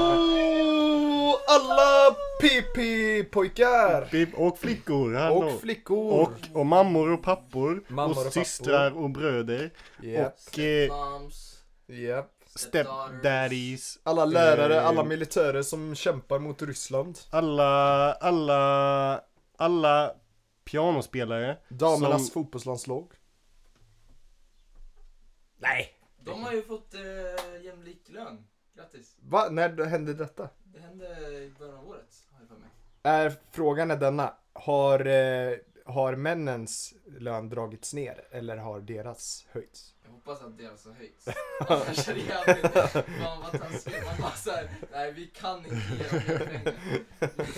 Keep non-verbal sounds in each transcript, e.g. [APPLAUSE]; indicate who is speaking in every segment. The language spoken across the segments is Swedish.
Speaker 1: Hallå alla PP-pojkar!
Speaker 2: Bib- Och flickor, hallå.
Speaker 1: Och flickor!
Speaker 2: Och, och mammor och pappor.
Speaker 1: Mammor och
Speaker 2: och,
Speaker 1: pappor.
Speaker 2: systrar och bröder.
Speaker 1: Japp,
Speaker 2: Och eh,
Speaker 3: Moms,
Speaker 1: japp.
Speaker 2: stepdaddies.
Speaker 1: Alla lärare,
Speaker 2: Eh.
Speaker 1: alla militärer som kämpar mot Ryssland.
Speaker 2: Alla, alla, alla pianospelare.
Speaker 1: Damernas
Speaker 2: som-
Speaker 1: fotbollslandslag.
Speaker 2: Nej!
Speaker 3: De har ju fått eh, jämlik lön. Grattis.
Speaker 1: Va? När hände detta?
Speaker 3: Det hände i början av året, har jag för mig.
Speaker 1: Är, frågan är denna. Har, eh, har männens lön dragits ner eller har deras höjts?
Speaker 3: Jag hoppas att alltså deras
Speaker 2: [LAUGHS]
Speaker 3: har höjts. Annars är det jävligt... Man var taskig. Man bara såhär, nej vi kan inte ge dem mer
Speaker 2: [LAUGHS]
Speaker 3: pengar.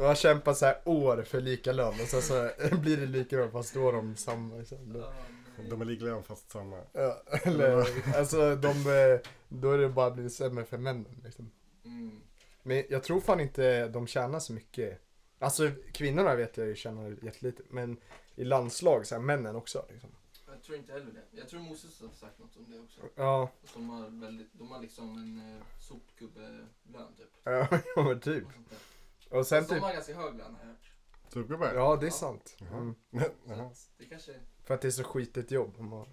Speaker 1: Man kämpar så här år för lika lön och sen så [LAUGHS] blir det lika lön fast då har de samma. Liksom.
Speaker 3: Ja, nej.
Speaker 2: De är likelön fast samma.
Speaker 1: Ja, [LAUGHS] eller, alltså de, eh, då är det bara blivit sämre för männen. Liksom.
Speaker 3: Mm.
Speaker 1: Men jag tror fan inte de tjänar så mycket. Alltså kvinnorna vet jag ju tjänar jättelite, men i landslag så här männen också. Liksom.
Speaker 3: Jag tror inte heller det. Jag tror Moses har sagt något om det också.
Speaker 1: Ja,
Speaker 3: Att de har, väldigt, de har liksom en eh, sopgubbelön typ.
Speaker 1: [LAUGHS] ja men typ.
Speaker 3: Och sånt där.
Speaker 1: Och sen
Speaker 3: Fast De
Speaker 1: typ,
Speaker 3: har ganska hög lön har jag hört.
Speaker 2: Superbär.
Speaker 1: ja det är sant. Mm.
Speaker 2: [LAUGHS]
Speaker 3: Så att det kanske,
Speaker 1: För att det är så skitigt jobb. om man-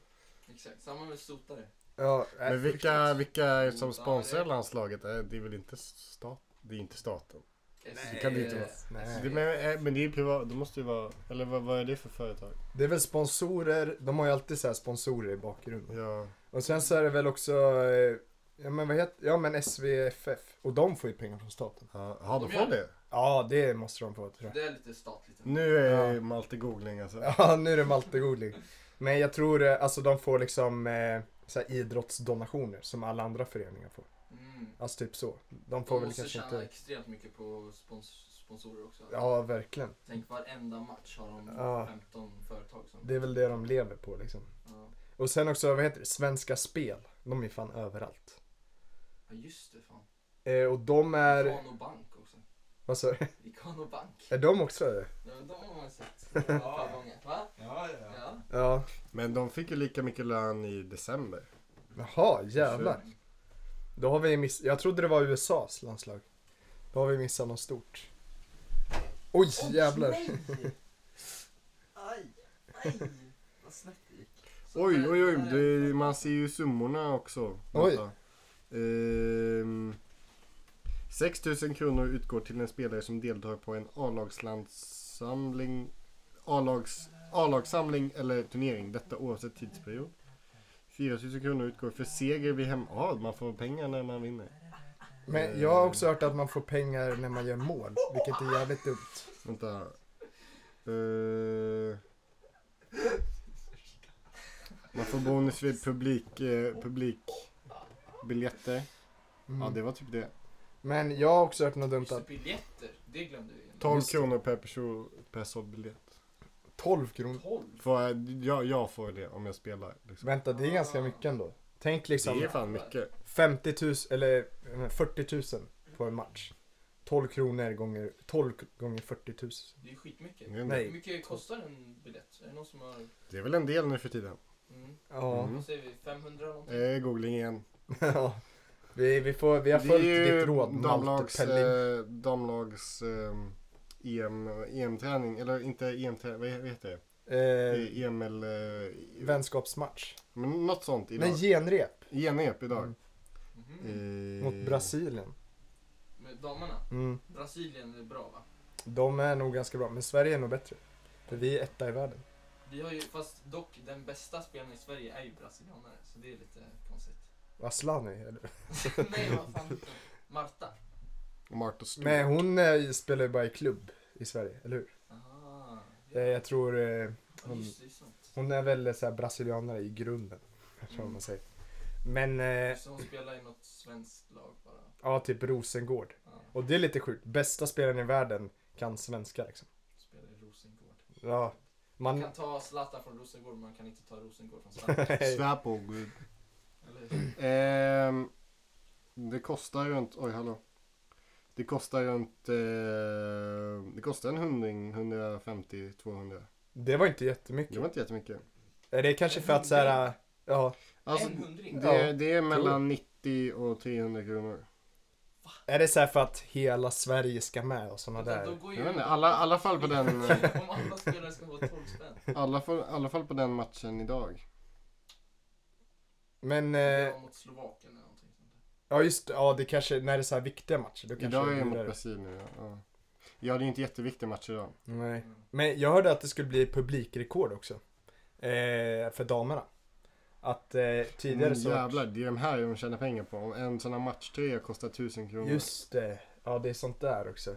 Speaker 3: exakt. Samma med sotare.
Speaker 1: Ja, äh,
Speaker 2: Men vilka, vilka som sponsrar landslaget? Eh, Det är väl inte stat? Det är inte staten.
Speaker 3: Nej,
Speaker 2: kan det ju inte vara.
Speaker 1: Nej.
Speaker 2: Det, men, eh, men det är ju privat. Det måste ju vara... Eller vad, vad är det för företag?
Speaker 1: det är väl sponsorer, de har ju alltid så här sponsorer i bakgrunden.
Speaker 2: Ja.
Speaker 1: Och sen så är det väl också, eh, ja men vad heter, ja men SVFF. Och de får ju pengar från staten.
Speaker 2: Ja, ja de
Speaker 3: De
Speaker 2: får
Speaker 3: gör
Speaker 2: det.
Speaker 1: Ja, det måste de få tror jag. Mm.
Speaker 3: Det är lite statligt.
Speaker 2: Nu är
Speaker 1: Ja.
Speaker 2: Malte googling alltså.
Speaker 1: Ja, nu är det Malte Godling. Men jag tror, eh, alltså de får liksom eh, så här idrottsdonationer som alla andra föreningar får.
Speaker 3: Mm.
Speaker 1: Alltså typ så. De
Speaker 3: De
Speaker 1: får väl
Speaker 3: måste
Speaker 1: kanske
Speaker 3: tjäna liksom.
Speaker 1: inte...
Speaker 3: extremt mycket på spons sponsorer också.
Speaker 1: Ja, verkligen.
Speaker 3: Tänk varenda match har de
Speaker 1: Ja.
Speaker 3: 15 företag som...
Speaker 1: Det är väl det de lever på liksom.
Speaker 3: Ja.
Speaker 1: Och sen också, vad heter det? Svenska Spel. De är fan överallt.
Speaker 3: ja just det fan.
Speaker 1: Eh, och de är...
Speaker 3: Ikano Bank också.
Speaker 1: Vad sa du? [LAUGHS]
Speaker 3: Ikano Bank.
Speaker 1: Är de också
Speaker 3: Ja, men de har man sett ett par gånger. Va?
Speaker 4: Ja, ja, ja.
Speaker 3: Ja.
Speaker 1: Ja.
Speaker 2: Men de fick ju lika mycket lön i december.
Speaker 1: Jaha, jävlar. Då har vi miss... Jag trodde det var USAs landslag. Då har vi missat något stort. Oj, jävlar.
Speaker 3: nej! Aj, aj. Vad snett det gick. Så
Speaker 2: Oj,
Speaker 3: där-
Speaker 2: oj, oj.
Speaker 3: där är
Speaker 2: Det,
Speaker 3: det.
Speaker 2: man ser ju summorna också.
Speaker 1: Oj.
Speaker 2: Vänta. Ehm, 6 000 kronor utgår till en spelare som deltar på en A-lagslandssamling A-lags- A-lagssamling eller turnering. Detta oavsett tidsperiod. 4 000 kronor utgår för seger vid hem... Ja, man får pengar när man vinner.
Speaker 1: Men jag har också hört att man får pengar när man gör mål, vilket är jävligt dumt.
Speaker 2: Vänta. Eh, man får bonus vid publik, eh, publikbiljetter. Ja,
Speaker 1: Mm.
Speaker 2: det var typ det.
Speaker 1: Men jag har också hört något dumt
Speaker 3: Just det,
Speaker 1: att
Speaker 3: biljetter. Det glömde vi.
Speaker 2: 12
Speaker 1: Just det.
Speaker 2: kronor per person per såld biljett.
Speaker 1: 12 kronor,
Speaker 3: 12.
Speaker 2: Får jag, jag, jag får det om jag spelar. Liksom.
Speaker 1: vänta det är ganska mycket ändå. Tänk
Speaker 2: Det
Speaker 1: liksom
Speaker 2: är fan mycket.
Speaker 1: 50 000 eller eh, 40 000 på en match. 12 kronor gånger, 12 gånger 40 000.
Speaker 3: Det är ju skitmycket.
Speaker 2: Det är en-
Speaker 1: Nej.
Speaker 3: Hur mycket kostar en biljett? Är det någon som har...
Speaker 2: Det är väl en del nu för tiden.
Speaker 3: Mm.
Speaker 1: Ja.
Speaker 2: Mm.
Speaker 3: Vad säger vi? 500 någonting?
Speaker 2: Eh, googling igen.
Speaker 1: [LAUGHS] ja. Vi, vi, får, vi har
Speaker 2: Det
Speaker 1: följt
Speaker 2: är ju
Speaker 1: ditt råd
Speaker 2: damlags,
Speaker 1: Malte Pelling.
Speaker 2: eh, damlags ehm, EM, EM-träning. Eller inte EM-träning, vad he- vad heter det?
Speaker 1: Eh,
Speaker 2: Eh, EML... Eh,
Speaker 1: vänskapsmatch.
Speaker 2: men något sånt idag.
Speaker 1: Nej, genrep
Speaker 2: Genrep E idag.
Speaker 1: Mm.
Speaker 3: Mhm.
Speaker 2: Eh,
Speaker 1: mot Brasilien.
Speaker 3: Med damerna?
Speaker 1: Mm.
Speaker 3: Brasilien är bra va?
Speaker 1: De är nog ganska bra, men Sverige är nog bättre. För vi är etta i världen.
Speaker 3: Vi har ju, fast dock den bästa spelaren i Sverige är ju brasilianare, så det är lite
Speaker 2: [LAUGHS]
Speaker 3: konstigt.
Speaker 1: Aslani, eller?
Speaker 3: Nej, vad fan heter hon? Marta.
Speaker 2: Och Marta Stewart.
Speaker 1: Men hon eh, spelar ju bara i klubb i Sverige, eller hur?
Speaker 3: Aha.
Speaker 1: Eh, jag tror eh,
Speaker 3: Ja,
Speaker 1: hon,
Speaker 3: just det, det är sant.
Speaker 1: hon är väl eh, så här, brasilianare i grunden. Tror jag man säger. Men eh,
Speaker 3: Så hon spelar i något svenskt lag bara.
Speaker 1: ja, typ Rosengård.
Speaker 3: Ja,
Speaker 1: Och det är lite sjukt. Bästa spelaren i världen kan svenska liksom.
Speaker 3: spelar i Rosengård.
Speaker 1: Ja,
Speaker 3: Man
Speaker 1: man...
Speaker 2: Mm.
Speaker 3: kan ta Zlatan från Rosengård, men man kan inte ta Rosengård från Zlatan.
Speaker 2: [LAUGHS] Slapo, gud.
Speaker 3: Eller hur?
Speaker 2: Ehm, det kostar runt, oj hallå. Det kostar runt, eh, det kostar en hundring, 150, 200.
Speaker 1: Det var inte
Speaker 2: Det
Speaker 1: jättemycket.
Speaker 2: var inte jättemycket.
Speaker 1: Eh, Det är kanske för att så här, eh, ja,
Speaker 2: Alltså,
Speaker 3: en hundring?
Speaker 2: det, det är mellan 90 och
Speaker 1: [LAUGHS]
Speaker 2: 300 kronor.
Speaker 1: Är det så här för att hela Sverige ska med och sådana
Speaker 3: Vänta, då
Speaker 1: där?
Speaker 3: går ju-
Speaker 2: Jag vet inte, alla, alla fall på den, eh,
Speaker 3: [LAUGHS] Om alla spelare ska ha 12 spänn.
Speaker 2: alla, fall- alla fall på den matchen idag.
Speaker 1: Men, eh,
Speaker 3: Det var mot Slovakien eller någonting sånt där.
Speaker 1: ja just ja det kanske, när det är så här viktiga matcher då kanske
Speaker 2: Idag är
Speaker 1: det
Speaker 2: jag
Speaker 1: blir
Speaker 2: mot
Speaker 1: dyrare.
Speaker 2: Brasilien nu. Ja. Ja. ja, det är inte jätteviktig match idag.
Speaker 1: Nej.
Speaker 3: Mm.
Speaker 1: Men jag hörde att det skulle bli publikrekord också. Eh, för damerna. Att eh, tidigare
Speaker 2: Men
Speaker 1: så...
Speaker 2: Mm, jävlar, det är de här de tjänar pengar på. Om en sån här matchtröja kostar 1000 kronor.
Speaker 1: Just det. Ja, det är sånt där också.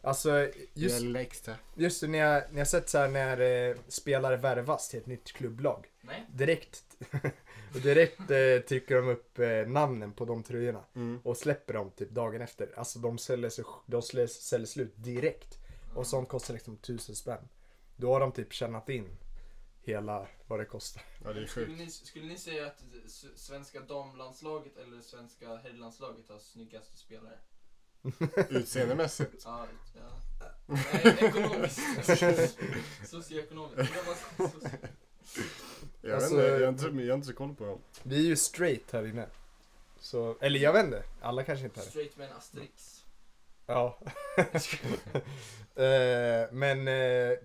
Speaker 1: Alltså,
Speaker 2: just...
Speaker 1: just,
Speaker 2: Det är extra.
Speaker 1: just det, ni har, ni har sett så här när eh, spelare värvas till ett nytt klubblag.
Speaker 3: Nej,
Speaker 1: Direkt, [LAUGHS] direkt eh, trycker de upp eh, namnen på de tröjorna
Speaker 2: Mm.
Speaker 1: och släpper dem typ dagen efter. Alltså de säljer, sig, de säljer, säljer slut direkt. Och sånt kostar liksom tusen spänn. Då har de typ tjänat in hela vad det kostar.
Speaker 2: Ja, det är
Speaker 3: skulle,
Speaker 2: sjukt.
Speaker 3: ni, skulle ni säga att s- svenska damlandslaget eller svenska herrlandslaget har snyggaste spelare?
Speaker 2: Utseendemässigt.
Speaker 3: Ja, ja. Nej,
Speaker 1: [LAUGHS]
Speaker 3: ekonomiskt. Socioekonomiskt. Det var soci-
Speaker 2: Jag,
Speaker 1: Alltså-
Speaker 2: vet inte, jag, har inte, jag har inte så koll på dem.
Speaker 1: Vi är ju straight här inne. Så, eller jag vet inte, alla kanske inte är det.
Speaker 3: Straight med en asterix.
Speaker 1: Ja. [LAUGHS] Eh, men eh,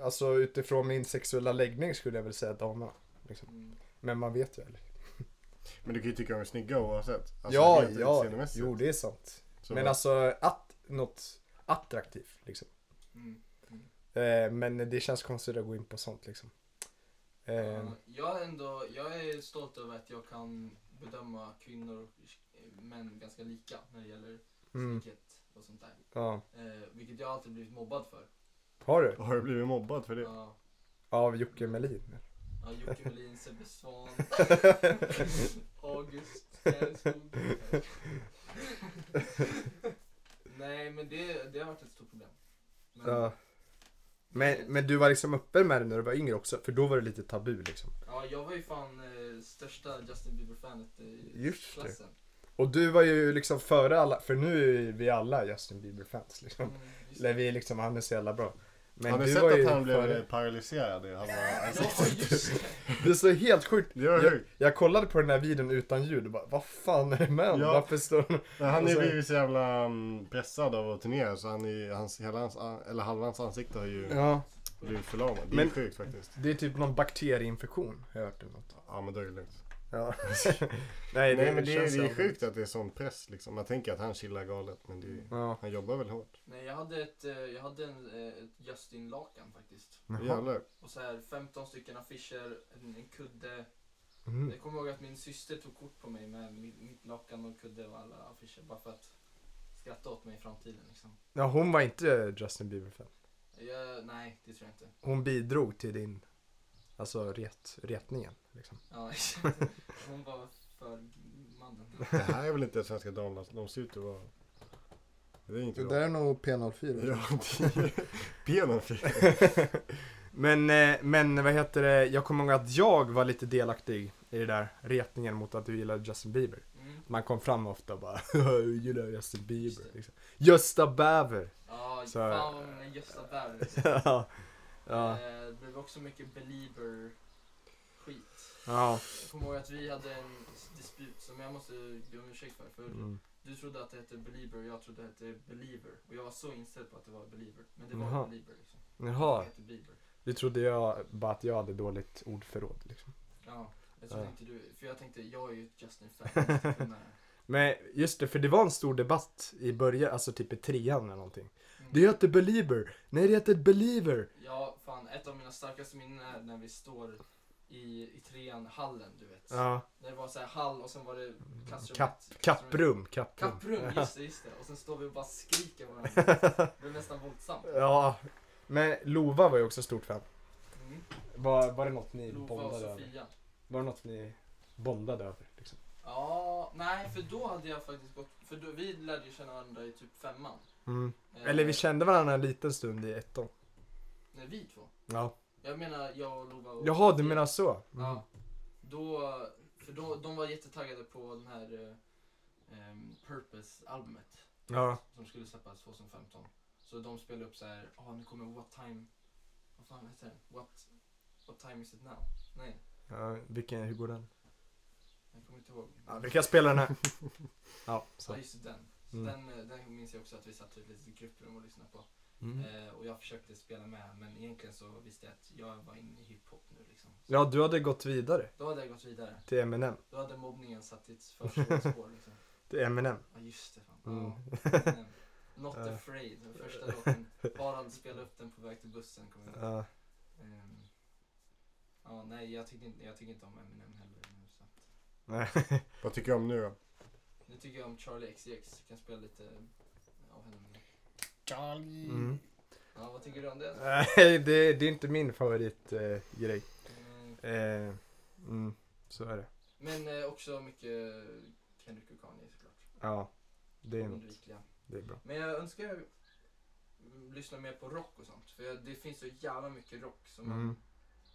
Speaker 1: alltså utifrån min sexuella läggning skulle jag väl säga damerna. Liksom.
Speaker 3: Mm.
Speaker 1: Men man vet ju aldrig.
Speaker 2: Men du kan ju tycka de är snygga oavsett. Alltså,
Speaker 1: ja,
Speaker 2: rent
Speaker 1: ja,
Speaker 2: utseendemässigt.
Speaker 1: jo det är sant.
Speaker 2: Så-
Speaker 1: Men alltså att, något attraktivt liksom.
Speaker 3: Mm.
Speaker 1: Eh, men det känns konstigt att gå in på sånt liksom. Eh,
Speaker 3: Ja, Jag, är ändå, jag är stolt över att jag kan bedöma kvinnor och eh, män ganska lika när det gäller
Speaker 1: Mm.
Speaker 3: snygghet och sånt där.
Speaker 1: ja.
Speaker 3: Eh, vilket jag alltid blivit mobbad för.
Speaker 1: Har du?
Speaker 2: Har du blivit mobbad för det?
Speaker 3: Ja,
Speaker 1: Av Jocke Melin?
Speaker 3: ja, Jocke Melin,
Speaker 1: [LAUGHS]
Speaker 3: Sebbe Svahn, August Järnskog. Nej men det, det har varit ett stort problem. Men,
Speaker 1: Ja. Mm. Men, men du var liksom öppen med det när du var yngre också, för då var det lite tabu liksom.
Speaker 3: ja, jag var ju fan eh, största Justin Bieber-fanet eh, i
Speaker 1: Just det.
Speaker 3: klassen.
Speaker 1: Och du var ju liksom före alla, för nu är vi alla Justin Bieber-fans liksom.
Speaker 3: Mm, just det.
Speaker 1: Eller vi är liksom, han är så jävla bra. Men
Speaker 2: har ni
Speaker 1: du
Speaker 2: sett
Speaker 1: var
Speaker 2: att
Speaker 1: ju
Speaker 2: han blev
Speaker 1: före-
Speaker 2: paralyserad i
Speaker 1: [LAUGHS]
Speaker 2: halva
Speaker 3: Ja,
Speaker 2: ansiktet?
Speaker 3: just det.
Speaker 1: Det är så helt sjukt.
Speaker 2: Det var
Speaker 1: Jag,
Speaker 2: sjukt.
Speaker 1: jag kollade på den här videon utan ljud och bara, vad fan är det med honom?
Speaker 2: Ja.
Speaker 1: Varför står han...
Speaker 2: Men han
Speaker 1: Och
Speaker 2: är ju
Speaker 1: sen-
Speaker 2: blivit så jävla mm, pressad av att turnera så han är, ju- hans, hela hans, an- eller halva hans ansikte har ju
Speaker 1: Ja.
Speaker 2: blivit förlamad. Det är
Speaker 1: Men-
Speaker 2: sjukt faktiskt.
Speaker 1: Det är typ någon bakterieinfektion, har jag hört eller något.
Speaker 2: Ja men då är det lugnt.
Speaker 1: Ja. [LAUGHS] Nej,
Speaker 2: Nej men det,
Speaker 1: känns
Speaker 2: är- det är
Speaker 1: jävligt.
Speaker 2: sjukt att det är sån press liksom. Man tänker att han chillar galet men det är,
Speaker 1: Ja.
Speaker 2: han jobbar väl hårt.
Speaker 3: Nej, jag hade ett, eh, jag hade en, eh, ett Justin-lakan faktiskt.
Speaker 1: Jaha.
Speaker 2: Jävlar.
Speaker 3: Och så här 15 stycken affischer, en, en kudde.
Speaker 1: Mm.
Speaker 3: Jag kommer ihåg att min syster tog kort på mig med mitt, mitt lakan och kudde och alla affischer bara för att skratta åt mig i framtiden liksom.
Speaker 1: Ja, hon var inte Justin Bieber-fan.
Speaker 3: Jag, nej, det tror jag inte.
Speaker 1: Hon bidrog till din, alltså ret, retningen liksom.
Speaker 3: Ja, [LAUGHS] hon var för mannen.
Speaker 2: Det här är väl inte svenska damlandslaget? De ser ut att vara... Det är inte de.
Speaker 1: är nog P04.
Speaker 2: Ja, det är benen fick.
Speaker 1: [LAUGHS] Men, eh, men vad heter det, jag kommer ihåg att jag var lite delaktig i det där retningen mot att du gillade Justin Bieber.
Speaker 3: Mm.
Speaker 1: Man kom fram ofta och bara [LAUGHS] "Jag gillar Justin Bieber. Liksom. Gösta Bäver. [LAUGHS]
Speaker 3: Ja,
Speaker 1: Så-
Speaker 3: fan vad många Gösta Berg.
Speaker 1: [LAUGHS] ja. Ja.
Speaker 3: Eh, Det blev också mycket belieber-skit.
Speaker 1: ja.
Speaker 3: Jag kommer ihåg att vi hade en disput som jag måste be om ursäkt för. för
Speaker 1: Mm.
Speaker 3: Du trodde att det hette Belieber och jag trodde att det hette Believer. Och jag var så inställd på att det var Believer. Men det var
Speaker 1: Jaha.
Speaker 3: Belieber liksom. Det
Speaker 1: Jaha,
Speaker 3: hette Bieber.
Speaker 1: det trodde jag bara att jag hade dåligt ordförråd. Liksom.
Speaker 3: Ja, jag trodde
Speaker 1: Ja.
Speaker 3: inte du. För jag tänkte, jag är ju ett
Speaker 1: [LAUGHS]
Speaker 3: Justin-fan. jag måste kunna-
Speaker 1: Men just det, för det var en stor debatt i början, alltså typ i trean eller någonting.
Speaker 3: Mm.
Speaker 1: Det heter Belieber. Nej, det heter Believer.
Speaker 3: Ja, fan. Ett av mina starkaste minnen är när vi står i, i trean, hallen, du vet.
Speaker 1: Ja.
Speaker 3: När det var så här hall och sen var det klassrummet.
Speaker 1: Kapp,
Speaker 3: Klassrummet.
Speaker 1: kapprum, kapprum.
Speaker 3: Kapprum, just det, just det. Och sen står vi och bara skriker varandra. Det blev nästan våldsamt.
Speaker 1: [LAUGHS] Ja, men Lova var ju också stort fan.
Speaker 3: Mm.
Speaker 1: Var, var det något ni
Speaker 3: Lova och
Speaker 1: bondade över?
Speaker 3: Sofia.
Speaker 1: Var det något ni bondade över? Liksom?
Speaker 3: Ja, nej för då hade jag faktiskt gått, för då, vi lärde ju känna varandra i typ femman. Eh,
Speaker 1: Eller vi kände varandra en liten stund i ettan.
Speaker 3: Nej vi två.
Speaker 1: Ja.
Speaker 3: Jag menar jag och Lova och
Speaker 1: Jaha, du menar så? Mm.
Speaker 3: Ja. Då, för då, de var jättetaggade på den här eh, ehm, Purpose-albumet
Speaker 1: Ja.
Speaker 3: som skulle släppas 2015. Så de spelade upp så här, ah nu kommer What Time, vad fan heter den? What, what Time Is It Now? Nej,
Speaker 1: ja. Vilken, hur går den?
Speaker 3: Jag kommer inte ihåg.
Speaker 1: Ja, vi kan spela den
Speaker 3: [LAUGHS]
Speaker 1: här. Ja, så.
Speaker 3: Ja, just den. Så
Speaker 1: Mm.
Speaker 3: den, eh, den minns jag också att vi satt i ett litet grupprum och lyssnade på.
Speaker 1: Mm.
Speaker 3: Eh, och jag försökte spela med men egentligen så visste jag att jag var inne i hiphop nu liksom. Så
Speaker 1: Ja, du hade gått vidare
Speaker 3: Då hade jag gått vidare.
Speaker 1: till Eminem.
Speaker 3: Då hade mobbningen satt sitt förskolespår liksom.
Speaker 1: Till Eminem.
Speaker 3: Ja just det. Fan.
Speaker 1: Mm.
Speaker 3: Ja, men, [LAUGHS] Not
Speaker 1: Ja.
Speaker 3: afraid, den första låten. Harald spelade upp den på väg till bussen. Kommer jag ihåg.
Speaker 1: Ja.
Speaker 3: Ehm, ja, nej jag tycker, inte, jag tycker inte om Eminem heller nu. Så att,
Speaker 1: Nej.
Speaker 2: Vad tycker jag om nu då?
Speaker 3: nu tycker jag om Charlie XCX, jag kan spela lite av henne. nu.
Speaker 2: Charlie.
Speaker 1: Mm.
Speaker 3: Ja, vad tycker du om det?
Speaker 1: [LAUGHS] Nej, det, det är inte min favoritgrej. Eh, grej.
Speaker 3: Ehm,
Speaker 1: eh, mm, så är det.
Speaker 3: Men eh, också mycket Kendrick och Kanye såklart.
Speaker 1: Ja, det är, något.
Speaker 3: Undvikliga.
Speaker 1: det är bra.
Speaker 3: Men jag önskar jag mm, lyssna mer på rock och sånt. För jag- det finns så jävla mycket rock som
Speaker 1: Mm.
Speaker 3: man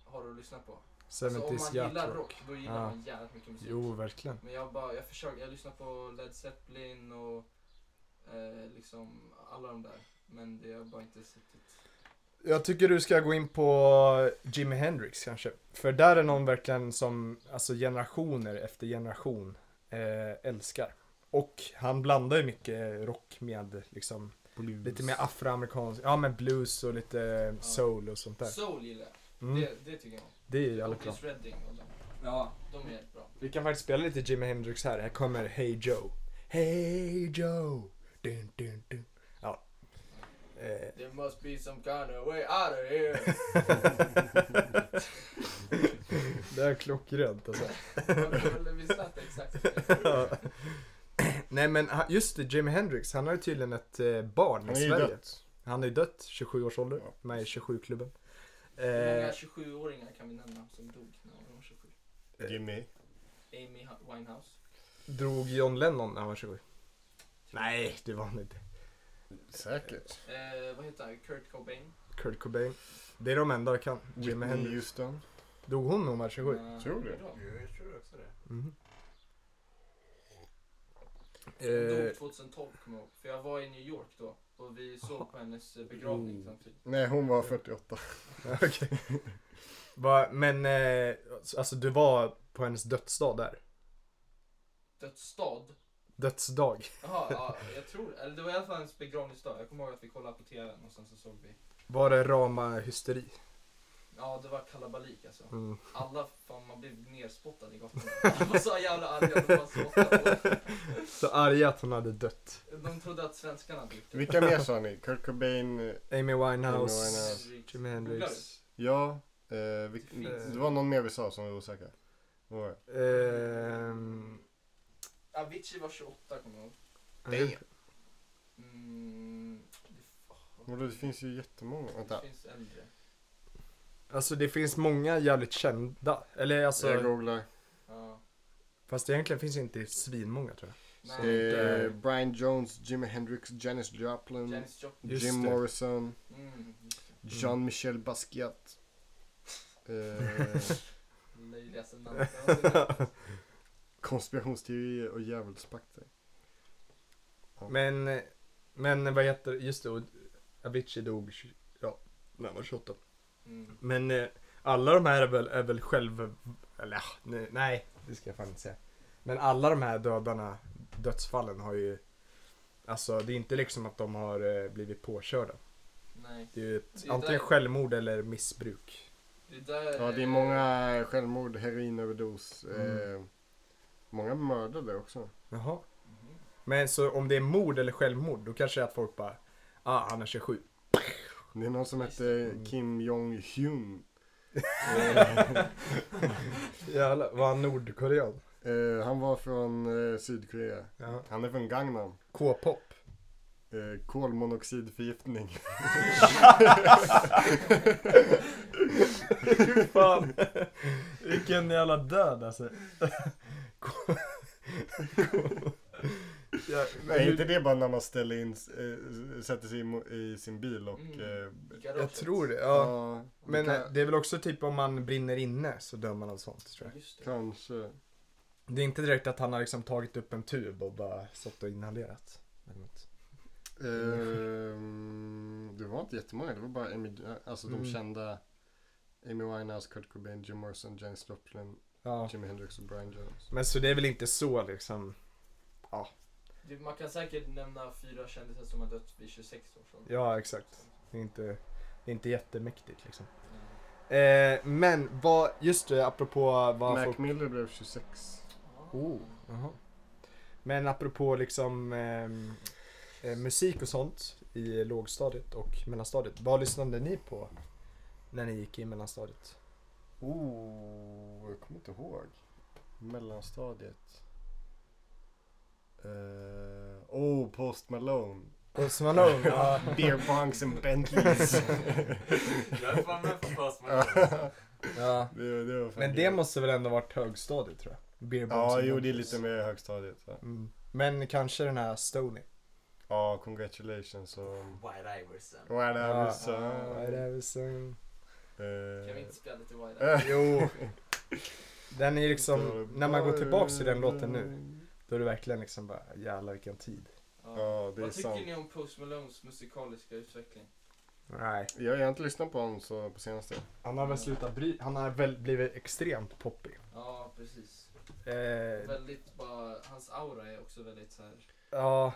Speaker 3: har att lyssna på. Alltså,
Speaker 1: 70s
Speaker 3: om man gillar
Speaker 1: jackrock.
Speaker 3: rock, då gillar
Speaker 1: Ja.
Speaker 3: man jävligt mycket musik.
Speaker 1: Jo, verkligen.
Speaker 3: Men jag bara, jag försöker, jag lyssnar på Led Zeppelin och eh, liksom alla de där. Men det har bara inte suttit.
Speaker 1: Jag tycker du ska gå in på Jimi Hendrix kanske. För där är någon verkligen som alltså generationer efter generation eh, älskar. Och han blandar ju mycket rock med liksom lite mer afroamerikansk, ja men blues och lite
Speaker 3: Ja.
Speaker 1: soul och sånt där.
Speaker 3: Soul gillar jag.
Speaker 1: Mm,
Speaker 3: Det, det tycker jag om.
Speaker 1: det är ju alla klart.
Speaker 3: Otis Redding och de,
Speaker 1: Ja.
Speaker 3: de är jättebra.
Speaker 1: Vi kan faktiskt spela lite Jimi Hendrix här. Här kommer Hey Joe. Hey Joe. Dun, dun, dun. Ja. Eh,
Speaker 3: There must be some kind of way out of here.
Speaker 1: [LAUGHS] det är klockrent alltså.
Speaker 3: Eller vi
Speaker 1: [LAUGHS]
Speaker 3: satt exakt
Speaker 1: Ja. [LAUGHS] Nej men han- just det, Jimi Hendrix, han har ju tydligen ett eh, barn
Speaker 2: Han
Speaker 1: i
Speaker 2: är ju
Speaker 1: Sverige.
Speaker 2: dött.
Speaker 1: Han är ju dött, 27 års ålder,
Speaker 2: Ja.
Speaker 1: med i 27-klubben.
Speaker 3: Hur många
Speaker 1: Eh,
Speaker 3: 27-åringar kan vi nämna som dog när de var 27?
Speaker 2: Jimmy.
Speaker 3: Amy Ha- Winehouse.
Speaker 1: drog John Lennon när han var 27? Nej, det var han inte.
Speaker 2: Säkert.
Speaker 3: Eh, vad heter han? Kurt Cobain.
Speaker 1: Kurt Cobain. Det är de enda jag kan. Jimi
Speaker 2: Whitney
Speaker 1: Hendrix.
Speaker 2: Houston.
Speaker 1: Dog hon när hon var 27?
Speaker 3: Eh,
Speaker 2: Tror du?
Speaker 3: vadå? Jag tror också det.
Speaker 1: Mhm.
Speaker 3: Hon
Speaker 1: Eh,
Speaker 3: dog 2012 kommer jag ihåg. För jag var i New York då. Och vi såg på hennes eh, begravning liksom, typ,
Speaker 1: Mm.
Speaker 3: samtidigt.
Speaker 2: Nej, hon var 48.
Speaker 1: Eh, [LAUGHS] Okej. Va- Men eh, alltså du var på hennes dödsdag där?
Speaker 3: Dödsstad?
Speaker 1: Dödsdag?
Speaker 3: Jaha, ja, jag tror Eller det var i alla fall hennes begravningsdag. Jag kommer ihåg att vi kollade på TVn och sen så såg vi.
Speaker 1: Var det rama hysteri?
Speaker 3: Ja, det var kalabalik alltså.
Speaker 1: Mm.
Speaker 3: Alla, fan man blev nerspottad i gatan. Alla var så jävla arga. att De, bara spottade på oss.
Speaker 1: Så arga att hon hade dött.
Speaker 3: de trodde att svenskarna hade gjort det.
Speaker 2: Vilka mer sa ni? Kurt Cobain. eh,
Speaker 1: Amy Winehouse,
Speaker 2: Amy Winehouse.
Speaker 1: Jimi Hendrix.
Speaker 2: Ja. Eh, vi,
Speaker 3: Det finns.
Speaker 2: det var någon mer vi sa som var osäkra. Vad var det?
Speaker 1: Ehm,
Speaker 3: Avicii var 28 kommer jag ihåg.
Speaker 2: Damn.
Speaker 3: Mm, det, åh,
Speaker 2: Vadå, det finns ju jättemånga.
Speaker 3: det
Speaker 2: Vänta.
Speaker 3: finns äldre.
Speaker 1: Alltså det finns många jävligt kända. Eller
Speaker 2: Jag
Speaker 1: alltså,
Speaker 2: googlar.
Speaker 3: Ja.
Speaker 1: fast egentligen finns inte svinmånga tror jag.
Speaker 3: Nej,
Speaker 2: Eh,
Speaker 3: det-
Speaker 2: Brian Jones, Jimi Hendrix, Janis Joplin,
Speaker 3: Janis eh, Joplin.
Speaker 1: Just
Speaker 2: Jim
Speaker 1: det.
Speaker 2: Morrison,
Speaker 3: Mm, just det.
Speaker 2: Jean-Michel Basquiat. Eh,
Speaker 3: Löjligaste
Speaker 1: [LAUGHS]
Speaker 3: namnet någonsin.
Speaker 2: konspirationsteorier och djävulspakter.
Speaker 1: Men, men vad heter just det, och Avicii dog tj- ja, när han var 28.
Speaker 3: Mm.
Speaker 1: Men eh, alla de här är väl, är väl själv... Eller ah, nej, nej, det ska jag fan inte säga. Men alla de här dödarna, dödsfallen har ju... Alltså det är inte liksom att de har eh, blivit påkörda.
Speaker 3: Nej,
Speaker 1: Det är ju ett,
Speaker 3: Det är
Speaker 1: antingen
Speaker 3: där-
Speaker 1: självmord eller missbruk.
Speaker 3: det där...
Speaker 2: Ja, det är många självmord, heroinöverdos. Eh,
Speaker 1: Mm.
Speaker 2: många mördade också.
Speaker 1: Jaha.
Speaker 3: Mhm.
Speaker 1: Men så om det är mord eller självmord då kanske det är att folk bara Ah, han är 27.
Speaker 2: Det är någon som
Speaker 3: Just
Speaker 2: hette
Speaker 1: Mm.
Speaker 2: Kim Jong-Hyun.
Speaker 1: Jävlar, var han nordkorean?
Speaker 2: Eh, han var från eh, Sydkorea.
Speaker 1: Ja.
Speaker 2: Han är från Gangnam.
Speaker 1: K-pop.
Speaker 2: Eh, kolmonoxidförgiftning.
Speaker 1: Fy [LAUGHS] fan. Vilken jävla död alltså. K- [LAUGHS] ja, men
Speaker 2: Nej,
Speaker 1: hur-
Speaker 2: inte det bara när man ställer in, eh, sätter sig i, mo- i sin bil och...
Speaker 3: Mm.
Speaker 2: Eh,
Speaker 3: Garaget.
Speaker 1: Jag tror det, ja.
Speaker 2: det
Speaker 1: Men eh,
Speaker 2: kan,
Speaker 1: det är väl också typ om man brinner inne så dör man av sånt tror jag.
Speaker 3: Just det.
Speaker 2: Kanske.
Speaker 1: Det är inte direkt att han har liksom tagit upp en tub och bara suttit och inhalerat. eller något.
Speaker 2: Ehm, det var inte jättemånga, det var bara Amy, alltså de
Speaker 1: Mm.
Speaker 2: kända Amy Winehouse, Kurt Cobain, Jim Morrison, Janis Joplin,
Speaker 1: Ja.
Speaker 2: Jimi Hendrix och Brian Jones.
Speaker 1: Men så det är väl inte så liksom.
Speaker 3: Det- Man kan säkert nämna fyra kändisar som har dött vid 26 års ålder.
Speaker 1: Ja, exakt. Det är inte, det är inte jättemäktigt liksom.
Speaker 3: Mm.
Speaker 1: Eh, men vad, just det, apropå vad
Speaker 2: Mac
Speaker 1: folk...
Speaker 2: Miller blev 26.
Speaker 1: Oh, jaha. Men apropå liksom ehm, eh, musik och sånt i lågstadiet och mellanstadiet. Vad lyssnade ni på när ni gick i mellanstadiet?
Speaker 2: Oh, jag kommer inte ihåg. Mellanstadiet. Eh, oh, Post Malone.
Speaker 1: Post Malone? ja.
Speaker 2: Beer bongs and Bentleys.
Speaker 4: Jag är fan med på Post Malone.
Speaker 1: ja.
Speaker 2: [LAUGHS] det, det var fan
Speaker 1: Men det
Speaker 2: kul.
Speaker 1: måste väl ändå varit högstadiet tror jag? Beer Bongs
Speaker 2: Ja,
Speaker 1: and
Speaker 2: jo det är
Speaker 1: Monkeys.
Speaker 2: lite mer högstadiet. va?
Speaker 1: Mm. Men kanske den här Stony.
Speaker 2: Ja, congratulations och...
Speaker 4: White Iverson.
Speaker 2: Whatever
Speaker 1: Ja.
Speaker 2: son.
Speaker 1: Vad är det här för sång?
Speaker 2: Eh,
Speaker 3: Kan vi inte spela
Speaker 1: [LAUGHS]
Speaker 3: lite Wide Eye?
Speaker 2: eh.
Speaker 1: Jo. Den är ju liksom, när man går tillbaks till den låten nu, då är det verkligen liksom bara jävlar vilken tid.
Speaker 2: Ja, det är
Speaker 3: Vad tycker
Speaker 2: sant.
Speaker 3: ni om Post Malones musikaliska utveckling?
Speaker 1: Nej.
Speaker 2: Jag har inte lyssnat på honom så på senaste.
Speaker 1: Han har väl slutat bry, han har väl blivit extremt poppig.
Speaker 3: Ja, precis.
Speaker 1: Eh,
Speaker 3: Väldigt bara, hans aura är också väldigt så här.
Speaker 1: ja,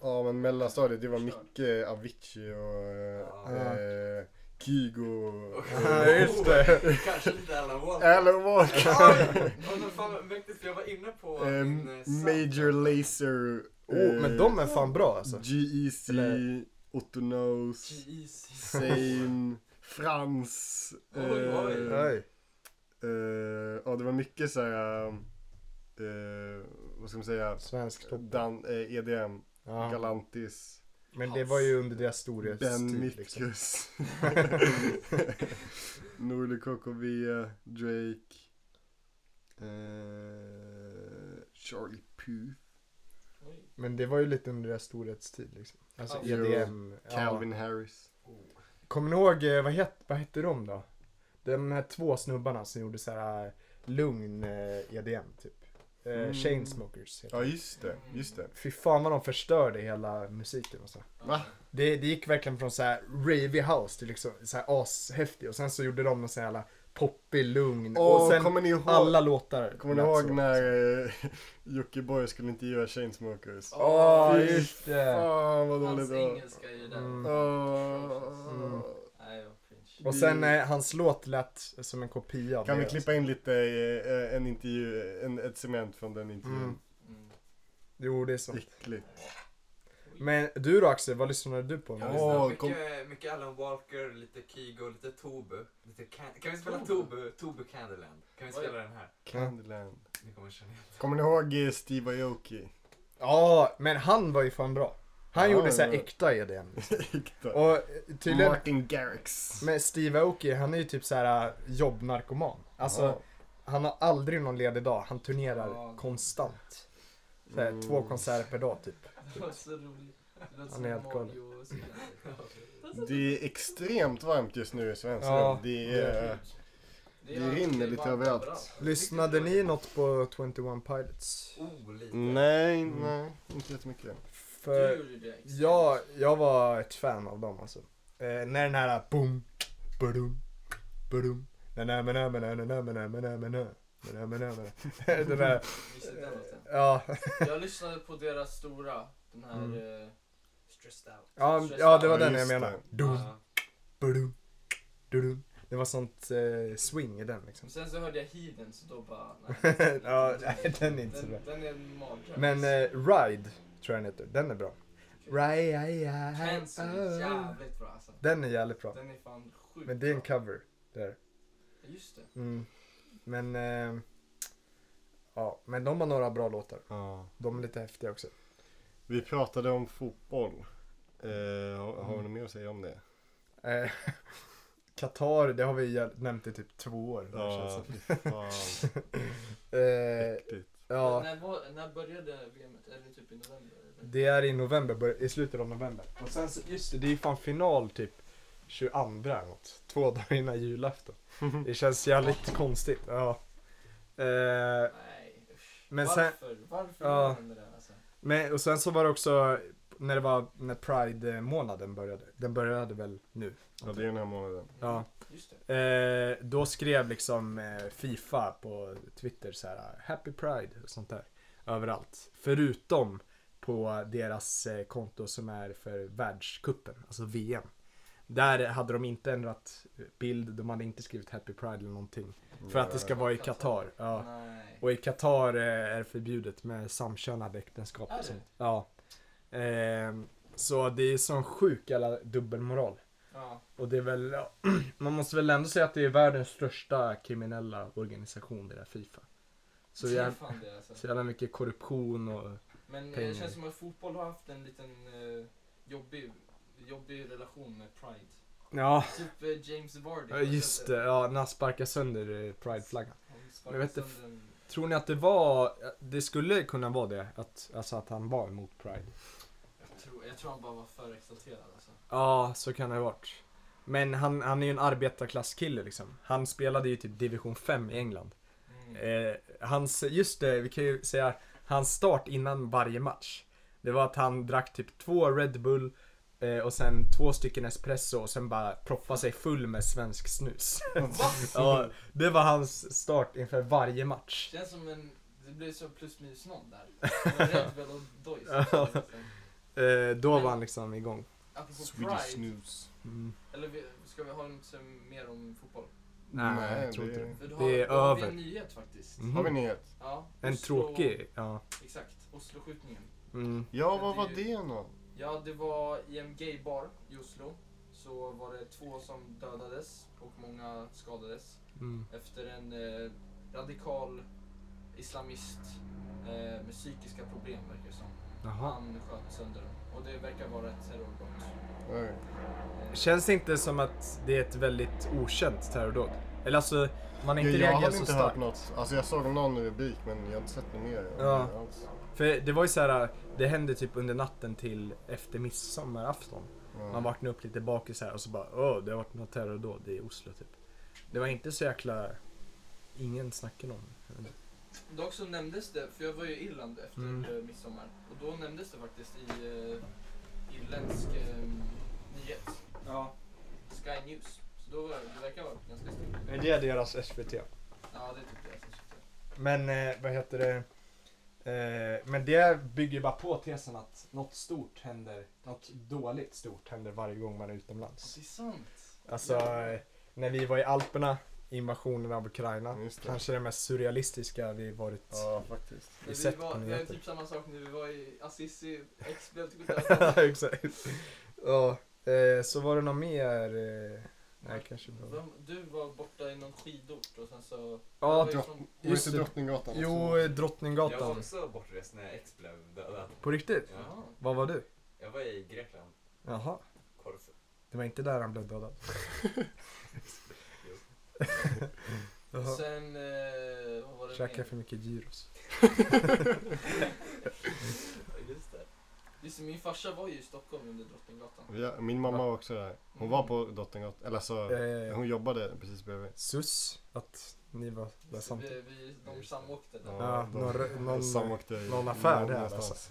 Speaker 2: Ja, men mellanstadiet det var
Speaker 3: Förstör.
Speaker 2: mycket Avicii och
Speaker 4: Ja.
Speaker 2: eh, Kygo. och-
Speaker 1: [LAUGHS] Ja, just det.
Speaker 4: Kanske inte Alan Walker.
Speaker 2: [LAUGHS] Alan Walker.
Speaker 3: Ja, men fan, mäktigt, för jag var inne på
Speaker 2: Eh,
Speaker 3: min eh, sound.
Speaker 2: Major Lazer.
Speaker 1: oh, men de är fan bra alltså.
Speaker 2: GEC.
Speaker 1: Eller-
Speaker 2: E Otto
Speaker 3: E
Speaker 2: Nose.
Speaker 3: Jesus.
Speaker 2: Sane. Frans.
Speaker 3: Oj,
Speaker 2: eh,
Speaker 3: oj.
Speaker 1: Oj.
Speaker 2: eh, ja, det var mycket så här. eh, vad ska man säga?
Speaker 1: Svensk topp.
Speaker 2: Dan, eh, EDM.
Speaker 1: Ja.
Speaker 2: Galantis.
Speaker 1: Men det var ju under deras
Speaker 2: Ben
Speaker 1: storhetstid. Liksom. [LAUGHS]
Speaker 2: Mitkus. [LAUGHS] Norli KKV, Drake. Eh, Charlie Puth.
Speaker 3: Oj.
Speaker 1: Men det var ju lite under deras storhetstid liksom. Alltså
Speaker 3: Ja.
Speaker 1: EDM. Ja.
Speaker 2: Calvin Harris.
Speaker 1: Kommer ni ihåg, eh, vad, het, vad hette de då? De här två snubbarna som gjorde så här eh, lugn eh, EDM typ. Eh,
Speaker 2: Mm.
Speaker 1: Chainsmokers heter
Speaker 2: Ja just det, just det.
Speaker 1: de. Fy fan vad de förstörde hela musiken och så.
Speaker 2: Va?
Speaker 1: Det, det gick verkligen från så här ravey house till liksom så här ashäftig och sen så gjorde de någon så här jävla poppig lugn och
Speaker 2: Och
Speaker 1: sen
Speaker 2: kommer ni ihåg,
Speaker 1: alla låtar.
Speaker 2: kommer ni
Speaker 1: lät
Speaker 2: ihåg
Speaker 1: så.
Speaker 2: när eh, [LAUGHS] Jockiboi skulle intervjua Chainsmokers?
Speaker 3: Ja.
Speaker 1: Ja,
Speaker 2: Fy
Speaker 1: just det.
Speaker 2: Fan vad dåligt
Speaker 3: Hans
Speaker 2: det var.
Speaker 3: engelska är ju där.
Speaker 1: Mm.
Speaker 2: Åh.
Speaker 1: Mm.
Speaker 3: Nej, jag cringe. [LAUGHS]
Speaker 1: Och sen eh, hans låt lät som en kopia av
Speaker 2: Kan vi
Speaker 1: deras.
Speaker 2: klippa in lite eh, en intervju, en, ett segment från den intervjun?
Speaker 1: Mm.
Speaker 3: Mm.
Speaker 1: Jo, det är så.
Speaker 2: Äckligt.
Speaker 1: Men du då Axel, vad lyssnade du på?
Speaker 4: Jag
Speaker 2: Åh,
Speaker 4: lyssnar
Speaker 2: kom-
Speaker 4: mycket, mycket Alan Walker, lite Kygo, lite Tobu. Lite can- kan vi spela Tobu? Tobu Candyland. Kan vi
Speaker 3: Oj.
Speaker 4: spela den här?
Speaker 2: Candyland.
Speaker 4: Ni kommer känna igen.
Speaker 2: Kommer ni ihåg eh, Steve Aoki? [LAUGHS]
Speaker 1: Ja, men han var ju fan bra. Han
Speaker 2: Ja,
Speaker 1: gjorde så här
Speaker 2: ja.
Speaker 1: äkta EDM.
Speaker 2: Äkta.
Speaker 1: Och eh, tydligen,
Speaker 2: Martin Garrix.
Speaker 1: med Steve Aoki, han är ju typ så här eh, jobbnarkoman. Alltså,
Speaker 2: Ja.
Speaker 1: han har aldrig någon ledig dag. Han turnerar
Speaker 3: Ja.
Speaker 1: konstant. Så här,
Speaker 2: Mm.
Speaker 1: Två konserter per dag typ.
Speaker 3: Det var så roligt. Det låter
Speaker 1: Han
Speaker 3: som
Speaker 1: är helt galen.
Speaker 3: Mario och så vidare.
Speaker 2: Det är extremt varmt just nu i svenska
Speaker 1: Ja.
Speaker 2: Det är... Det rinner lite
Speaker 3: varmt
Speaker 2: överallt.
Speaker 3: överallt.
Speaker 1: Lyssnade ni något på 21 Pilots?
Speaker 4: Oh, lite.
Speaker 2: Nej,
Speaker 1: Mm.
Speaker 2: nej. Inte jättemycket.
Speaker 3: Du
Speaker 1: För
Speaker 3: gjorde det. exakt.
Speaker 1: jag, jag var ett fan av dem alltså. Eh, när den här boom, badum, badum, na na na na na na na na na na na na na na na [LAUGHS] Den där,
Speaker 3: Visst är det den låten?
Speaker 1: ja.
Speaker 3: Jag lyssnade på deras stora, den här...
Speaker 1: Mm.
Speaker 3: eh, Stressed out.
Speaker 1: Ja,
Speaker 3: Stressed
Speaker 1: ja, det var
Speaker 2: Ja,
Speaker 1: den jag
Speaker 2: just
Speaker 1: menade.
Speaker 2: det.
Speaker 1: Dum,
Speaker 4: Ja.
Speaker 1: badum, dudum. Det var sånt eh, swing i den liksom. [LAUGHS]
Speaker 3: Men sen så hörde jag Heathen så då bara...
Speaker 1: Ja, nej, den är inte så bra.
Speaker 3: Den, den är alltså. en mardröm.
Speaker 1: Men eh, Ride, tror jag den heter. Den är bra. Ride, ride,
Speaker 3: Cancer är jävligt bra alltså.
Speaker 1: Den är jävligt bra.
Speaker 3: Den är fan sjukt
Speaker 1: Men det är en
Speaker 3: bra.
Speaker 1: cover. Där.
Speaker 3: Just det.
Speaker 1: Mm. Men, eh, ja, men de har några bra låtar.
Speaker 2: Ja.
Speaker 1: De är lite häftiga också.
Speaker 2: Vi pratade om fotboll. Eh, har, har vi något mer att säga
Speaker 1: [LAUGHS]
Speaker 2: om det?
Speaker 1: Eh, Qatar, det har vi jäl- nämnt i typ två år. nu,
Speaker 2: Ja,
Speaker 1: känns
Speaker 2: fy fan.
Speaker 1: det. Eh,
Speaker 2: Äckligt.
Speaker 3: [LAUGHS]
Speaker 1: ja,
Speaker 3: När, var, när började VMet? Är det typ i november? Eller?
Speaker 1: det är i november, bör- i slutet av november. Och sen, så- just det, det är ju fan final typ 22 eller något. Två dagar innan julafton. Det känns jävligt konstigt. Ja. Eh,
Speaker 3: Nej usch.
Speaker 1: Men sen-
Speaker 3: Varför? Varför
Speaker 1: Ja.
Speaker 3: gör de det där alltså?
Speaker 1: men, och sen så var det också när det var när Pride-månaden började. Den började väl nu.
Speaker 2: Ja, det är den här månaden.
Speaker 1: Ja.
Speaker 3: Just det.
Speaker 1: Eh, då skrev liksom eh, Fifa på Twitter så här Happy Pride och sånt där. Överallt. Förutom på deras eh, konto som är för världskuppen, alltså VM. Där hade de inte ändrat bild, de hade inte skrivit Happy Pride eller någonting. För att det ska vara i Qatar. Ja.
Speaker 3: Nej.
Speaker 1: Och i Qatar eh, är det förbjudet med samkönade äktenskap
Speaker 3: Är det?
Speaker 1: och sånt. Ja. Ehm, så det är sån sjuk jävla dubbelmoral.
Speaker 3: Ja.
Speaker 1: Och det är väl, [CLEARS THROAT] ja, man måste väl ändå säga att det är världens största kriminella organisation det där Fifa. Så
Speaker 3: det är
Speaker 1: jävla,
Speaker 3: fan det alltså.
Speaker 1: så jävla mycket korruption och
Speaker 3: Men eh,
Speaker 1: pengar.
Speaker 3: det känns som att fotboll har haft en liten eh, jobbig, jobbig relation med Pride.
Speaker 1: ja,
Speaker 3: Typ eh, James Vardy. Alltså,
Speaker 1: ja, just det, ja, när han sparkar sönder eh, Pride-flaggan.
Speaker 3: Han sparkade
Speaker 1: Jag vet inte.
Speaker 3: sönder en-
Speaker 1: Tror ni att det var, det skulle kunna vara det, att, alltså att han var emot Pride?
Speaker 3: Jag tror, jag tror han bara var för exalterad alltså.
Speaker 1: Ja, så kan det ha varit. Men han, han är ju en arbetarklasskille liksom. Han spelade ju typ division 5 i England.
Speaker 3: Mm.
Speaker 1: Eh, hans, just det, vi kan ju säga hans start innan varje match. Det var att han drack typ två Red Bull eh, och sen två stycken espresso och sen bara proppa sig full med svensk
Speaker 2: [LAUGHS]
Speaker 1: snus. ja, det var hans start inför varje match.
Speaker 3: Känns som en, det blev så plus minus noll där.
Speaker 1: [LAUGHS]
Speaker 3: Red Bull och Dois.
Speaker 1: Eh, då var han liksom igång.
Speaker 3: Apropå
Speaker 2: Swedish
Speaker 3: Pride,
Speaker 2: snus.
Speaker 1: Mm.
Speaker 3: eller vi- ska vi ha något mer om fotboll?
Speaker 1: Nej,
Speaker 2: Nej,
Speaker 1: Mm, jag tror inte det.
Speaker 3: För då
Speaker 1: Det
Speaker 3: har,
Speaker 1: är
Speaker 3: då har vi
Speaker 1: över.
Speaker 3: en nyhet faktiskt.
Speaker 1: Mm.
Speaker 2: Har vi en nyhet?
Speaker 3: Ja,
Speaker 1: En
Speaker 3: Oslo-
Speaker 1: tråkig, ja.
Speaker 3: Exakt, Osloskjutningen.
Speaker 1: Mm.
Speaker 2: Ja,
Speaker 3: Det
Speaker 2: vad var
Speaker 3: är ju-
Speaker 2: det då?
Speaker 3: Ja, det var i en gaybar i Oslo. Så var det två som dödades och många skadades
Speaker 1: Mm.
Speaker 3: efter en eh, radikal islamist eh, med psykiska problem verkar det som.
Speaker 1: Jaha.
Speaker 3: Han sköt sönder dem och det verkar vara ett terrorbrott.
Speaker 2: Nej.
Speaker 3: Eh,
Speaker 1: Känns det inte som att det är ett väldigt okänt terrordåd? Eller alltså, man har
Speaker 2: Jag,
Speaker 1: inte
Speaker 2: jag har
Speaker 1: reagerat
Speaker 2: väl
Speaker 1: så
Speaker 2: inte hört
Speaker 1: starkt.
Speaker 2: något. Alltså jag såg någon rubrik men jag har inte sett något mer. om
Speaker 1: Ja.
Speaker 2: det alls.
Speaker 1: För det var ju så här, det hände typ under natten till efter midsommarafton.
Speaker 2: Ja.
Speaker 1: Man vaknade upp lite bakis här och så bara åh, det har varit något terrordåd i Oslo typ. Det var inte så jäkla, ingen snackade om det.
Speaker 3: Dock så nämndes det, för jag var ju i Irland efter
Speaker 1: Mm.
Speaker 3: eh, midsommar och då nämndes det faktiskt i eh, irländsk eh, nyhet,
Speaker 1: Ja,
Speaker 3: Sky News. Så då var, det verkar vara ganska stort.
Speaker 1: men det är deras SVT.
Speaker 3: Ja, det tyckte jag. så tyckte jag.
Speaker 1: Men eh, vad heter det? Eh, men det bygger ju bara på tesen att något stort händer, något dåligt stort händer varje gång man är utomlands.
Speaker 3: Det är sant.
Speaker 1: Alltså, eh, när vi var i Alperna, invasionen av Ukraina,
Speaker 2: Just det.
Speaker 1: kanske det mest surrealistiska vi varit
Speaker 2: Mm. Ja, faktiskt.
Speaker 1: Vi
Speaker 3: Men vi
Speaker 1: sett
Speaker 3: var,
Speaker 1: på
Speaker 3: det var
Speaker 1: nyheter.
Speaker 3: typ samma sak när vi var i Assisi, ex blev
Speaker 1: [LAUGHS]
Speaker 3: typ
Speaker 1: Exakt. Ja, eh, så var det något mer? Eh, nej, kanske inte. var-
Speaker 3: Vem- Du var borta i någon skidort och sen så...
Speaker 1: Ja,
Speaker 3: Jag var ju
Speaker 2: dro-
Speaker 3: från-
Speaker 2: Just
Speaker 1: Just
Speaker 2: det,
Speaker 1: det.
Speaker 2: Drottninggatan. liksom.
Speaker 1: Jo, eh,
Speaker 4: Jag var
Speaker 1: Drottninggatan.
Speaker 4: också bortrest när X blev dödad.
Speaker 1: På riktigt?
Speaker 4: Ja.
Speaker 3: Jaha.
Speaker 1: Vad var du?
Speaker 4: Jag var i Grekland,
Speaker 1: Jaha.
Speaker 4: Korfu.
Speaker 1: Det var inte där han blev dödad. [LAUGHS] Jaha.
Speaker 3: Sen, eh, vad var det
Speaker 1: Käkade
Speaker 3: mer?
Speaker 1: för mycket gyros.
Speaker 4: Ja, Just det.
Speaker 3: Just det, min farsa var ju i Stockholm under Drottninggatan.
Speaker 2: Ja, min mamma var också där. Hon var på Drottninggatan. Eller så,
Speaker 1: Eh,
Speaker 2: hon jobbade precis bredvid.
Speaker 1: sus, att ni var där
Speaker 3: Så
Speaker 1: samtidigt.
Speaker 3: vi, vi, de samåkte där.
Speaker 1: Ja,
Speaker 2: de-
Speaker 1: några- någon-
Speaker 2: de samåkte i-
Speaker 1: någon affär där,
Speaker 2: någonstans.
Speaker 1: alltså.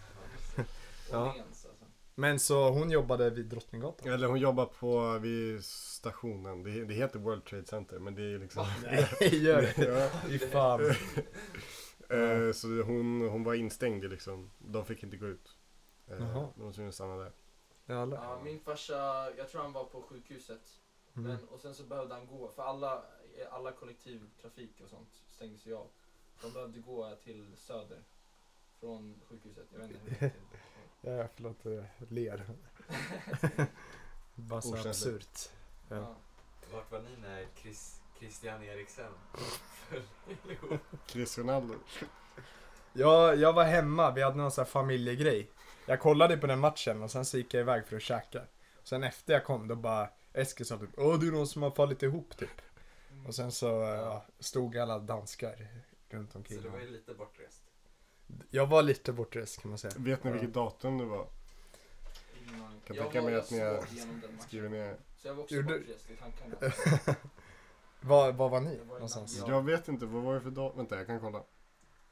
Speaker 1: Ja.
Speaker 3: Ja. Åhléns alltså.
Speaker 1: Men så hon jobbade vid Drottninggatan?
Speaker 2: Eller hon jobbar på vid stationen. Det, det heter World Trade Center men det är liksom...
Speaker 1: Nej, [LAUGHS] gör det.
Speaker 2: [LAUGHS] [LAUGHS] Ja.
Speaker 1: Fy fan.
Speaker 2: Eh, Så hon, hon var instängd i liksom. De fick inte gå ut. Eh,
Speaker 1: Jaha.
Speaker 2: De var tvungna att stanna där.
Speaker 1: Jävlar.
Speaker 3: Ja, min farsa, jag tror han var på sjukhuset.
Speaker 1: Mm.
Speaker 3: Men, och sen så behövde han gå, för alla, alla kollektivtrafik och sånt stängdes ju av. De behövde gå till söder. Från sjukhuset, jag vet inte hur det gick till.
Speaker 1: Ja, förlåt, eh, ler. Bara så
Speaker 2: Okänsligt.
Speaker 1: absurt. [LAUGHS] Ja.
Speaker 3: Ja.
Speaker 4: Vart var ni när Chris, Christian Eriksen föll ihop?
Speaker 2: Chris Ronaldo.
Speaker 1: Jag, jag var hemma, vi hade någon sån här familjegrej. Jag kollade på den matchen och sen så gick jag iväg för att käka. Sen efter jag kom då bara Eskil sa typ Åh det är någon som har fallit ihop typ.
Speaker 2: Alltså,
Speaker 1: Och sen så eh, ja, stod alla danskar runt
Speaker 4: Så
Speaker 1: omkring.
Speaker 4: det var ju lite bortrest.
Speaker 1: Jag var lite bortrest kan man säga.
Speaker 2: Vet ni
Speaker 1: Ja.
Speaker 2: vilket datum det var?
Speaker 3: Ingen aning.
Speaker 2: Kan
Speaker 3: jag
Speaker 2: tänka
Speaker 3: var,
Speaker 2: mig
Speaker 3: jag
Speaker 2: att ni har
Speaker 3: såg igenom den matchen.
Speaker 2: Skriver ner.
Speaker 3: Så jag var också
Speaker 1: Gjorde-
Speaker 3: bortrest i
Speaker 2: [LAUGHS]
Speaker 3: tankarna.
Speaker 1: Var, var var ni
Speaker 3: Jag var i
Speaker 1: någonstans?
Speaker 3: Ja.
Speaker 2: Jag vet inte, vad var det för datum? Vänta jag kan kolla.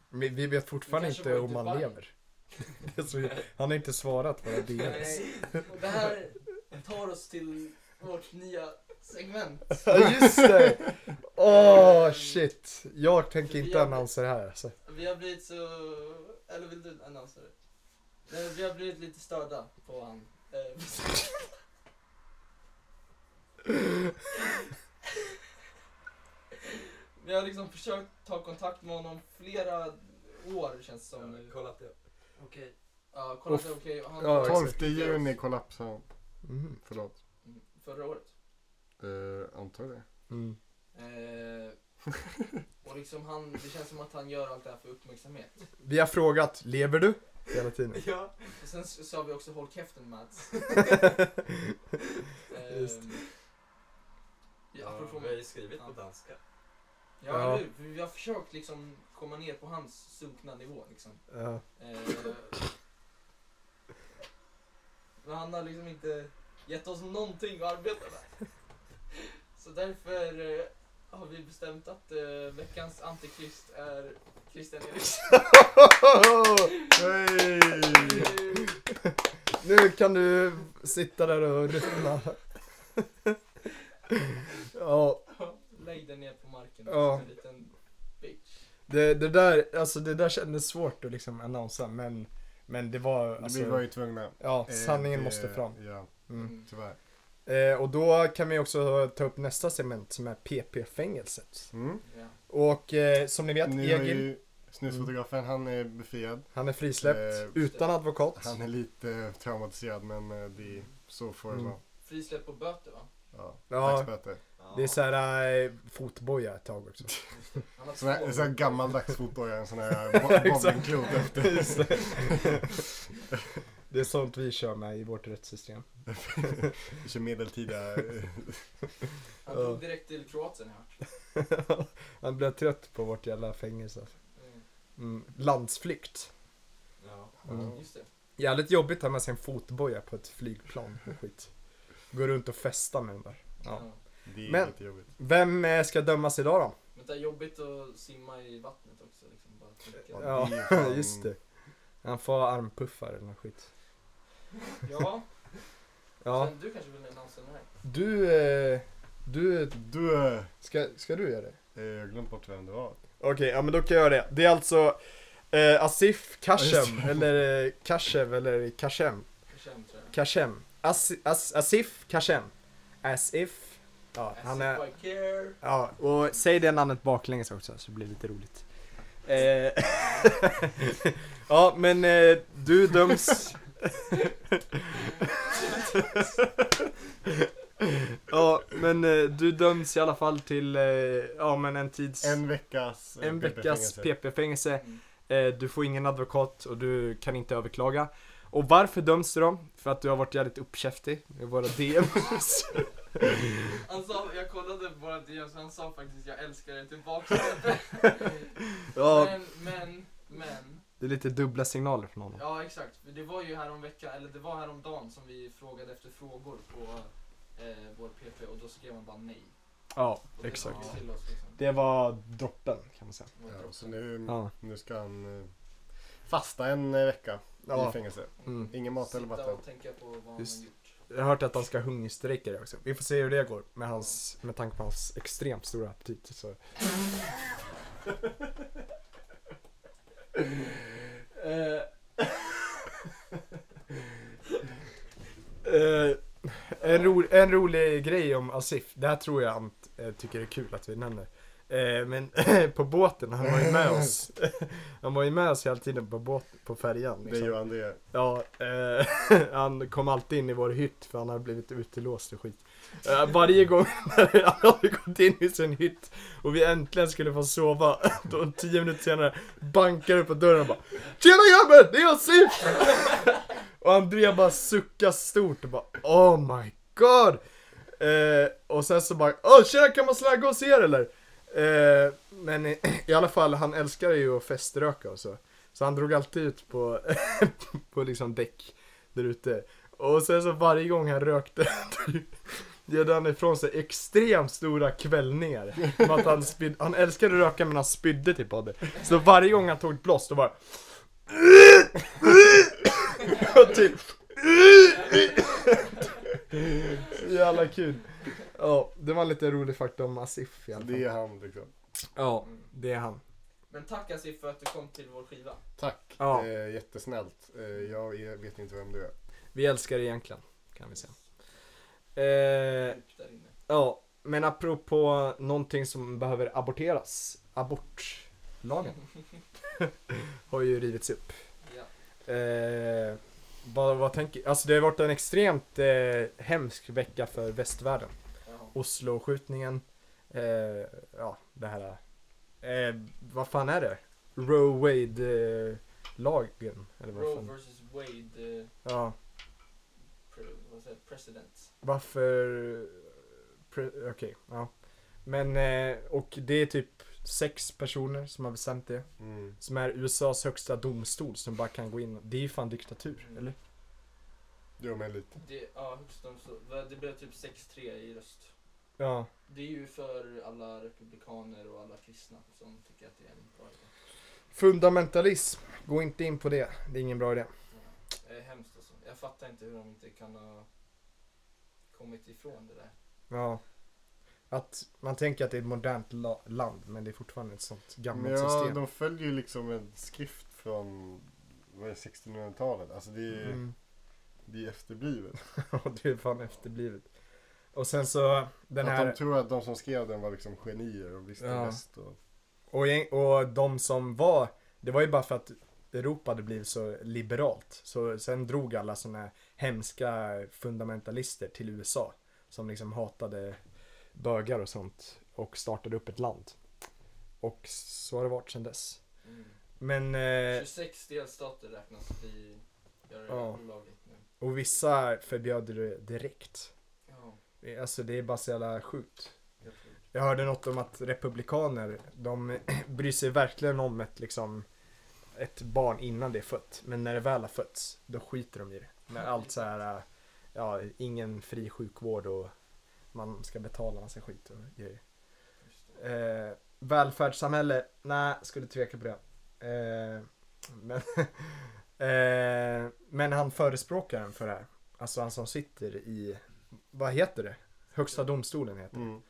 Speaker 1: Men Vi vet fortfarande
Speaker 3: Vi kanske
Speaker 1: inte
Speaker 3: var i
Speaker 1: om man
Speaker 3: Dubai.
Speaker 1: lever. [LAUGHS] Det är så, han har inte svarat på våra DMs.
Speaker 3: Nej, och det här tar oss till vårt nya segment.
Speaker 1: Ja just det! Åh shit! Jag tänker inte annonser här alltså.
Speaker 3: Vi har blivit så... Eller vill du annonsera det? Nej, Vi har blivit lite störda på han. Eh, [LAUGHS] Vi har liksom försökt ta kontakt med honom flera år känns det som nu.
Speaker 4: Kollat det. Okej.
Speaker 3: Ja, kolla att det är okej. Han-
Speaker 1: Ja, exakt.
Speaker 2: 12 juni kollapsade han.
Speaker 1: Mm.
Speaker 2: Förlåt.
Speaker 3: Mm, Förra året.
Speaker 2: Uh, antar det.
Speaker 1: Mm.
Speaker 3: Eh, och liksom han, det känns som att han gör allt det här för uppmärksamhet.
Speaker 1: Vi har frågat, lever du? Hela
Speaker 2: [LAUGHS]
Speaker 1: tiden.
Speaker 4: [LAUGHS] Ja.
Speaker 3: Och sen s- sa vi också håll käften
Speaker 4: [LAUGHS]
Speaker 3: Mats.
Speaker 1: Just.
Speaker 3: Ehm, ja, apropå
Speaker 4: vi har ju skrivit på
Speaker 3: Ja.
Speaker 4: danska.
Speaker 3: Ja,
Speaker 1: Ja.
Speaker 3: eller hur? För vi har försökt liksom komma ner på hans sunkna nivå liksom.
Speaker 1: Ja.
Speaker 3: Eh, men han har liksom inte gett oss någonting att arbeta med. Så därför eh, har vi bestämt att eh, veckans antikrist är Christian Eriksson.
Speaker 2: Hej!
Speaker 1: Nu kan du sitta där och ruttna. Ja,
Speaker 3: Lägg dig ner på marken
Speaker 1: Ja.
Speaker 3: som en liten bitch.
Speaker 1: det, det, där, alltså det där kändes svårt att liksom annonsa men, men det var
Speaker 2: Vi var
Speaker 1: alltså,
Speaker 2: ju tvungna.
Speaker 1: ja,
Speaker 2: Eh,
Speaker 1: sanningen
Speaker 2: det-
Speaker 1: måste fram.
Speaker 2: Ja,
Speaker 1: Mm.
Speaker 3: Mm.
Speaker 2: tyvärr.
Speaker 1: Eh, och då kan vi också ta upp nästa segment som är PP-fängelset.
Speaker 2: Mm.
Speaker 3: Ja.
Speaker 1: Och eh, som ni vet,
Speaker 2: Nu har
Speaker 1: Egil,
Speaker 2: ju snusfotografen, han är befriad.
Speaker 1: han är frisläppt
Speaker 2: Eh,
Speaker 1: utan advokat.
Speaker 2: Han är lite traumatiserad men eh, det är så får det
Speaker 1: Mm.
Speaker 2: vara.
Speaker 3: Frisläpp på böter va?
Speaker 2: Ja,
Speaker 1: Ja.
Speaker 2: dagsböter.
Speaker 4: Ja.
Speaker 1: Det är såhär eh, fotboja ett tag
Speaker 2: [LAUGHS]
Speaker 1: också.
Speaker 3: Han har
Speaker 2: Sån här,
Speaker 3: två-
Speaker 2: sån här gammaldags fotboja, en
Speaker 1: [LAUGHS]
Speaker 2: sån här bo- bowlingklot efter.
Speaker 1: Just det. det är sånt vi kör med i vårt
Speaker 2: [LAUGHS]
Speaker 1: rättssystem.
Speaker 2: Vi kör medeltida. eh,
Speaker 3: Han
Speaker 1: Ja.
Speaker 3: drog direkt till Kroatien har jag hört.
Speaker 1: Han blir trött på vårt jävla fängelse.
Speaker 3: Mm,
Speaker 1: Mm. Landsflykt.
Speaker 4: Ja.
Speaker 1: Mm.
Speaker 3: Just det.
Speaker 1: Jävligt jobbigt att ha med sig en fotboja på ett flygplan och skit. Gå runt och festa med den där. Ja.
Speaker 3: Ja.
Speaker 2: Det är
Speaker 1: Men-
Speaker 2: lite jobbigt.
Speaker 1: Vem eh, ska dömas idag då?
Speaker 3: Men det är jobbigt att simma i vattnet också. Liksom, bara tänka.
Speaker 2: Ja.
Speaker 1: Ja,
Speaker 2: det är fan-
Speaker 1: just det. Han får ha armpuffar eller något skit.
Speaker 3: ja,
Speaker 1: Ja,
Speaker 3: Sen, du kanske vill annonsera den här?
Speaker 1: du... eh, Du...
Speaker 2: Du, eh,
Speaker 1: Ska, ska du göra det?
Speaker 2: jag har glömt bort vem det var.
Speaker 1: Okej, ja men då kan jag göra det. Det är alltså eh, Asif
Speaker 2: Ja,
Speaker 1: Kashem,
Speaker 2: just det.
Speaker 1: eller eh, Kashev, eller Kashem.
Speaker 3: Känd, tror jag.
Speaker 1: Kashem. As, as, Asif Kashem. Asif. Ja,
Speaker 3: As
Speaker 1: han
Speaker 3: if
Speaker 1: är...
Speaker 3: I care.
Speaker 1: Ja, och säg det namnet baklänges också så blir det lite roligt. Eh, [LAUGHS] ja, men eh, du döms... ja, men eh, du döms i alla fall till, eh, ja men en tids...
Speaker 2: En veckas eh,
Speaker 1: En veckas
Speaker 2: PP-fängelse.
Speaker 1: PP-fängelse.
Speaker 3: Mm.
Speaker 1: Eh, Du får ingen advokat och du kan inte överklaga. Och varför döms du då? För att du har varit jävligt uppkäftig i våra
Speaker 3: [LAUGHS]
Speaker 1: DMs.
Speaker 3: Han sa, jag kollade på våra DMs, han sa faktiskt jag älskar er [LAUGHS] tillbaka.
Speaker 1: ja,
Speaker 3: Men, men, men.
Speaker 1: det är lite dubbla signaler från honom.
Speaker 3: Ja exakt, För det var ju häromveckan, eller det var häromdagen som vi frågade efter frågor på eh, vår PP och då skrev han bara nej.
Speaker 1: Ja,
Speaker 3: Och det
Speaker 1: exakt.
Speaker 3: tog vi till oss, liksom.
Speaker 1: Det var droppen kan man säga.
Speaker 3: Det var
Speaker 2: Ja, så
Speaker 3: droppen.
Speaker 2: nu,
Speaker 1: Ja.
Speaker 2: nu ska han eh, fasta en eh, vecka i
Speaker 1: ja.
Speaker 2: fängelse.
Speaker 1: Mm.
Speaker 2: Ingen mat eller
Speaker 3: Sitta
Speaker 2: vatten.
Speaker 3: och tänka på vad
Speaker 1: Just.
Speaker 3: han har gjort.
Speaker 1: Jag har hört att han ska hungerstrejka det också. Vi får se hur det går med, hans, med tanke på hans extremt stora aptit. Så. Eh. Eh, en, ro, en rolig grej om Asif, det här tror jag han eh, tycker är kul att vi nämner. Eh, men [LAUGHS] på båten, han var ju med oss. han var ju med oss hela tiden på, båt, på färjan. liksom.
Speaker 2: Det gör han det.
Speaker 1: Ja, eh, [LAUGHS] han kom alltid in i vår hytt för han hade blivit utelåst och skit. Eh, varje gång [LAUGHS] när han hade gått in i sin hytt och vi äntligen skulle få sova, [LAUGHS] då tio minuter senare bankar det på dörren och bara Tjena grabben, det är jag Sif! [LAUGHS] och Andrea bara suckar stort och bara Oh my god! Eh, och sen så bara Åh tjena kan man slagga hos er eller? Eh, men i, [CLEARS THROAT] i alla fall, han älskar ju att feströka och så. Så han drog alltid ut på [LAUGHS] på liksom däck där ute. Och sen så varje gång han rökte [LAUGHS] gör han ifrån sig extremt stora kvällningar. Med att han, spyd, han älskade att röka men han spydde typ av det. Så varje gång han tog ett blås då bara [LAUGHS] typ. Så Jävla kul. Ja, det var en lite rolig fakta om Asif i alla fall.
Speaker 2: Det är han liksom.
Speaker 1: Ja, det är han.
Speaker 3: Mm. Men tack Asif för att du kom till vår skiva.
Speaker 2: Tack.
Speaker 1: Ja.
Speaker 2: Eh, jättesnällt. Eh, jag är- vet inte vem du är.
Speaker 1: Vi älskar det egentligen, kan vi säga. Eh,
Speaker 3: Djupt där inne.
Speaker 1: ja, men apropå någonting som behöver aborteras. Abortlagen [LAUGHS] har ju rivits upp.
Speaker 3: Ja.
Speaker 1: Eh, vad, vad tänker, alltså det har varit en extremt eh, hemsk vecka för västvärlden.
Speaker 3: Jaha.
Speaker 1: Oslo-skjutningen, eh, ja det här, eh, vad fan är det? Roe Wade-lagen? eller vad
Speaker 3: Roe
Speaker 1: fan?
Speaker 3: vs Wade eh,
Speaker 1: Ja,
Speaker 3: pre- vad säger, jag, president.
Speaker 1: varför, pre- okej, ja. Men, eh, och det är typ sex personer som har bestämt det.
Speaker 2: Mm.
Speaker 1: Som är USAs högsta domstol som bara kan gå in, det är ju fan diktatur, eller?
Speaker 2: Gör mig lite.
Speaker 3: Det, ja, högsta domstol- va, det blev typ 6-3 i röst.
Speaker 1: Ja.
Speaker 3: Det är ju för alla republikaner och alla kristna som tycker att det är en bra idé.
Speaker 1: Fundamentalism, gå inte in på det. Det är ingen bra idé.
Speaker 3: Det är hemskt alltså. Jag fattar inte hur de inte kan ha kommit ifrån det där.
Speaker 1: Ja. Att man tänker att det är ett modernt la- land, men det är fortfarande ett sånt gammalt
Speaker 2: Ja,
Speaker 1: system.
Speaker 2: de följer ju liksom en skrift från vad är det, 1600-talet. Alltså det är,
Speaker 1: Mm. [LAUGHS]
Speaker 2: det är efterblivet.
Speaker 1: Och det är fan efterblivet. Och sen så den
Speaker 2: att
Speaker 1: här,
Speaker 2: de tror att de som skrev den var liksom genier och visste
Speaker 1: Ja.
Speaker 2: bäst. Och...
Speaker 1: och, gäng- och de som var, det var ju bara för att Europa hade blivit så liberalt. Så sen drog alla såna hemska fundamentalister till USA. Som liksom hatade bögar och sånt. Och startade upp ett land. Och så har det varit sedan dess. Men, eh,
Speaker 3: 26 delstater räknas vi göra det
Speaker 1: Ja.
Speaker 3: olagligt nu.
Speaker 1: och vissa förbjöd det direkt.
Speaker 3: Ja,
Speaker 1: Det- Alltså det är bara så jävla sjukt.
Speaker 3: jag tror det.
Speaker 1: Jag hörde något om att republikaner, de [CLEARS THROAT] bryr sig verkligen om ett liksom ett barn innan det är fött. Men när det väl har fötts, då skiter de i det. När allt så här, eh, ja, ingen fri sjukvård och man ska betala massa skit och grejer.
Speaker 3: Just det.
Speaker 1: Eh, välfärdssamhälle, nej, skulle tveka på det. Eh, men, [LAUGHS] eh, men han förespråkaren för det här, alltså han som sitter i, vad heter det? Högsta domstolen heter det.
Speaker 2: Mm.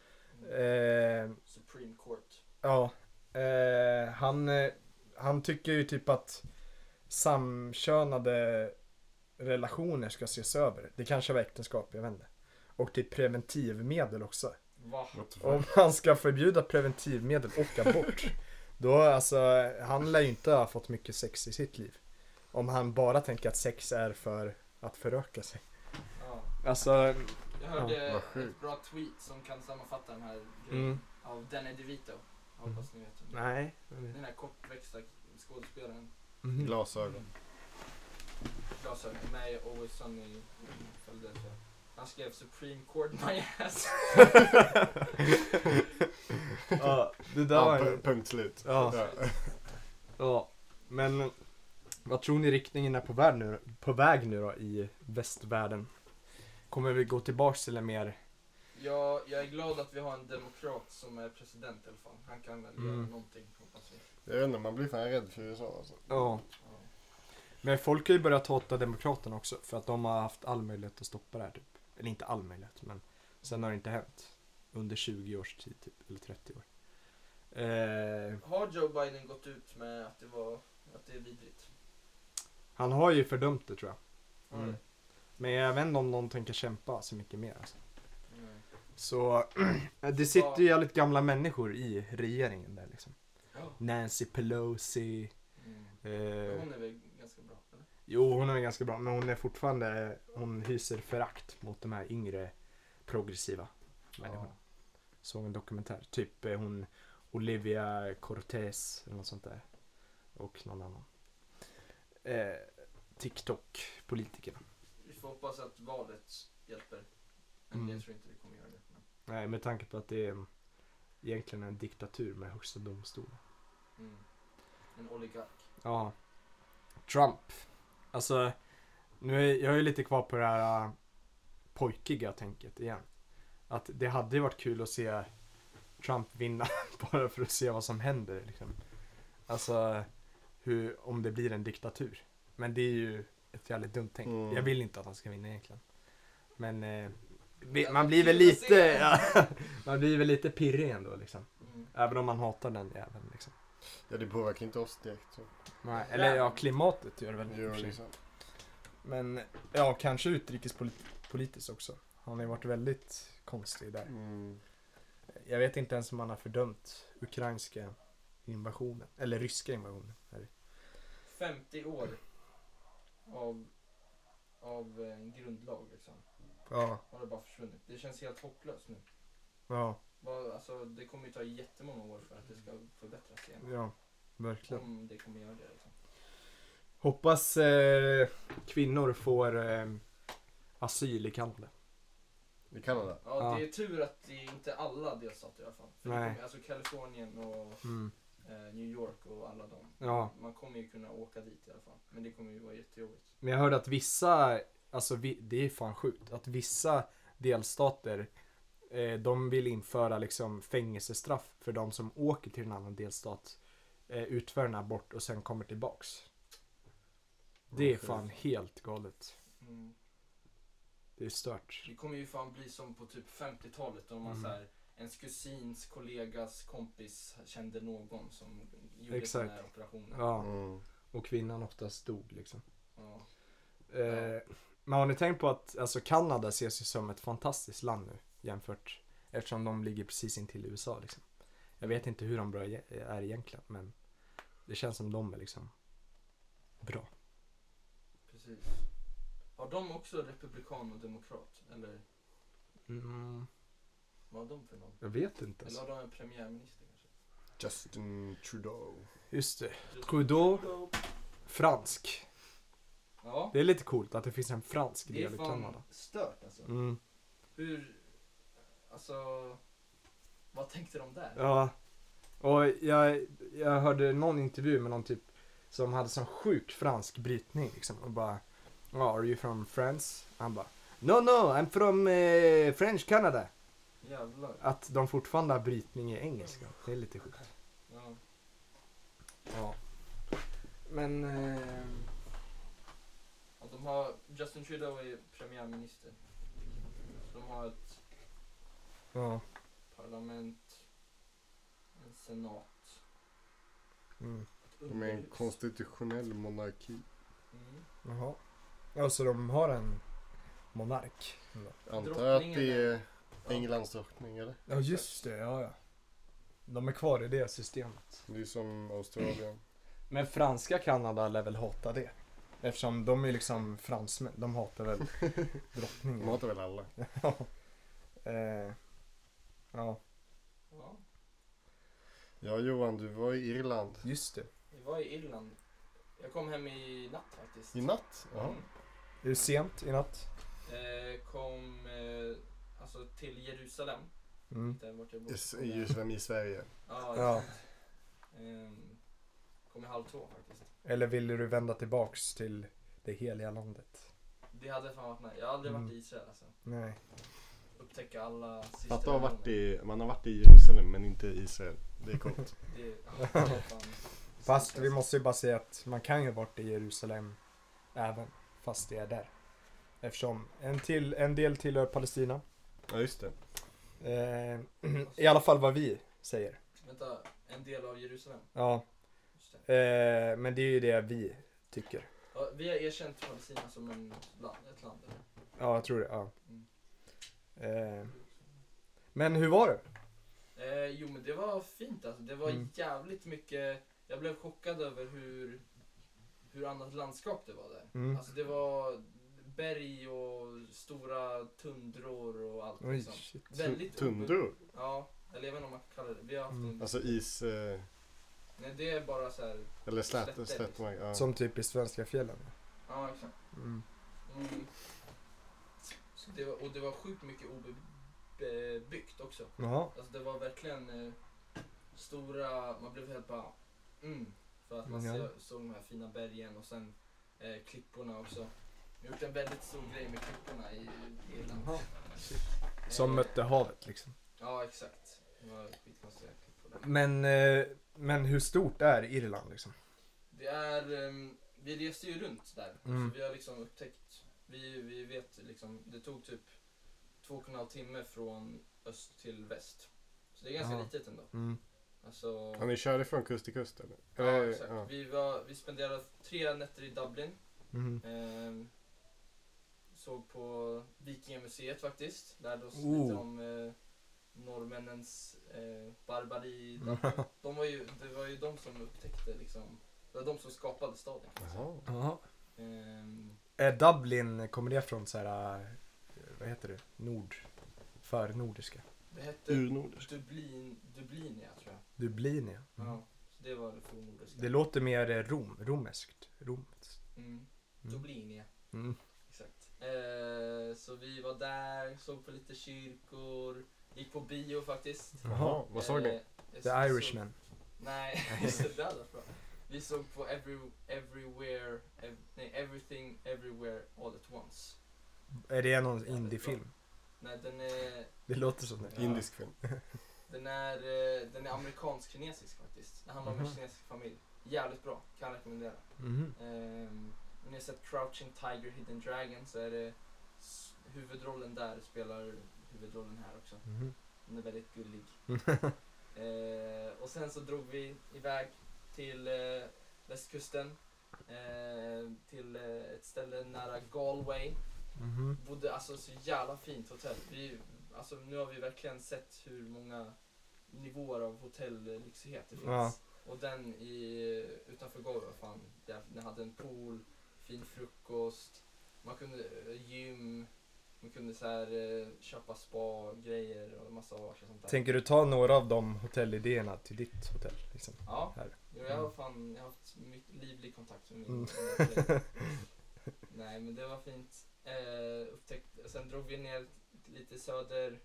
Speaker 1: Eh,
Speaker 3: Supreme Court.
Speaker 1: ja, eh, han, eh, han tycker ju typ att samkönade relationer ska ses över. Det kanske var äktenskap, jag vet inte. Och typ preventivmedel också.
Speaker 3: Va?
Speaker 2: What the fuck?
Speaker 1: Om man ska förbjuda preventivmedel och abort. [LAUGHS] Då alltså, han lär ju inte ha fått mycket sex i sitt liv. Om han bara tänker att sex är för att föröka sig.
Speaker 3: Ja.
Speaker 1: Alltså,
Speaker 3: Jag hörde
Speaker 2: Ja, vad sjukt.
Speaker 3: ett bra tweet som kan sammanfatta den här grejen.
Speaker 1: mm,
Speaker 3: Av Danny DeVito. Jag hoppas ni vet vem det är.
Speaker 1: nej.
Speaker 3: Den här kortväxta skådespelaren.
Speaker 1: [LAUGHS] Mhm.
Speaker 2: Glasögon.
Speaker 3: Glasögon. Med i Always Sunny i Philadelphia. Han skrev Supreme Court my ass.
Speaker 1: Ja, det där
Speaker 2: Ja,
Speaker 1: var ju...
Speaker 2: pu- punkt slut.
Speaker 3: [LAUGHS]
Speaker 1: Ja.
Speaker 3: Alltså,
Speaker 1: Ja, men vad tror ni riktningen är på väg nu, på väg nu då i västvärlden? Kommer vi gå tillbaks till en mer,
Speaker 3: Jag, jag är glad att vi har en demokrat som är president i alla fall. Han kan väl göra
Speaker 1: Mm.
Speaker 3: någonting hoppas vi.
Speaker 2: Jag vet inte, man blir fan rädd för USA alltså.
Speaker 1: ja.
Speaker 3: Ja.
Speaker 1: Men folk har ju börjat hata Demokraterna också för att de har haft all möjlighet att stoppa det här typ. Eller inte all möjlighet, men sen har det inte hänt. Under 20 års tid typ, eller 30 år. Eh,
Speaker 3: Har Joe Biden gått ut med att det, var, att det är vidrigt?
Speaker 1: han har ju fördömt det tror jag.
Speaker 3: Har
Speaker 1: Mm.
Speaker 3: det?
Speaker 1: Men jag vet inte om någon tänker kämpa så mycket mer alltså.
Speaker 3: Mm.
Speaker 1: Så [CLEARS THROAT] det sitter ju jävligt gamla människor i regeringen där liksom.
Speaker 3: Ja.
Speaker 1: Nancy Pelosi.
Speaker 3: Mm. Men
Speaker 1: Eh,
Speaker 3: Hon är väl ganska bra? Eller?
Speaker 1: jo, hon är ganska bra, men hon är fortfarande, hon hyser förakt mot de här yngre progressiva människorna. Såg en dokumentär, typ eh, hon Olivia Cortez eller något sånt där. Och någon annan. Eh, TikTok-politikerna.
Speaker 3: Vi får hoppas att valet hjälper. Men
Speaker 1: Mm.
Speaker 3: jag tror inte det kommer göra det. Men,
Speaker 1: Nej, med tanke på att det är en, egentligen en diktatur med högsta domstolen.
Speaker 3: mm. En oligark.
Speaker 1: Ja. Trump. Alltså, nu är, jag är lite kvar på det här äh, pojkiga tänket igen. Att det hade ju varit kul att se [LAUGHS] Trump vinna bara för att se vad som händer. Liksom. Alltså, hur, om det blir en diktatur. Men det är ju ett jävligt dumt tänk.
Speaker 2: Mm.
Speaker 1: Jag vill inte att han ska vinna egentligen. Men eh, vi- man blir väl lite [LAUGHS] ja, man blir väl lite pirrig ändå liksom.
Speaker 3: Mm.
Speaker 1: Även om man hatar den jäveln liksom.
Speaker 2: Ja, det påverkar inte oss direkt. Så.
Speaker 1: Nej, Eller ja, klimatet gör det väl i och
Speaker 2: Jo,
Speaker 1: för sig.
Speaker 2: liksom.
Speaker 1: Men ja, kanske utrikespolitiskt också. Han har ju varit väldigt konstig där.
Speaker 2: Mm.
Speaker 1: Jag vet inte ens om han har fördömt ukrainska invasionen. Eller ryska invasionen. Eller-
Speaker 3: 50 år av, av eh, en grundlag liksom.
Speaker 1: Ja,
Speaker 3: Har det bara försvunnit. Det känns helt hopplöst nu.
Speaker 1: ja,
Speaker 3: Vad- Alltså, det kommer ju ta jättemånga år för att det ska förbättras igen.
Speaker 1: ja. Verkligen.
Speaker 3: Om det kommer göra det liksom.
Speaker 1: Hoppas eh, kvinnor får eh, asyl i Kanada.
Speaker 2: I Kanada.
Speaker 3: Ja,
Speaker 1: Ja.
Speaker 3: det är tur att det är inte alla delstater i alla fall. För det
Speaker 1: Nej.
Speaker 3: kommer, alltså Kalifornien och
Speaker 1: Mm.
Speaker 3: eh, New York och alla dem.
Speaker 1: Ja,
Speaker 3: Man kommer ju kunna åka dit i alla fall. Men det kommer ju vara jättejobbigt.
Speaker 1: men jag hörde att vissa, alltså vi, det är fan sjukt, att vissa delstater eh, de vill införa liksom fängelsestraff för de som åker till en annan delstat, eh, utför en abort och sen kommer tillbaks. Det är
Speaker 2: Okej.
Speaker 1: fan helt galet.
Speaker 3: Mm.
Speaker 1: Det är stört.
Speaker 3: Det kommer ju fan bli som på typ 50-talet då man
Speaker 1: Mm.
Speaker 3: så här, ens kusins kollegas kompis kände någon som gjorde
Speaker 1: Exakt.
Speaker 3: såna här operationer.
Speaker 1: Ja,
Speaker 2: Mm.
Speaker 1: och kvinnan oftast dog liksom.
Speaker 3: Ja.
Speaker 1: Eh, men har ni tänkt på att alltså, Kanada ses ju som ett fantastiskt land nu jämfört eftersom de ligger precis intill USA liksom. Jag vet inte hur de bra e- är egentligen men det känns som de är liksom bra.
Speaker 3: Precis. Har de också republikan och demokrat? Eller vad har de för någon?
Speaker 1: jag vet inte.
Speaker 3: Mm. Eller
Speaker 1: Alltså.
Speaker 3: har de en premiärminister kanske?
Speaker 2: Justin Trudeau.
Speaker 1: Just det. Trudeau, fransk.
Speaker 3: Ja,
Speaker 1: Det är lite coolt att det finns en fransk
Speaker 3: det
Speaker 1: del
Speaker 3: är
Speaker 1: i Kanada.
Speaker 3: fan stört alltså.
Speaker 1: Mm.
Speaker 3: Hur, alltså, vad tänkte de där?
Speaker 1: Ja. Och jag, jag hörde någon intervju med någon typ som hade sån sjuk fransk brytning liksom och bara Ja, are you from France? Han bara No no, I'm from eh, French Canada.
Speaker 3: Jävlar.
Speaker 1: Att de fortfarande har brytning i engelska. Det är lite sjukt.
Speaker 3: Ja.
Speaker 1: Ja. Men... Eh,
Speaker 3: Ja, de har, Justin Trudeau är premiärminister. Så de har ett
Speaker 1: ja.
Speaker 3: parlament, en senat,
Speaker 1: Mm.
Speaker 3: ett
Speaker 2: De är en
Speaker 3: underhus.
Speaker 2: konstitutionell monarki.
Speaker 3: Mm.
Speaker 1: Jaha. Ja, så de har en monark?
Speaker 2: Jag antar att det är
Speaker 3: Ja.
Speaker 2: Englands drottning, eller?
Speaker 1: Ja, just det. Ja, ja. De är kvar i det systemet.
Speaker 2: Det är som Australien.
Speaker 1: Men franska Kanada lär väl hata det? Eftersom de är liksom fransmän, de hatar väl
Speaker 2: De
Speaker 1: drottningen.
Speaker 2: hatar väl alla?
Speaker 1: ja. [LAUGHS] Eh, ja,
Speaker 3: Ja,
Speaker 2: Ja, Johan, du var i Irland.
Speaker 1: just det.
Speaker 3: vi var i Irland. Jag kom hem i natt faktiskt.
Speaker 2: I natt? Ja.
Speaker 3: Mm.
Speaker 1: Är det sent i natt?
Speaker 3: Eh, kom eh, alltså till Jerusalem,
Speaker 1: Mm.
Speaker 3: där vart jag bor.
Speaker 2: Yes, I Jerusalem i Sverige.
Speaker 3: Ja,
Speaker 1: Ja.
Speaker 3: exakt. Ehm, kom i halv två faktiskt.
Speaker 1: Eller ville du vända tillbaks till det heliga landet?
Speaker 3: Det hade fan varit nice. Jag har aldrig varit
Speaker 1: Mm.
Speaker 3: i Israel alltså.
Speaker 1: Nej.
Speaker 3: Upptäcka alla sista
Speaker 2: Fatta att ha varit i, man har varit i Jerusalem men inte i Israel. Det är [LAUGHS] coolt.
Speaker 3: Det, ja,
Speaker 1: [LAUGHS]
Speaker 3: det är fan
Speaker 1: Fast vi måste ju bara säga att man kan ju ha varit i Jerusalem även fast det är där. Eftersom en, till, en del tillhör Palestina.
Speaker 2: Ja, just det.
Speaker 1: Eh, [CLEARS THROAT] I alla fall vad vi säger.
Speaker 3: Vänta, en del av Jerusalem.
Speaker 1: Ja,
Speaker 3: Just det.
Speaker 1: eh, men det är ju det vi tycker.
Speaker 3: Ja, vi har erkänt Palestina som en land, ett land. eller?
Speaker 1: Ja, jag tror det. Ja.
Speaker 3: Mm.
Speaker 1: Eh, men hur var det?
Speaker 3: Eh, jo men det var fint alltså. Det var
Speaker 1: Mm.
Speaker 3: jävligt mycket. Jag blev chockad över hur, hur annat landskap det var där.
Speaker 1: Mm.
Speaker 3: Alltså det var berg och stora tundror och allt.
Speaker 1: Oj,
Speaker 3: Liksom.
Speaker 1: shit.
Speaker 3: Väldigt obe-
Speaker 2: Tundor.
Speaker 3: Ja, eller jag vet inte om man kan kalla det. Vi har haft
Speaker 1: Mm.
Speaker 3: en,
Speaker 2: Alltså is... Eh,
Speaker 3: Nej det är bara så här.
Speaker 2: eller
Speaker 3: Slätter,
Speaker 2: slät,
Speaker 3: liksom.
Speaker 2: slätmark. Ja.
Speaker 1: Som typ i svenska fjällen.
Speaker 3: Ja exakt.
Speaker 1: Mm.
Speaker 3: Mm. Så det var, och det var sjukt mycket obebyggt också.
Speaker 1: Jaha.
Speaker 3: Alltså det var verkligen eh, stora, man blev helt bara mm. För att man
Speaker 1: Ja.
Speaker 3: så- såg de här fina bergen och sen eh, klipporna också. Vi har gjort en väldigt stor grej med klipporna i i Irland. Eh,
Speaker 1: Som mötte havet liksom.
Speaker 3: Ja exakt. Det var skitkonstiga klippor där.
Speaker 1: Men, eh, men hur stort är Irland liksom?
Speaker 3: Det är, ehm, vi reste ju runt där.
Speaker 1: Mm.
Speaker 3: Så vi har liksom upptäckt, vi, vi vet liksom, det tog typ två och en halv timme från öst till väst. Så det är ganska
Speaker 1: Ja.
Speaker 3: litet ändå.
Speaker 1: Mm.
Speaker 3: Alltså,
Speaker 2: Ja, ni körde från kust till kust eller?
Speaker 3: ja,
Speaker 2: Eller,
Speaker 3: exakt.
Speaker 2: ja.
Speaker 3: Vi, var, vi spenderade tre nätter i Dublin.
Speaker 1: Mm.
Speaker 3: Ehm, såg på Vikingamuseet faktiskt. Lärde oss
Speaker 1: Oh.
Speaker 3: lite om eh, norrmännens eh, barbari. De var ju, det var ju de som upptäckte liksom, det var de som skapade staden.
Speaker 2: Jaha.
Speaker 1: Jaha.
Speaker 3: Ehm,
Speaker 1: Är Dublin, kommer det från så här, eh, vad heter det, nord, förnordiska?
Speaker 3: det hette
Speaker 2: Urnordisk.
Speaker 3: Dublin, Dublinia tror jag.
Speaker 1: Dublin ja. Mm.
Speaker 3: Ja, så det var det fornnordiska.
Speaker 1: Det låter mer eh, rom, romerskt. Romt.
Speaker 3: mm.
Speaker 1: Mm.
Speaker 3: Dublinia,
Speaker 1: Mm.
Speaker 3: exakt. Ehm, så vi var där, såg på lite kyrkor, gick på bio faktiskt.
Speaker 2: Jaha, Mm. vad såg ni?
Speaker 3: Ehm, jag
Speaker 1: The
Speaker 3: såg-
Speaker 1: Irishman.
Speaker 3: Nej, [LAUGHS] just det där då. Vi såg på every, Everywhere, ev, nej, Everything, Everywhere, All at Once.
Speaker 1: Är det någon indiefilm?
Speaker 3: Nej, den är,
Speaker 1: Det låter som det.
Speaker 3: Ja.
Speaker 2: Indisk film.
Speaker 3: den är, eh, den är amerikansk-kinesisk faktiskt. Den handlar om
Speaker 1: Mhm.
Speaker 3: en kinesisk familj. Jävligt bra, kan rekommendera.
Speaker 1: Mhm.
Speaker 3: Um, om ni har sett Crouching Tiger, Hidden Dragon så är det s- huvudrollen där spelar huvudrollen här också. [LAUGHS]
Speaker 1: Mhm.
Speaker 3: Hon är väldigt gullig. eh, och sen så drog vi iväg till eh, västkusten. Eh, till eh, ett ställe nära Galway.
Speaker 1: Mhm.
Speaker 3: Bodde alltså så jävla fint hotell. Vi, alltså, nu har vi verkligen sett hur många nivåer av hotellyxighet det finns.
Speaker 1: Ja.
Speaker 3: Och den i, utanför Galway var fan, där, den hade en pool, fin frukost, man kunde eh, gym. Man kunde så här, eh, köpa spa-grejer och massage och sånt där.
Speaker 1: Tänker du ta några av de hotellidéerna till ditt hotell? Liksom?
Speaker 3: Ja,
Speaker 1: Här.
Speaker 3: jo, jag har fan jag har haft mycket livlig kontakt med min
Speaker 1: Mm. [LAUGHS]
Speaker 3: min- Nej men det var fint. Eh, upptäckt, sen drog vi ner lite söder,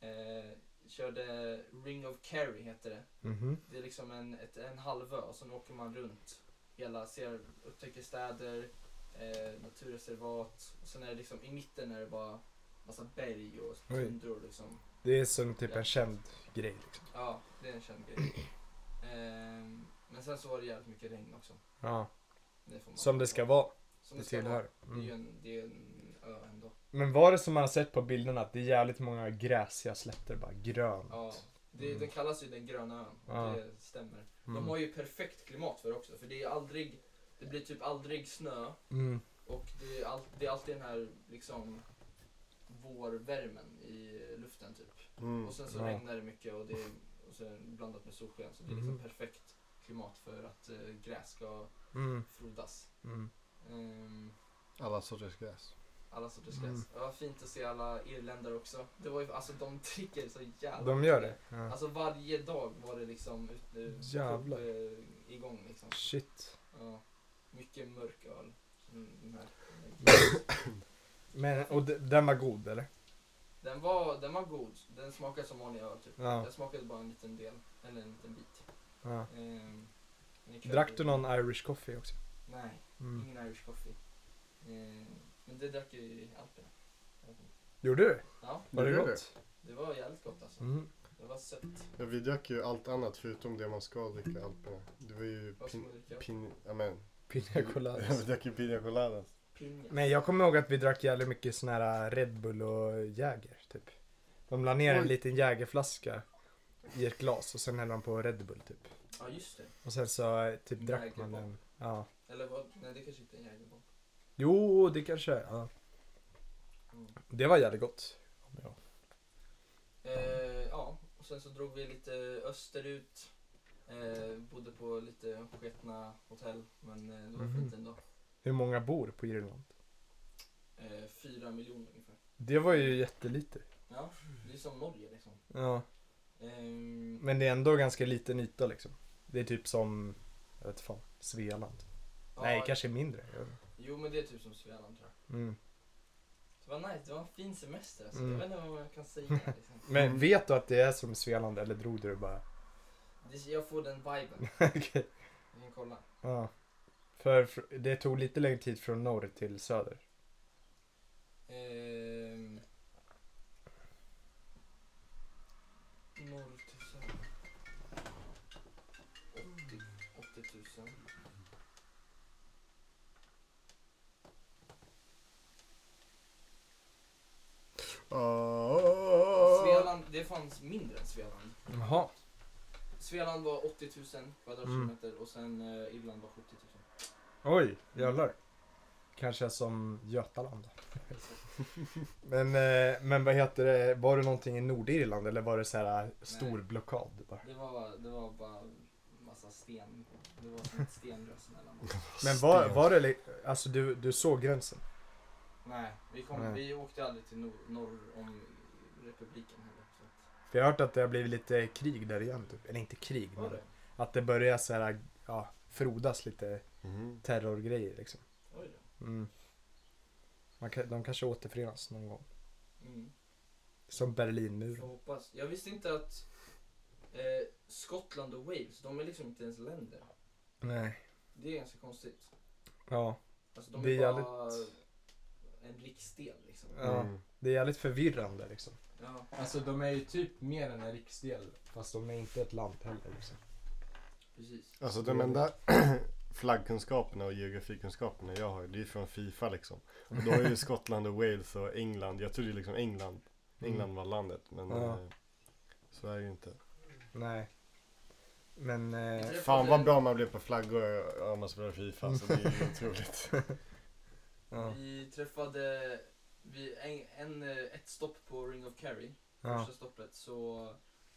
Speaker 3: eh, körde Ring of Kerry heter det.
Speaker 1: Mhm.
Speaker 3: Det är liksom en, ett, en halvö och sen åker man runt hela, ser, upptäcker städer, eh, naturreservat och sen är det liksom i mitten är det bara massa berg och
Speaker 1: Oj.
Speaker 3: tundror liksom.
Speaker 1: Det är som typ en känd grej. Liksom.
Speaker 3: Ja, det är en känd
Speaker 1: [CLEARS THROAT]
Speaker 3: grej. Ehm, men sen så var det jävligt mycket regn också.
Speaker 1: Ja.
Speaker 3: Det får man-
Speaker 1: Som det ska vara.
Speaker 3: Som
Speaker 1: Det
Speaker 3: det ska vara.
Speaker 1: tillhör.
Speaker 3: Det är ju
Speaker 1: Mm.
Speaker 3: en, det är en ö ändå.
Speaker 1: Men var det som man har sett på bilderna att det är jävligt många gräsiga slätter, bara grönt?
Speaker 3: Ja, det,
Speaker 1: Mm.
Speaker 3: Den kallas ju den gröna ön.
Speaker 1: Ja.
Speaker 3: Det stämmer.
Speaker 1: Mm.
Speaker 3: De har ju perfekt klimat för det också. För det är aldrig, det blir typ aldrig snö.
Speaker 1: Mm.
Speaker 3: Och det är, all, det är alltid den här liksom vårvärmen i luften typ.
Speaker 2: Mm.
Speaker 3: Och sen så
Speaker 1: Ja.
Speaker 3: regnar det mycket och det är och sen blandat med solsken. Så det är liksom
Speaker 1: Mhm.
Speaker 3: perfekt klimat för att eh, gräs ska
Speaker 1: Mm.
Speaker 3: frodas.
Speaker 1: Mm.
Speaker 3: Ehm,
Speaker 2: Alla sorters gräs.
Speaker 3: Alla sorters
Speaker 1: Mm.
Speaker 3: gräs. Det var fint att se alla irländare också. Det var ju, alltså de dricker så jävla
Speaker 1: De gör det?
Speaker 3: mycket.
Speaker 1: Ja.
Speaker 3: Alltså varje dag var det liksom ut, eh,
Speaker 1: Jävlar.
Speaker 3: upp, eh, igång liksom.
Speaker 1: Shit.
Speaker 3: Ja. Mycket mörk öl. Mm, den här.
Speaker 1: Men, och d- den var god eller?
Speaker 3: Den var, den var god. Den smakade som vanlig öl typ.
Speaker 1: Ja.
Speaker 3: Jag smakade bara en liten del, eller en liten bit.
Speaker 1: ja.
Speaker 3: Ehm, men ikväll-
Speaker 1: Drack du någon Irish coffee också?
Speaker 3: Nej,
Speaker 1: Mm.
Speaker 3: ingen Irish coffee. Ehm, men det drack jag ju i Alperna.
Speaker 1: Gjorde du?
Speaker 3: Ja,
Speaker 1: Var det
Speaker 2: Gjorde
Speaker 1: gott?
Speaker 3: det var jävligt gott alltså.
Speaker 1: Mm.
Speaker 3: Det var sött.
Speaker 2: Ja, vi drack ju allt annat förutom det man ska dricka i Alperna. Det var ju
Speaker 3: Vad ska man
Speaker 2: pin...
Speaker 3: dricka?
Speaker 2: pin ja, men.
Speaker 1: Pina
Speaker 2: [LAUGHS] vi
Speaker 1: coladas.
Speaker 2: drack ju pina coladas.
Speaker 3: Pinja.
Speaker 1: Men jag kommer ihåg att vi drack jävligt mycket sån här Red Bull och Jäger typ. De la ner en
Speaker 2: Oj.
Speaker 1: liten Jägerflaska i ett glas och sen hällde de på Red Bull typ.
Speaker 3: Ja just det.
Speaker 1: Och sen så eh, typ drack man
Speaker 3: Jägerbomb.
Speaker 1: den. Ja.
Speaker 3: Eller vad? Nej det kanske inte är en jägerbomb.
Speaker 1: Jo, det kanske är. Ja.
Speaker 3: Mm.
Speaker 1: Det var jävligt gott. Ja.
Speaker 3: Eh, ja, och sen så drog vi lite österut. Eh, bodde på lite sketna hotell men eh, det var
Speaker 1: Mhm.
Speaker 3: fint ändå.
Speaker 1: Hur många bor på Irland?
Speaker 3: Eh, fyra miljoner ungefär.
Speaker 1: Det var ju jättelite.
Speaker 3: Ja, det är som Norge liksom.
Speaker 1: Ja.
Speaker 3: Ehm,
Speaker 1: Men det är ändå ganska liten yta liksom. Det är typ som, jag vet fan, Svealand.
Speaker 3: ja,
Speaker 1: Nej, kanske mindre. Jag vet inte.
Speaker 3: Jo men det är typ som Svealand tror jag.
Speaker 1: Mm.
Speaker 3: Det var nice, det var en fin semester alltså.
Speaker 1: Mm.
Speaker 3: Jag vet inte vad jag kan säga
Speaker 1: [LAUGHS]
Speaker 3: liksom.
Speaker 1: Men
Speaker 2: Mm.
Speaker 1: vet du att det är som Svealand eller drog du det bara? [LAUGHS]
Speaker 3: Det, jag får den viben.
Speaker 1: Okej.
Speaker 3: Jag kan kolla.
Speaker 1: Ja. För fr- det tog lite längre tid från norr till söder.
Speaker 3: Ehm, norr till söder. 80, 80 000. fanns mindre än Svealand.
Speaker 1: Jaha.
Speaker 3: Svealand var 80 000 kvadratkilometer och sen eh, Irland var 70 000.
Speaker 1: Oj, jävlar. Kanske som Götaland. men, eh, men vad heter det, var det någonting i Nordirland eller var det så här eh, stor
Speaker 3: Nej.
Speaker 1: blockad? Bara?
Speaker 3: Det var, det var bara massa sten. Det var som ett stenrös mellan oss.
Speaker 1: Men var, var det, li- alltså du, du såg gränsen?
Speaker 3: Nej, vi, kom,
Speaker 1: Nej.
Speaker 3: vi åkte aldrig till nor- norr om republiken heller. Så att,
Speaker 1: För jag har hört att det har blivit lite krig där igen, typ. eller inte krig,
Speaker 3: var
Speaker 1: men
Speaker 3: det?
Speaker 1: att det börjar så här, ja, frodas lite
Speaker 2: Mhm.
Speaker 1: terrorgrejer liksom.
Speaker 3: Oj då.
Speaker 1: Mm. Man kan, de kanske återförenas någon gång.
Speaker 3: Mm.
Speaker 1: Som
Speaker 3: Jag
Speaker 1: Berlinmuren.
Speaker 3: hoppas. Jag visste inte att eh, Skottland och Wales, de är liksom inte ens länder.
Speaker 1: Nej.
Speaker 3: Det är ganska konstigt.
Speaker 1: Ja.
Speaker 3: Alltså de är,
Speaker 1: Det är
Speaker 3: bara
Speaker 1: jävligt-
Speaker 3: en riksdel liksom.
Speaker 1: ja.
Speaker 2: Mm.
Speaker 1: Det är jävligt förvirrande liksom.
Speaker 3: Ja.
Speaker 1: Alltså de är ju typ mer än en riksdel. Fast de är inte ett land heller liksom.
Speaker 3: Precis.
Speaker 2: Alltså de enda [CLEARS THROAT] flaggkunskaperna och geografikunskaperna jag har, det är från Fifa liksom. Och då är ju Skottland och Wales och England, jag trodde liksom England, England var landet, men
Speaker 1: Mm. Ja.
Speaker 2: eh, så är det ju inte.
Speaker 1: Nej. Men... Eh,
Speaker 3: Jag
Speaker 2: Fan
Speaker 3: träffade-
Speaker 2: vad bra man blev på flaggor om man spelar Fifa, så det är
Speaker 1: [LAUGHS]
Speaker 2: ju otroligt.
Speaker 1: ja.
Speaker 3: Vi träffade vi, en, en, eh, ett stopp på Ring of Kerry,
Speaker 1: ja.
Speaker 3: första stoppet, så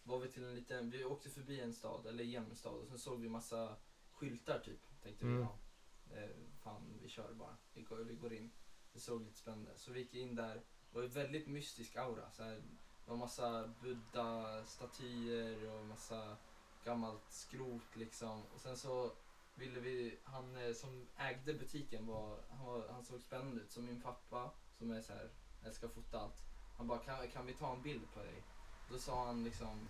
Speaker 3: var vi till en liten, vi åkte förbi en stad, eller genom en stad, och sen såg vi massa skyltar typ. Tänkte
Speaker 1: Mm.
Speaker 3: vi, ja, eh, fan vi kör bara, vi går, vi går in. Det såg lite spännande. Så vi gick in där, det var en väldigt mystisk aura. Så här, det var massa buddha-statyer och massa gammalt skrot liksom. Och sen så ville vi, han eh, som ägde butiken var, han, var, han såg spännande ut. Så min pappa, som är så här, älskar att fota allt, han bara kan, kan vi ta en bild på dig? Då sa han liksom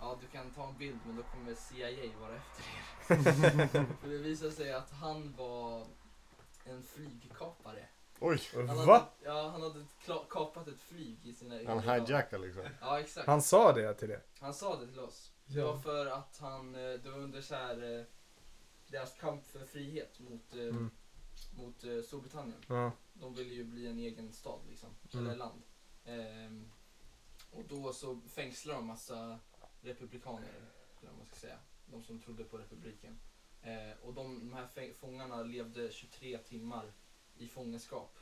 Speaker 3: Ja du kan ta en bild men då kommer CIA vara efter er. För det visade sig att han var en flygkapare.
Speaker 2: Oj,
Speaker 3: Han
Speaker 1: Va?
Speaker 3: Hade, ja, han hade kla- kapat ett flyg i sina
Speaker 2: han hijackar liksom.
Speaker 3: Ja, exakt. Han,
Speaker 1: Han sa det till det?
Speaker 3: sa det till oss. Det
Speaker 1: Ja.
Speaker 3: var för att han, eh, det var under så här, eh, deras kamp för frihet mot, eh,
Speaker 1: Mm.
Speaker 3: mot eh, Storbritannien.
Speaker 1: Ja.
Speaker 3: De ville ju bli en egen stad liksom,
Speaker 1: Mm.
Speaker 3: eller land. Ehm, och då så fängslade de massa republikaner, eller vad man ska säga. De som trodde på republiken. Eh, och de, de här fäng- fångarna levde 23 timmar i fångenskap.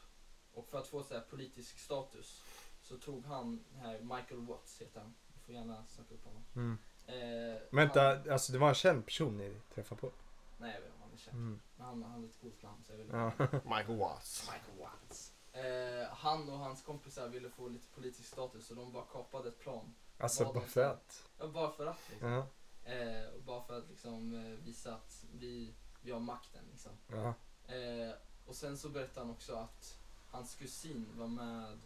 Speaker 3: Och för att få så här politisk status så tog han, den här Michael Watts heter han, du får gärna söka upp honom.
Speaker 1: Mm.
Speaker 3: Eh, han,
Speaker 1: Vänta, alltså det var en känd person ni träffade på?
Speaker 3: nej jag vet inte om han är känd,
Speaker 1: Mm.
Speaker 3: men han, han hade ett coolt namn så jag vill
Speaker 1: Ja. [LAUGHS]
Speaker 2: Michael Watts.
Speaker 3: Michael Watts. Eh, han och hans kompisar ville få lite politisk status så de bara kapade ett plan.
Speaker 1: Alltså
Speaker 3: Vad
Speaker 1: bara
Speaker 3: de-
Speaker 1: för att.
Speaker 3: Ja, bara för att liksom.
Speaker 1: Ja.
Speaker 3: Eh, och bara för att liksom eh, visa att vi, vi har makten liksom.
Speaker 1: Ja.
Speaker 3: Eh, och sen så berättade han också att hans kusin var med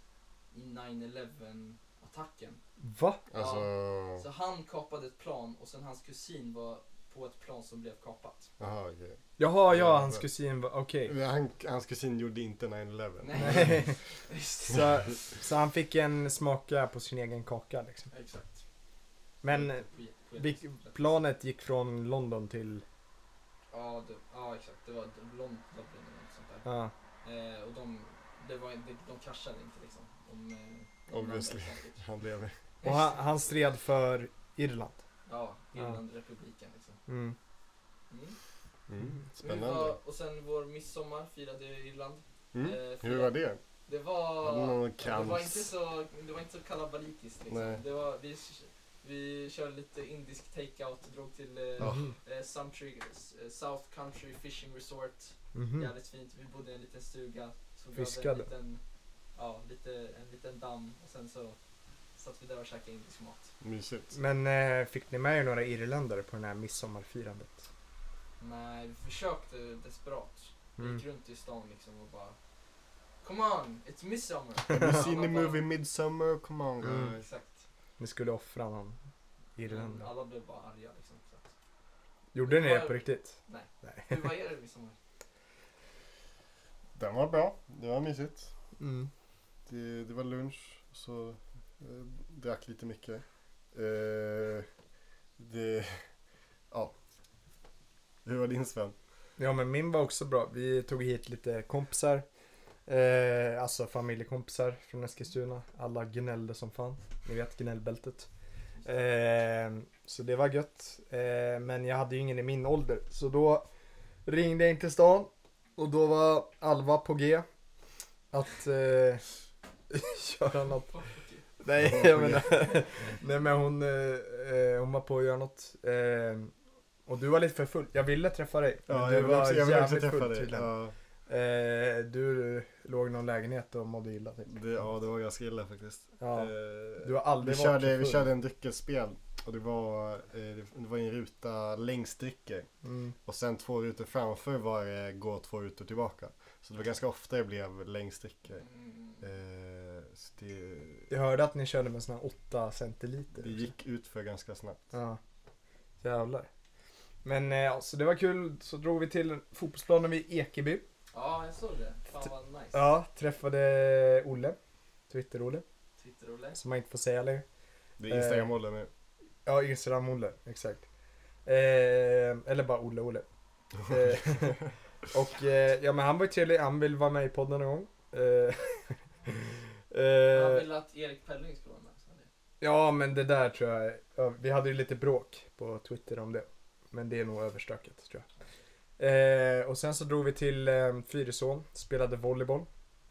Speaker 3: i 9-11 attacken.
Speaker 1: Va?
Speaker 2: Alltså,
Speaker 3: Så han kapade ett plan och sen hans kusin var på ett plan som blev kapat.
Speaker 2: jaha okej.
Speaker 1: Jaha, ja,
Speaker 2: Ja,
Speaker 1: hans
Speaker 2: men-
Speaker 1: kusin var... Okej.
Speaker 2: Han, hans kusin gjorde inte 9-11.
Speaker 1: Nej.
Speaker 3: [LAUGHS] Just det.
Speaker 1: [LAUGHS] Så, så han fick en smaka på sin egen kaka liksom.
Speaker 3: Exakt.
Speaker 1: Men eh,
Speaker 3: Poet-
Speaker 1: vilk-
Speaker 3: poetiskt.
Speaker 1: planet gick från London till...
Speaker 3: Ja, det, ja exakt. Det var London eller något sånt där.
Speaker 1: Ja.
Speaker 3: Eh, och de, det var, de, de kraschade inte liksom. De, eh, de
Speaker 2: Obviously.
Speaker 3: landade säkert.
Speaker 2: Han lever.
Speaker 1: [LAUGHS] Och han, han stred för Irland.
Speaker 3: Ja, Irlandrepubliken liksom.
Speaker 1: Mm.
Speaker 3: Mm.
Speaker 2: Mm.
Speaker 3: Men det
Speaker 2: Spännande.
Speaker 3: Var, och sen vår midsommar firade vi i Irland.
Speaker 2: Mm.
Speaker 3: Eh,
Speaker 2: Hur var det?
Speaker 3: Det var,
Speaker 2: Hade någon
Speaker 3: ja, det var
Speaker 2: krans?
Speaker 3: inte så, det var inte så kalabalitiskt liksom.
Speaker 2: Nej.
Speaker 3: Det var, vi, vi körde lite indisk take-out, drog till eh,
Speaker 2: Ja.
Speaker 3: eh, Sumtree, eh, South Country Fishing Resort.
Speaker 1: Mhm.
Speaker 3: Jävligt fint. Vi bodde i en liten stuga. Som
Speaker 1: Fiskade.
Speaker 3: Gav en, liten, ja, lite, en liten damm och sen så satt vi där och käkade indisk mat. Mm. [LAUGHS]
Speaker 2: Mysigt.
Speaker 1: Men eh, fick ni med er några irländare på det här midsommarfirandet?
Speaker 3: Nej, vi försökte desperat. Vi
Speaker 1: Mm.
Speaker 3: gick runt i stan liksom och bara Come on, it's midsummer!
Speaker 1: [LAUGHS]
Speaker 2: Have you seen
Speaker 3: Alla
Speaker 2: the
Speaker 3: bara-
Speaker 2: movie Midsummer? Come on
Speaker 1: Mm.
Speaker 2: guys.
Speaker 3: Exakt.
Speaker 1: Ni skulle offra någon
Speaker 3: Mm,
Speaker 1: irländare?
Speaker 3: alla blev bara arga liksom. Så att,
Speaker 1: Gjorde ni det på riktigt?
Speaker 3: hur var er
Speaker 1: [LAUGHS]
Speaker 3: midsommar?
Speaker 2: Den var bra. Det var mysigt.
Speaker 1: Mm.
Speaker 2: Det, det var lunch. Så eh, drack lite mycket. Eh, det... Ja. Hur var din Sven?
Speaker 1: Ja men min var också bra. Vi tog hit lite kompisar. Eh, alltså familjekompisar från Eskilstuna. Alla gnällde som fan. Ni vet gnällbältet. Eh, så det var gött. Eh, men jag hade ju ingen i min ålder. Så då ringde jag in till stan. Och då var Alva på G. Att eh, [LAUGHS] göra något Nej, jag menar, [LAUGHS] nej men hon, eh, eh, hon var på att göra något. Eh, och du var lite för full. Jag ville träffa dig. men
Speaker 2: Ja,
Speaker 1: du
Speaker 2: jag vill
Speaker 1: var
Speaker 2: också, jag vill också
Speaker 1: jävligt
Speaker 2: träffa
Speaker 1: full
Speaker 2: dig.
Speaker 1: tydligen.
Speaker 2: Ja,
Speaker 1: Eh, du låg i någon lägenhet och mådde illa typ.
Speaker 2: det, ja, det var ganska illa faktiskt.
Speaker 1: Ja.
Speaker 2: Eh,
Speaker 1: Du har aldrig
Speaker 2: vi,
Speaker 1: varit så
Speaker 2: körde, vi
Speaker 1: full.
Speaker 2: körde en dryckesspel och det var, eh, det det var en ruta längs drycker.
Speaker 1: Mm.
Speaker 2: Och sen två rutor framför var det gå två rutor tillbaka. Så det var ganska ofta det blev längs drycker.
Speaker 3: Mm.
Speaker 2: Eh, så det,
Speaker 1: Jag hörde att ni körde med såna 8 centiliter.
Speaker 2: det gick ut för ganska snabbt.
Speaker 1: Ja. Jävlar. Men eh, ja, så det var kul. Så drog vi till fotbollsplanen vid Ekeby.
Speaker 3: Ja, jag såg det. Fan vad nice.
Speaker 1: Ja, träffade Olle. Twitter-Olle.
Speaker 3: Twitter-Olle.
Speaker 1: Som man inte får säga längre. Eh.
Speaker 2: Det är Instagram-åldern nu.
Speaker 1: Ja, Instagram-Olle, exakt. Eh, eller bara Olle-Olle. Eh, [LAUGHS] och eh, ja, men han var ju trevlig, han vill vara med i podden någon gång. Eh, [LAUGHS]
Speaker 3: Han
Speaker 1: eh,
Speaker 3: ville att Erik Pelling skulle vara med. sa han det.
Speaker 1: ja, men det där tror jag, ja, vi hade ju lite bråk på Twitter om det. Men det är nog överstökat tror jag. Eh, och sen så drog vi till eh, Fyrisån, spelade volleyboll.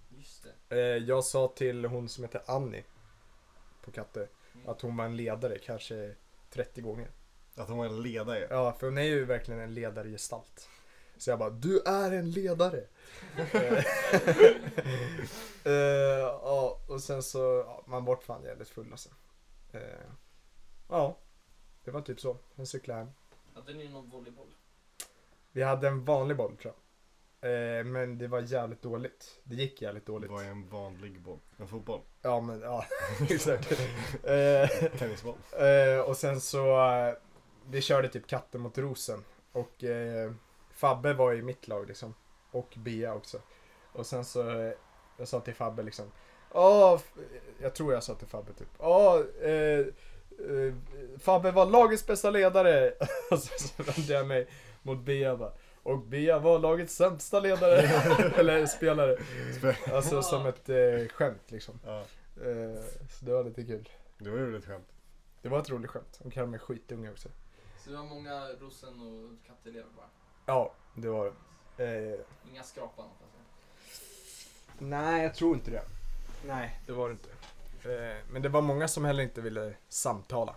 Speaker 3: Just det.
Speaker 1: Eh, jag sa till hon som heter Annie på Katte
Speaker 3: Mm.
Speaker 1: att hon var en ledare, kanske 30 gånger.
Speaker 2: Att hon var en ledare.
Speaker 1: Ja, för hon är ju verkligen en ledargestalt. Så jag bara, du är en ledare! Eh, eh, Ja, och sen så, ja, man vart fan jävligt full alltså. Eh, Ja, det var typ så. Sen cyklade jag hem.
Speaker 3: Hade ni någon volleyboll?
Speaker 1: Vi hade en vanlig boll tror jag. Eh, Men det var jävligt dåligt. Det gick jävligt
Speaker 2: Det
Speaker 1: dåligt.
Speaker 2: var en vanlig boll. En fotboll.
Speaker 1: Ja, men ja. [LAUGHS] Exakt. Eh,
Speaker 2: Tennisboll.
Speaker 1: Eh, och sen så, eh, vi körde typ katten mot rosen. Och eh, Fabbe var i mitt lag liksom. Och Bea också. Och sen så, eh, jag sa till Fabbe liksom. Ja, f- jag tror jag sa till Fabbe typ. Ja, eh, eh, Fabbe var lagets bästa ledare. [LAUGHS] och sen så vände jag mig mot Bea bara. Och Bea var lagets sämsta ledare. [LAUGHS] Eller spelare. [LAUGHS] Alltså som ett eh, skämt liksom.
Speaker 2: Ja,
Speaker 1: Eh, så det var lite kul.
Speaker 2: det var ju ett skämt.
Speaker 1: Det var ett roligt skämt. De kallade mig skitunge också.
Speaker 3: Så det var många rosen och kattelever bara.
Speaker 1: Ja, det var det. Eh,
Speaker 3: Inga alltså. skrapan hoppas jag.
Speaker 1: nej, jag tror inte det. Nej, det var det inte. Eh, men det var många som heller inte ville samtala.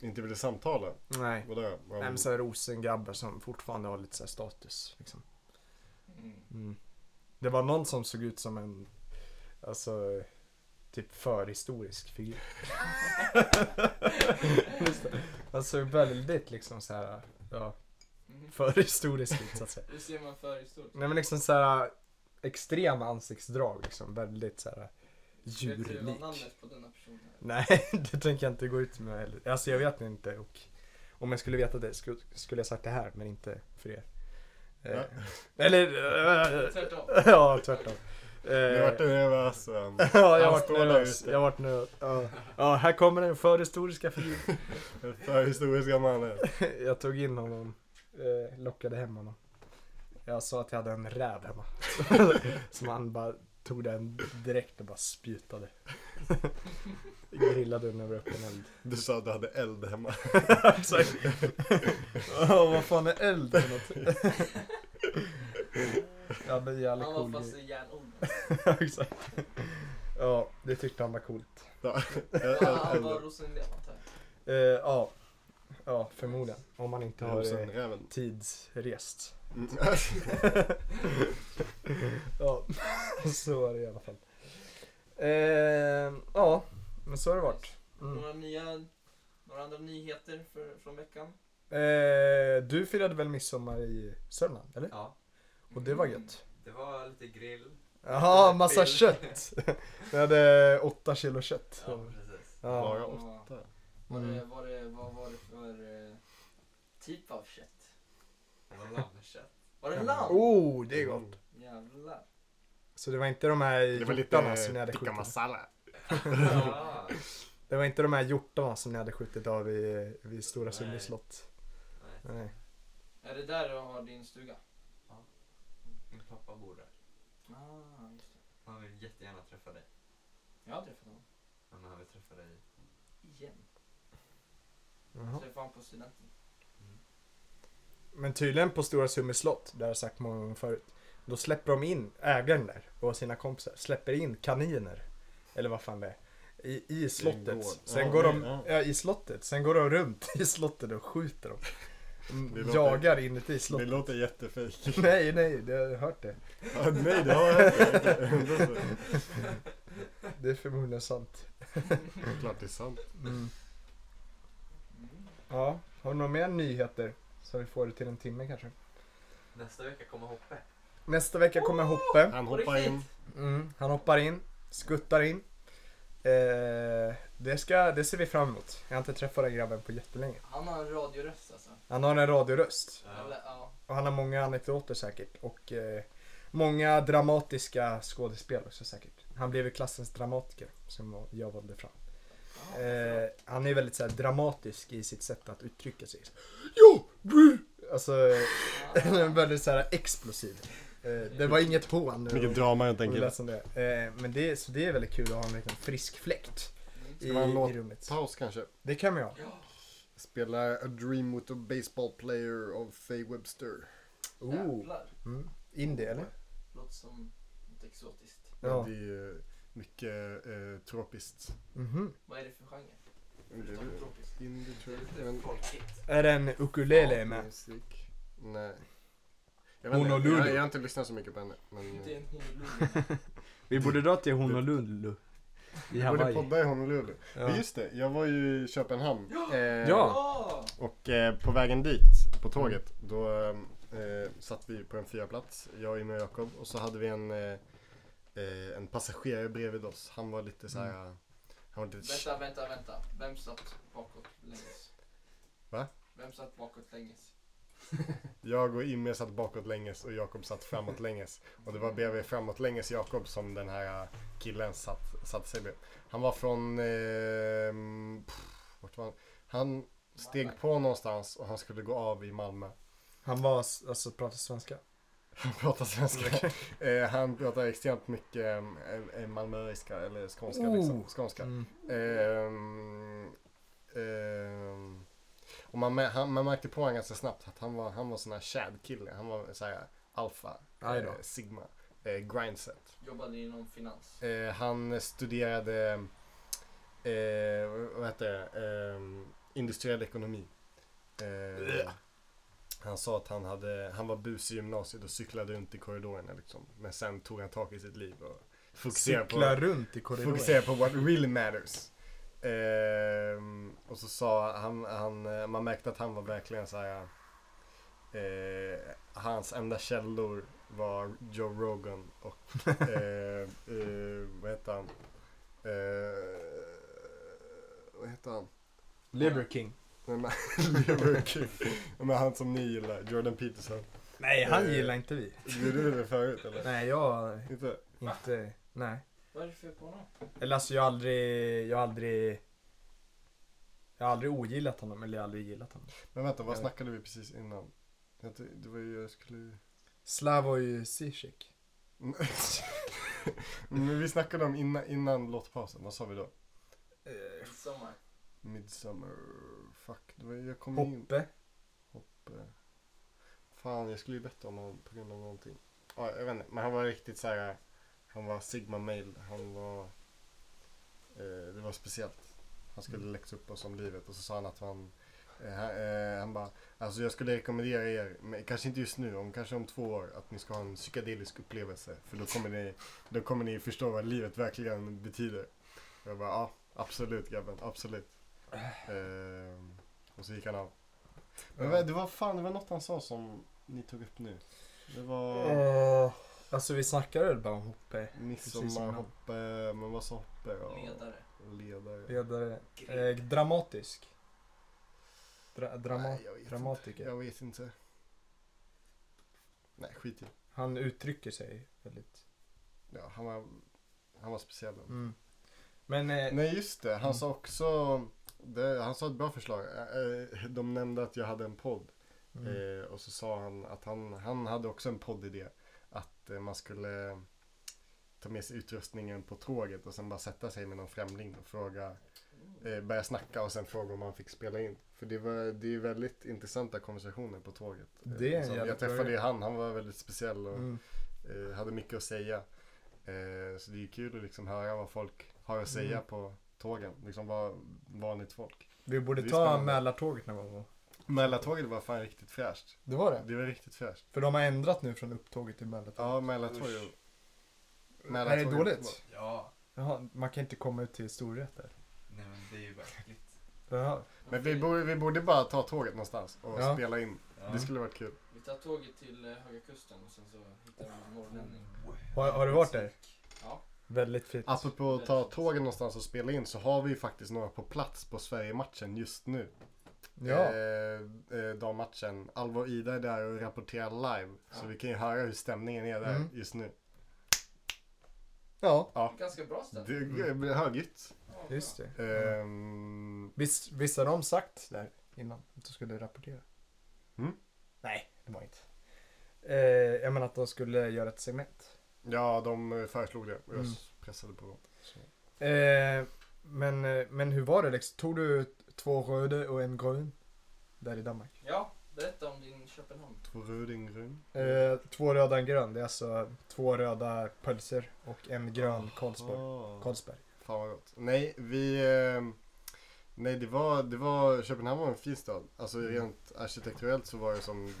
Speaker 2: Inte ville samtala.
Speaker 1: Nej.
Speaker 2: Vadå? Ja,
Speaker 1: Nej,
Speaker 2: men-
Speaker 1: men så här rosengrabbar som fortfarande har lite så här status. Liksom.
Speaker 3: Mm.
Speaker 1: Det var någon som såg ut som en, alltså, typ förhistorisk [LAUGHS] figur. Just det. Han såg Alltså, väldigt liksom så här, ja, Mm.
Speaker 3: Mhm.
Speaker 1: förhistorisk ut så att säga.
Speaker 3: Hur ser man förhistoriskt?
Speaker 1: Nej men liksom såhär extrema ansiktsdrag liksom. Väldigt såhär
Speaker 3: Vet du vad
Speaker 1: djurlik.
Speaker 3: namnet på denna person är?
Speaker 1: Nej, [LAUGHS] det tänker jag inte gå ut med heller. Alltså jag vet inte och om jag skulle veta det sku- skulle jag sagt det här men inte för er. Eh, [LAUGHS] eller... eh,
Speaker 3: Tvärtom.
Speaker 1: [LAUGHS] ja, tvärtom. Eh,
Speaker 2: Nu vart du nervös. va?
Speaker 1: [LAUGHS] ja, jag
Speaker 2: Han
Speaker 1: vart
Speaker 2: står där
Speaker 1: nervös.
Speaker 2: ute.
Speaker 1: Jag vart nervös. Ja. ja, här kommer den förhistoriska figur.
Speaker 2: Den Förhistoriska mannen.
Speaker 1: [LAUGHS] jag tog in honom, eh, lockade hem honom. Jag sa att jag hade en räv hemma. [LAUGHS] Som han bara tog den direkt och bara spjutade. [LAUGHS] Grillade den över öppen eld.
Speaker 2: Du sa att du hade eld [LAUGHS] hemma.
Speaker 1: Exakt. Åh, vad fan är eld för något? ja, det är jävla
Speaker 3: Han var
Speaker 1: cool
Speaker 3: fast
Speaker 1: grej.
Speaker 3: i järnugnen.
Speaker 1: [LAUGHS] Ja, Exakt. Ja, det tyckte han var coolt.
Speaker 2: Ja,
Speaker 3: Han
Speaker 2: eld-
Speaker 3: var
Speaker 2: eld-
Speaker 3: rosenlev antar jag.
Speaker 1: Eh, ja. ja, förmodligen. Om man inte har eh,
Speaker 2: Rosenräven.
Speaker 1: tidsrest. [LAUGHS]
Speaker 2: [LAUGHS] Mm.
Speaker 1: ja, [LAUGHS] så var det i alla fall. Ehm, ja, men så har det varit. Mm.
Speaker 3: Några nya, några andra nyheter för, från veckan?
Speaker 1: Eh, du firade väl midsommar i Sörmland, eller?
Speaker 4: Ja,
Speaker 1: Och det var
Speaker 3: Mm.
Speaker 1: gött.
Speaker 4: det var lite grill.
Speaker 1: Jaha, massa
Speaker 4: Grill.
Speaker 1: kött! [LAUGHS] Vi hade åtta kilo kött.
Speaker 4: Ja, precis.
Speaker 1: Ja.
Speaker 2: Bara åtta.
Speaker 3: Var det,
Speaker 1: Mm.
Speaker 3: var det, vad var det för eh, typ av kött?
Speaker 4: Det var lammkött.
Speaker 3: Var det lamm?
Speaker 1: Oh, det är gott!
Speaker 3: Jävlar.
Speaker 1: Så det var inte de här
Speaker 2: Det var
Speaker 1: hjortarna som ni
Speaker 2: lite eh,
Speaker 1: hade
Speaker 2: tikka
Speaker 1: skjutit?
Speaker 2: masala.
Speaker 4: Ja.
Speaker 1: Det var inte de här hjortarna som ni hade skjutit av i, vid Stora Sundby
Speaker 4: Nej.
Speaker 1: slott?
Speaker 4: Nej,
Speaker 1: Nej.
Speaker 3: Är det där du har din stuga?
Speaker 4: min pappa bor där.
Speaker 3: Ah, just det.
Speaker 4: Han vill jättegärna träffa dig.
Speaker 3: Jag har träffat honom.
Speaker 4: Men han vill träffa dig.
Speaker 3: Igen.
Speaker 1: Jaha.
Speaker 3: Träffade honom på studenten.
Speaker 1: Men tydligen på Stora Summer slott, det har jag sagt många gånger förut. Då släpper de in ägaren där och sina kompisar, släpper in kaniner. Eller vad fan det är. I, i
Speaker 2: gård.
Speaker 1: slottet. Sen
Speaker 2: Ja,
Speaker 1: går
Speaker 2: nej,
Speaker 1: de,
Speaker 2: ja.
Speaker 1: ja. i slottet. Sen går de runt [LAUGHS] i slottet och skjuter dem. Mm,
Speaker 2: Det låter-
Speaker 1: Jagar inuti
Speaker 2: Det
Speaker 1: slottet.
Speaker 2: låter [LAUGHS]
Speaker 1: [LAUGHS]
Speaker 2: jättefejk.
Speaker 1: Nej, nej, jag har hört det.
Speaker 2: Ja, nej, det har jag [LAUGHS] inte.
Speaker 1: Det är förmodligen sant.
Speaker 2: Det är klart det är sant.
Speaker 3: Mm.
Speaker 1: Ja, har du några mer nyheter? Så vi får det till en timme kanske.
Speaker 4: Nästa vecka kommer Hoppe.
Speaker 1: Nästa vecka kommer Hoppe.
Speaker 2: Han
Speaker 3: På
Speaker 2: hoppar
Speaker 3: riktigt?
Speaker 2: in.
Speaker 1: Mm, han hoppar in, skuttar in. Eh, det, ska, det ser vi fram emot. Jag har inte träffat den grabben på jättelänge.
Speaker 3: Han har en radioröst alltså.
Speaker 1: Han har en radioröst.
Speaker 4: Ja.
Speaker 3: Eller, ja.
Speaker 1: Och han har många anekdoter säkert. Och eh, många dramatiska skådespel också säkert. Han blev ju klassens dramatiker som jag valde fram.
Speaker 3: Ja,
Speaker 1: Eh, han är ju väldigt så här, dramatisk i sitt sätt att uttrycka sig. Jo! brr! Alltså, [LAUGHS]
Speaker 3: ja.
Speaker 1: den är väldigt så här explosiv. Eh, det var inget hån.
Speaker 2: Vilket drama helt
Speaker 1: Och
Speaker 2: enkelt.
Speaker 1: läsa om det. Eh, men det, är- så det är väldigt kul att ha en liten frisk fläkt
Speaker 3: Mm.
Speaker 1: i,
Speaker 2: Ska man låta-
Speaker 1: i rummet.
Speaker 2: Paus kanske.
Speaker 1: Det kan man ju ha.
Speaker 3: Ja.
Speaker 2: Spela A Dream with a Baseball Player av Faye Webster.
Speaker 1: Oh.
Speaker 3: Jävlar.
Speaker 1: Mm. Indie eller?
Speaker 3: Låter som något exotiskt.
Speaker 1: Ja.
Speaker 2: Det är ju mycket eh, tropiskt.
Speaker 1: Mhm.
Speaker 3: Vad är det för genre?
Speaker 2: Det är
Speaker 3: Utom
Speaker 2: väl
Speaker 3: tropiskt.
Speaker 2: indie, tror
Speaker 4: Det är
Speaker 2: jag.
Speaker 4: lite
Speaker 2: Jag vet inte.
Speaker 4: folkigt.
Speaker 1: Är det en ukulele med?
Speaker 2: Musik. Nej. Jag, vet, inte,
Speaker 1: Honolulu.
Speaker 2: jag, jag har inte lyssnat så mycket på henne. Men eh,
Speaker 3: Det är en honolulu.
Speaker 1: Vi borde dra till Honolulu. I
Speaker 2: jag borde podda i Honolulu. Men
Speaker 1: Ja.
Speaker 2: Just det, jag var ju i Köpenhamn. Eh,
Speaker 1: Ja.
Speaker 3: Ja!
Speaker 2: Och eh, på vägen dit, på tåget, då eh, satt vi på en fyraplats, jag, Ymer och Jakob. Och så hade vi en, eh, eh, en passagerare bredvid oss. Han var lite såhär... Han var lite...
Speaker 3: Vänta, vänta, vänta. Vem satt bakåt länges?
Speaker 2: Va?
Speaker 3: Vem satt bakåt länges?
Speaker 2: Jag och Ymer satt bakåt länges och Jakob satt framåt länges. Och det var bredvid framåt länges Jakob som den här eh, killen satt, satt sig bredvid. Han var från... Eh, pff, vart var han? Han steg på någonstans och han skulle gå av i Malmö. [LAUGHS]
Speaker 1: Han var, s- alltså pratar svenska.
Speaker 2: Han pratar svenska. Eh, han pratar extremt mycket eh, eh, malmöiska eller skånska. Liksom.
Speaker 1: Oh.
Speaker 2: skånska.
Speaker 1: Mm.
Speaker 2: Ehm, ehm, och man, mä- han, man märkte på honom ganska snabbt att han var, han var sån här Chad-kille. Han var så här alfa,
Speaker 1: Aj då.
Speaker 2: eh, sigma, eh, grindset.
Speaker 3: Jobbade inom finans.
Speaker 2: Eh, han studerade, eh, vad- vad heter det, Ehm, industriell ekonomi. Eh, han sa att han, hade, han var busig i gymnasiet och cyklade runt i korridorerna liksom. Men sen tog han tag i sitt liv och fokuserade på
Speaker 1: Cykla runt i korridoren.
Speaker 2: fokusera på what really matters. Ehm, och så sa han, han, eh, man märkte att han var verkligen så här. Eh, hans enda källor var Joe Rogan och eh, eh, vad heter han? Eh, vad heter han?
Speaker 1: Liver King.
Speaker 2: Nej, men, [LAUGHS] Liver King. men han som ni gillar, Jordan Peterson.
Speaker 1: Nej, han
Speaker 2: Eh.
Speaker 1: gillar inte vi.
Speaker 2: Gjorde du det förut eller?
Speaker 1: Nej, jag
Speaker 2: Inte?
Speaker 1: inte. Nej.
Speaker 3: Vad är det för fel på honom?
Speaker 1: Eller alltså jag har aldrig, jag har aldrig Jag har aldrig ogillat honom eller jag har aldrig gillat honom
Speaker 2: Men vänta, vad
Speaker 1: Jag-
Speaker 2: snackade vi precis innan? Jag ty- Det var ju, jag skulle...
Speaker 1: Slavoj Zizek
Speaker 2: Mm. [LAUGHS] Men vi snackade om innan, innan låtpausen, vad sa vi då?
Speaker 3: Midsommar.
Speaker 2: Midsummer, fuck, det var, jag kom in
Speaker 1: Hoppe
Speaker 2: på... Fan, jag skulle ju bett om honom på grund av någonting. Ja, jag vet inte, men han var riktigt så här. han var sigma male, han var... Eh, det var speciellt. Han skulle läxa upp oss om livet och så sa han att han... Eh, han, eh, han bara, alltså jag skulle rekommendera er, men kanske inte just nu, om kanske om två år, att ni ska ha en psykedelisk upplevelse. För då kommer ni, då kommer ni förstå vad livet verkligen betyder. Jag bara, ja, absolut grabben, absolut. Eh, och så gick han av. Men vad- det var fan, det var något han sa som ni tog upp nu. Det var
Speaker 1: Eh, Alltså vi snackade väl bara om Hoppe precis innan.
Speaker 2: midsommarhoppe, men vad sa hoppe? Ja,
Speaker 3: Ledare.
Speaker 2: ledare.
Speaker 1: Ledare eh,
Speaker 4: Grej.
Speaker 1: Dramatisk Dra drama
Speaker 2: Nej, jag vet
Speaker 1: Dramatiker
Speaker 2: Inte. Jag vet inte. Nej, skit i.
Speaker 1: Han uttrycker sig väldigt
Speaker 2: Ja, han var, han var speciell.
Speaker 1: mm. Men eh,
Speaker 2: Nej, just det. Han
Speaker 1: Mm.
Speaker 2: sa också, det, han sa ett bra förslag. Eh, eh, De nämnde att jag hade en podd.
Speaker 1: mm.
Speaker 2: Eh, och så sa han att han, han hade också en poddidé. Att eh, man skulle ta med sig utrustningen på tåget och sen bara sätta sig med någon främling och fråga, eh, börja snacka och sen fråga om man fick spela in. För det, var, det är ju väldigt intressanta konversationer på tåget. Eh,
Speaker 1: Det är en
Speaker 2: som-
Speaker 1: jävla
Speaker 2: Jag träffade ju
Speaker 1: början.
Speaker 2: han, han var väldigt speciell och
Speaker 1: Mm.
Speaker 2: eh, hade mycket att säga. Eh, så det är ju kul att liksom höra vad folk har att säga
Speaker 1: Mm.
Speaker 2: på tågen. Liksom vad vanligt folk.
Speaker 1: Vi borde
Speaker 2: Det är
Speaker 1: ta
Speaker 2: spännande.
Speaker 1: Mälartåget någon gång.
Speaker 2: Mälartåget var fan riktigt fräscht.
Speaker 1: Det var det?
Speaker 2: Det var riktigt fräscht.
Speaker 1: För de har ändrat nu från upptåget till Mälartåget.
Speaker 2: Ja, Mälartåget.
Speaker 1: är det
Speaker 2: Mälartåget var-
Speaker 1: dåligt?
Speaker 4: Ja,
Speaker 1: Jaha, man kan inte komma ut till Storvretar.
Speaker 4: nej men det är ju verkligt.
Speaker 1: Jaha.
Speaker 2: Men vi borde, vi borde bara ta tåget någonstans och
Speaker 1: Ja.
Speaker 2: spela in.
Speaker 4: Ja.
Speaker 2: Det skulle varit kul.
Speaker 3: Vi tar tåget till eh, Höga Kusten och sen så hittar vi en norrlänning.
Speaker 1: Har, har du varit där?
Speaker 3: Ja.
Speaker 1: Väldigt fint.
Speaker 2: Apropå att ta tågen någonstans och spela in så har vi ju faktiskt några på plats på Sverige-matchen just nu.
Speaker 1: Ja.
Speaker 2: Eh, eh, dammatchen. Alva och Ida är där och rapporterar live. Så vi kan ju höra hur stämningen är där
Speaker 1: Mm.
Speaker 2: just nu.
Speaker 1: Ja,
Speaker 3: Ganska bra ställe.
Speaker 2: Det är högljutt.
Speaker 3: Ja, bra.
Speaker 1: just
Speaker 2: Eh.
Speaker 1: det.
Speaker 2: Ehm,
Speaker 1: Visst, visst har de sagt där innan att de skulle rapportera?
Speaker 2: Mm.
Speaker 1: Nej, det var inte. Eh, jag menar att de skulle göra ett segment.
Speaker 2: ja, de eh, föreslog det och jag
Speaker 1: Mm.
Speaker 2: pressade på. Så.
Speaker 1: Eh, men, eh, men hur var det liksom? Tog du t- två röda och en grön? Där i Danmark.
Speaker 3: Ja, berätta om din Köpenhamn.
Speaker 2: Två rödingrun.
Speaker 1: Eh, två röda och en grön. Det är alltså två röda pölser och en grön Karlsborg. Karlsberg.
Speaker 2: Fan vad gott. Nej, vi... ehm, Nej, det var, det var... Köpenhamn var en fin stad. Alltså
Speaker 1: Mm.
Speaker 2: rent arkitekturellt så var det som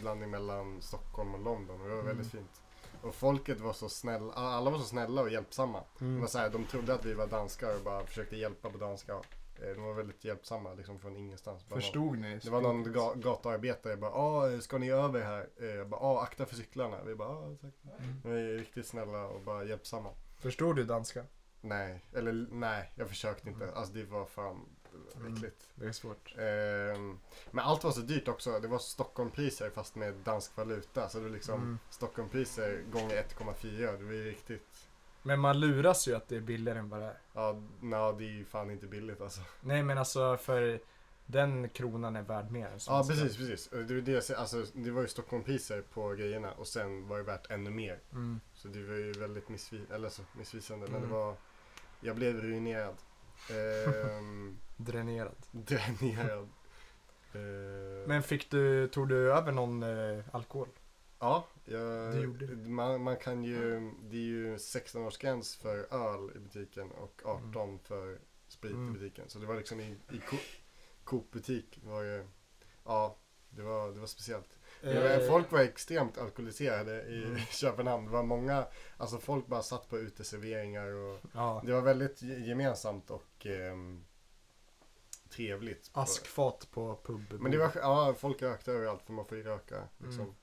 Speaker 2: blandning mellan Stockholm och London och det var väldigt
Speaker 1: Mm.
Speaker 2: fint. Och folket var så snälla, alla var så snälla och hjälpsamma. Det
Speaker 1: Mm.
Speaker 2: var så här, de trodde att vi var danskar och bara försökte hjälpa på danska. Eh, De var väldigt hjälpsamma liksom från ingenstans. Bara,
Speaker 1: Förstod ni?
Speaker 2: Det var någon ga- gatuarbetare bara ah, ska ni över här? Eh, Jag bara ah, akta för cyklarna. Vi bara ah, tack. De är riktigt snälla och bara hjälpsamma.
Speaker 1: Förstod du danska?
Speaker 2: Nej, eller nej, jag försökte inte.
Speaker 1: Mm.
Speaker 2: Alltså det var fan
Speaker 1: Mm.
Speaker 2: äckligt.
Speaker 1: Det är svårt.
Speaker 2: Ehm, men allt var så dyrt också. Det var Stockholmpriser fast med dansk valuta. Så det var liksom
Speaker 1: Mm.
Speaker 2: Stockholmpriser gånger 1,4. Det var ju riktigt.
Speaker 1: Men man luras ju att det är billigare än vad det är.
Speaker 2: Ja, nå, det är ju fan inte billigt alltså.
Speaker 1: Nej men alltså för den kronan är värd mer. än
Speaker 2: Ja,
Speaker 1: svenska.
Speaker 2: precis, precis. Och Det var, det, jag sa- alltså, det var ju Stockholmpriser på grejerna och sen var det värt ännu mer.
Speaker 1: Mm.
Speaker 2: Så det var ju väldigt missvi- eller så, missvisande. Men
Speaker 1: Mm.
Speaker 2: det var... Jag blev ruinerad. Ehm, [LAUGHS]
Speaker 1: Dränerad.
Speaker 2: dränerad. Ehm,
Speaker 1: Men fick du, tog du över någon eh, alkohol?
Speaker 2: Ja, jag,
Speaker 1: Du gjorde det.
Speaker 2: Man, man kan ju, det är ju 16-årsgräns för öl i butiken och 18 för sprit
Speaker 1: Mm.
Speaker 2: i butiken. Så det var liksom i, i Coop- Coop-butik var ju, ja, det var, det var speciellt.
Speaker 1: Eh,
Speaker 2: Men Folk var extremt alkoholiserade i
Speaker 1: Mm.
Speaker 2: [LAUGHS] Köpenhamn. Det var många, alltså folk bara satt på uteserveringar och
Speaker 1: Ja.
Speaker 2: det var väldigt ge- gemensamt och ehm, trevligt. på-
Speaker 1: Askfat på pub.
Speaker 2: men det var, ja, folk rökte överallt för man får ju röka. Liksom.
Speaker 1: Mm.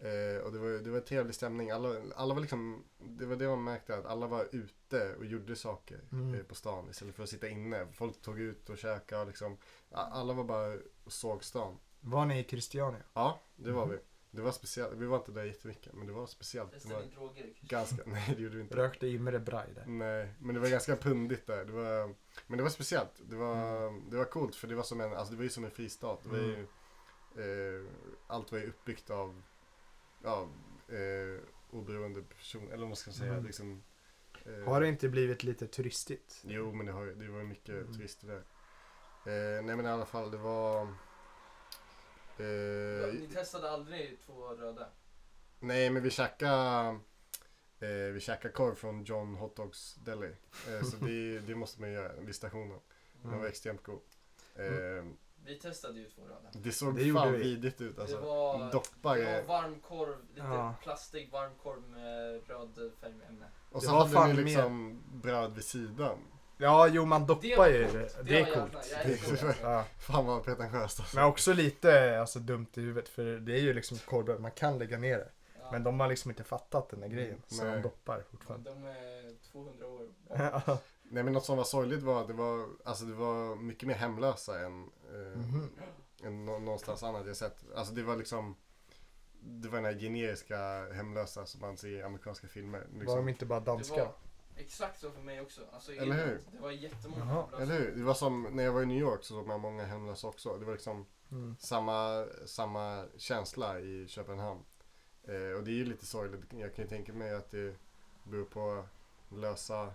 Speaker 2: Eh, och det var, det var trevlig stämning. Alla, alla var liksom, det var det man märkte, att alla var ute och gjorde saker
Speaker 1: Mm.
Speaker 2: eh, på stan istället för att sitta inne. Folk tog ut och käkade och liksom, a- alla var bara och såg stan.
Speaker 1: Var ni i Christiania?
Speaker 2: Ja, det var
Speaker 1: Mhm.
Speaker 2: vi. Det var speciellt, vi var inte där jättemycket, men det var speciellt. Det
Speaker 3: Testade
Speaker 2: var
Speaker 3: ni droger? Christian?
Speaker 2: ganska, [LAUGHS] nej det gjorde vi inte.
Speaker 1: Rökte Imre Braj där?
Speaker 2: Nej, men det var ganska pundigt där. Det var, men det var speciellt. Det var,
Speaker 1: Mm.
Speaker 2: det var coolt för det var, som en, alltså det var ju som en fristad. Det var ju,
Speaker 1: Mm.
Speaker 2: eh, allt var ju uppbyggt av ja, eh, oberoende personer, eller vad man ska säga.
Speaker 1: Mm.
Speaker 2: Liksom, eh,
Speaker 1: Har det inte blivit lite turistigt?
Speaker 2: Jo, men det, har, ju- det var ju mycket
Speaker 1: Mm.
Speaker 2: turister där. Eh, nej, men i alla fall, det var...
Speaker 3: Ja,
Speaker 2: Eh,
Speaker 3: Ni testade aldrig två röda?
Speaker 2: Nej, men vi käkade, eh, vi käkade korv från John Hot Dogs Deli. Eh,
Speaker 1: [LAUGHS]
Speaker 2: så det, det måste man göra vid stationen. Den var
Speaker 1: Mm.
Speaker 2: extremt god. Eh,
Speaker 3: Vi testade ju två röda.
Speaker 2: det såg
Speaker 1: Det gjorde
Speaker 2: fan
Speaker 1: vi.
Speaker 2: vidrigt ut
Speaker 3: Det
Speaker 2: alltså.
Speaker 3: var,
Speaker 2: Doppar
Speaker 3: det var
Speaker 2: eh,
Speaker 3: varm korv, lite
Speaker 1: Ja.
Speaker 3: plastig varm korv med röd färgämne.
Speaker 2: Och
Speaker 1: det
Speaker 2: så
Speaker 1: var
Speaker 2: hade
Speaker 1: fan
Speaker 2: ni liksom bröd vid sidan.
Speaker 1: Ja, jo man doppar
Speaker 3: var
Speaker 1: ju.
Speaker 3: coolt.
Speaker 1: Det,
Speaker 3: Det
Speaker 1: är
Speaker 3: var jävla-
Speaker 1: coolt.
Speaker 3: jag älskar det.
Speaker 1: Ja.
Speaker 2: Fan vad pretentiöst alltså.
Speaker 1: Men också lite alltså, dumt i huvudet för det är ju liksom korvbröd, man kan lägga ner det.
Speaker 3: Ja.
Speaker 1: [LAUGHS] Men de har liksom inte fattat den där grejen. Så
Speaker 2: Nej.
Speaker 1: de doppar
Speaker 3: Men
Speaker 1: fortfarande.
Speaker 3: de är
Speaker 1: [LAUGHS]
Speaker 3: 200 år
Speaker 1: Ja.
Speaker 2: Nej men något som var sorgligt var att det var, alltså det var mycket mer hemlösa än, eh,
Speaker 1: Mhm.
Speaker 2: än nå- någonstans annat jag sett. Alltså det var liksom, det var den här generiska hemlösa som man ser i amerikanska filmer.
Speaker 1: Var de
Speaker 2: Liksom.
Speaker 1: inte bara
Speaker 3: Det
Speaker 1: danska?
Speaker 3: var exakt så för mig också. Alltså, i
Speaker 2: Eller hur?
Speaker 3: Det var jättemånga
Speaker 1: Jaha.
Speaker 3: hemlösa.
Speaker 2: Eller hur? Det var som, när jag var i New York så såg man många hemlösa också. Det var liksom
Speaker 1: Mm.
Speaker 2: samma, samma känsla i Köpenhamn. Eh, och det är ju lite sorgligt. Jag kan ju tänka mig att det beror på lösa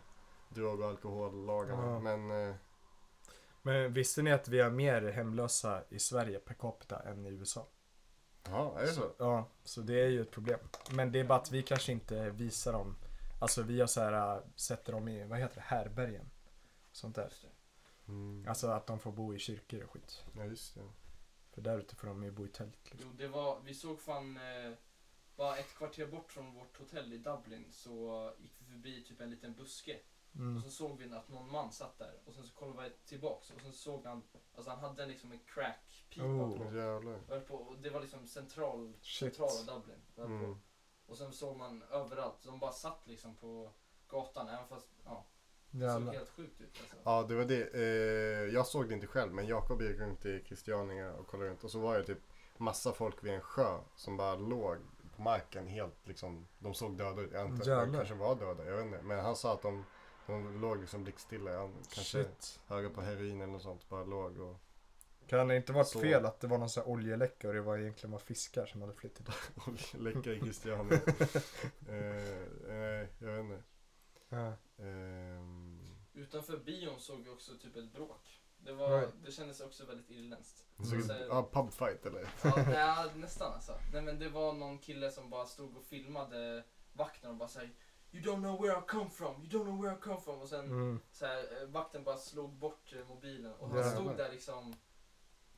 Speaker 2: drog och alkohollagarna.
Speaker 1: Ja.
Speaker 2: Men eh,
Speaker 1: Men visste ni att vi har mer hemlösa i Sverige per capita än i USA?
Speaker 2: ja, är det så?
Speaker 1: Ja, så det är ju ett problem. Men det är bara att vi kanske inte visar dem. Alltså vi har så här, äh, sätter dem i, vad heter det, härbergen. Sånt där.
Speaker 3: Just det.
Speaker 2: Mm.
Speaker 1: Alltså att de får bo i kyrkor och skit.
Speaker 2: Ja, just det.
Speaker 1: För där ute får de ju bo i tält. Liksom.
Speaker 3: Jo, det var, vi såg fan, eh, bara ett kvarter bort från vårt hotell i Dublin så gick vi förbi typ en liten buske.
Speaker 1: Mm.
Speaker 3: Och så såg vi att någon man satt där och sen så kollade vi tillbaks och sen såg han, alltså han hade liksom en crackpipa
Speaker 1: Oh.
Speaker 3: på.
Speaker 2: Åh, Jävlar.
Speaker 3: Och höll på. Och det var liksom central,
Speaker 1: Shit.
Speaker 3: centrala Dublin. Och höll på.
Speaker 2: Mm.
Speaker 3: Och sen såg man överallt, de bara satt liksom på gatan även fast, ja, det såg
Speaker 1: Jävlar.
Speaker 3: helt sjukt ut alltså.
Speaker 2: Ja, det var det. Eh, jag såg det inte själv, men Jakob gick runt i Christiania och kollade runt. Och så var det typ massa folk vid en sjö som bara låg på marken helt liksom. De såg döda ut. Jag antar, de
Speaker 1: Jävlar.
Speaker 2: kanske var döda, jag vet inte. Men han sa att de, de låg liksom blickstilla. Han kanske
Speaker 1: Shit.
Speaker 2: höga på heroin eller något sånt. Bara låg och... [LAUGHS]
Speaker 1: Kan det inte varit
Speaker 2: Så.
Speaker 1: fel att det var någon sån här oljeläcka och det var egentligen var fiskar som hade flyttat dit?
Speaker 2: och läcka i
Speaker 1: [LAUGHS]
Speaker 2: Christiania. eh, nej, jag vet inte.
Speaker 1: Ja.
Speaker 2: Ehm,
Speaker 3: Utanför bion såg vi också typ ett bråk. Det, var,
Speaker 1: Right. Mm.
Speaker 3: det kändes också väldigt irländskt.
Speaker 2: det såg ut-
Speaker 3: Så här-
Speaker 2: ja, pubfight eller?
Speaker 3: Ja, nej, nästan alltså. Nej men det var någon kille som bara stod och filmade vakten och bara säger You don't know where I come from, you don't know where I come from. Och sen
Speaker 1: Mm.
Speaker 3: så här, eh, vakten bara slog bort eh, mobilen och han
Speaker 1: Jävlar.
Speaker 3: stod där liksom.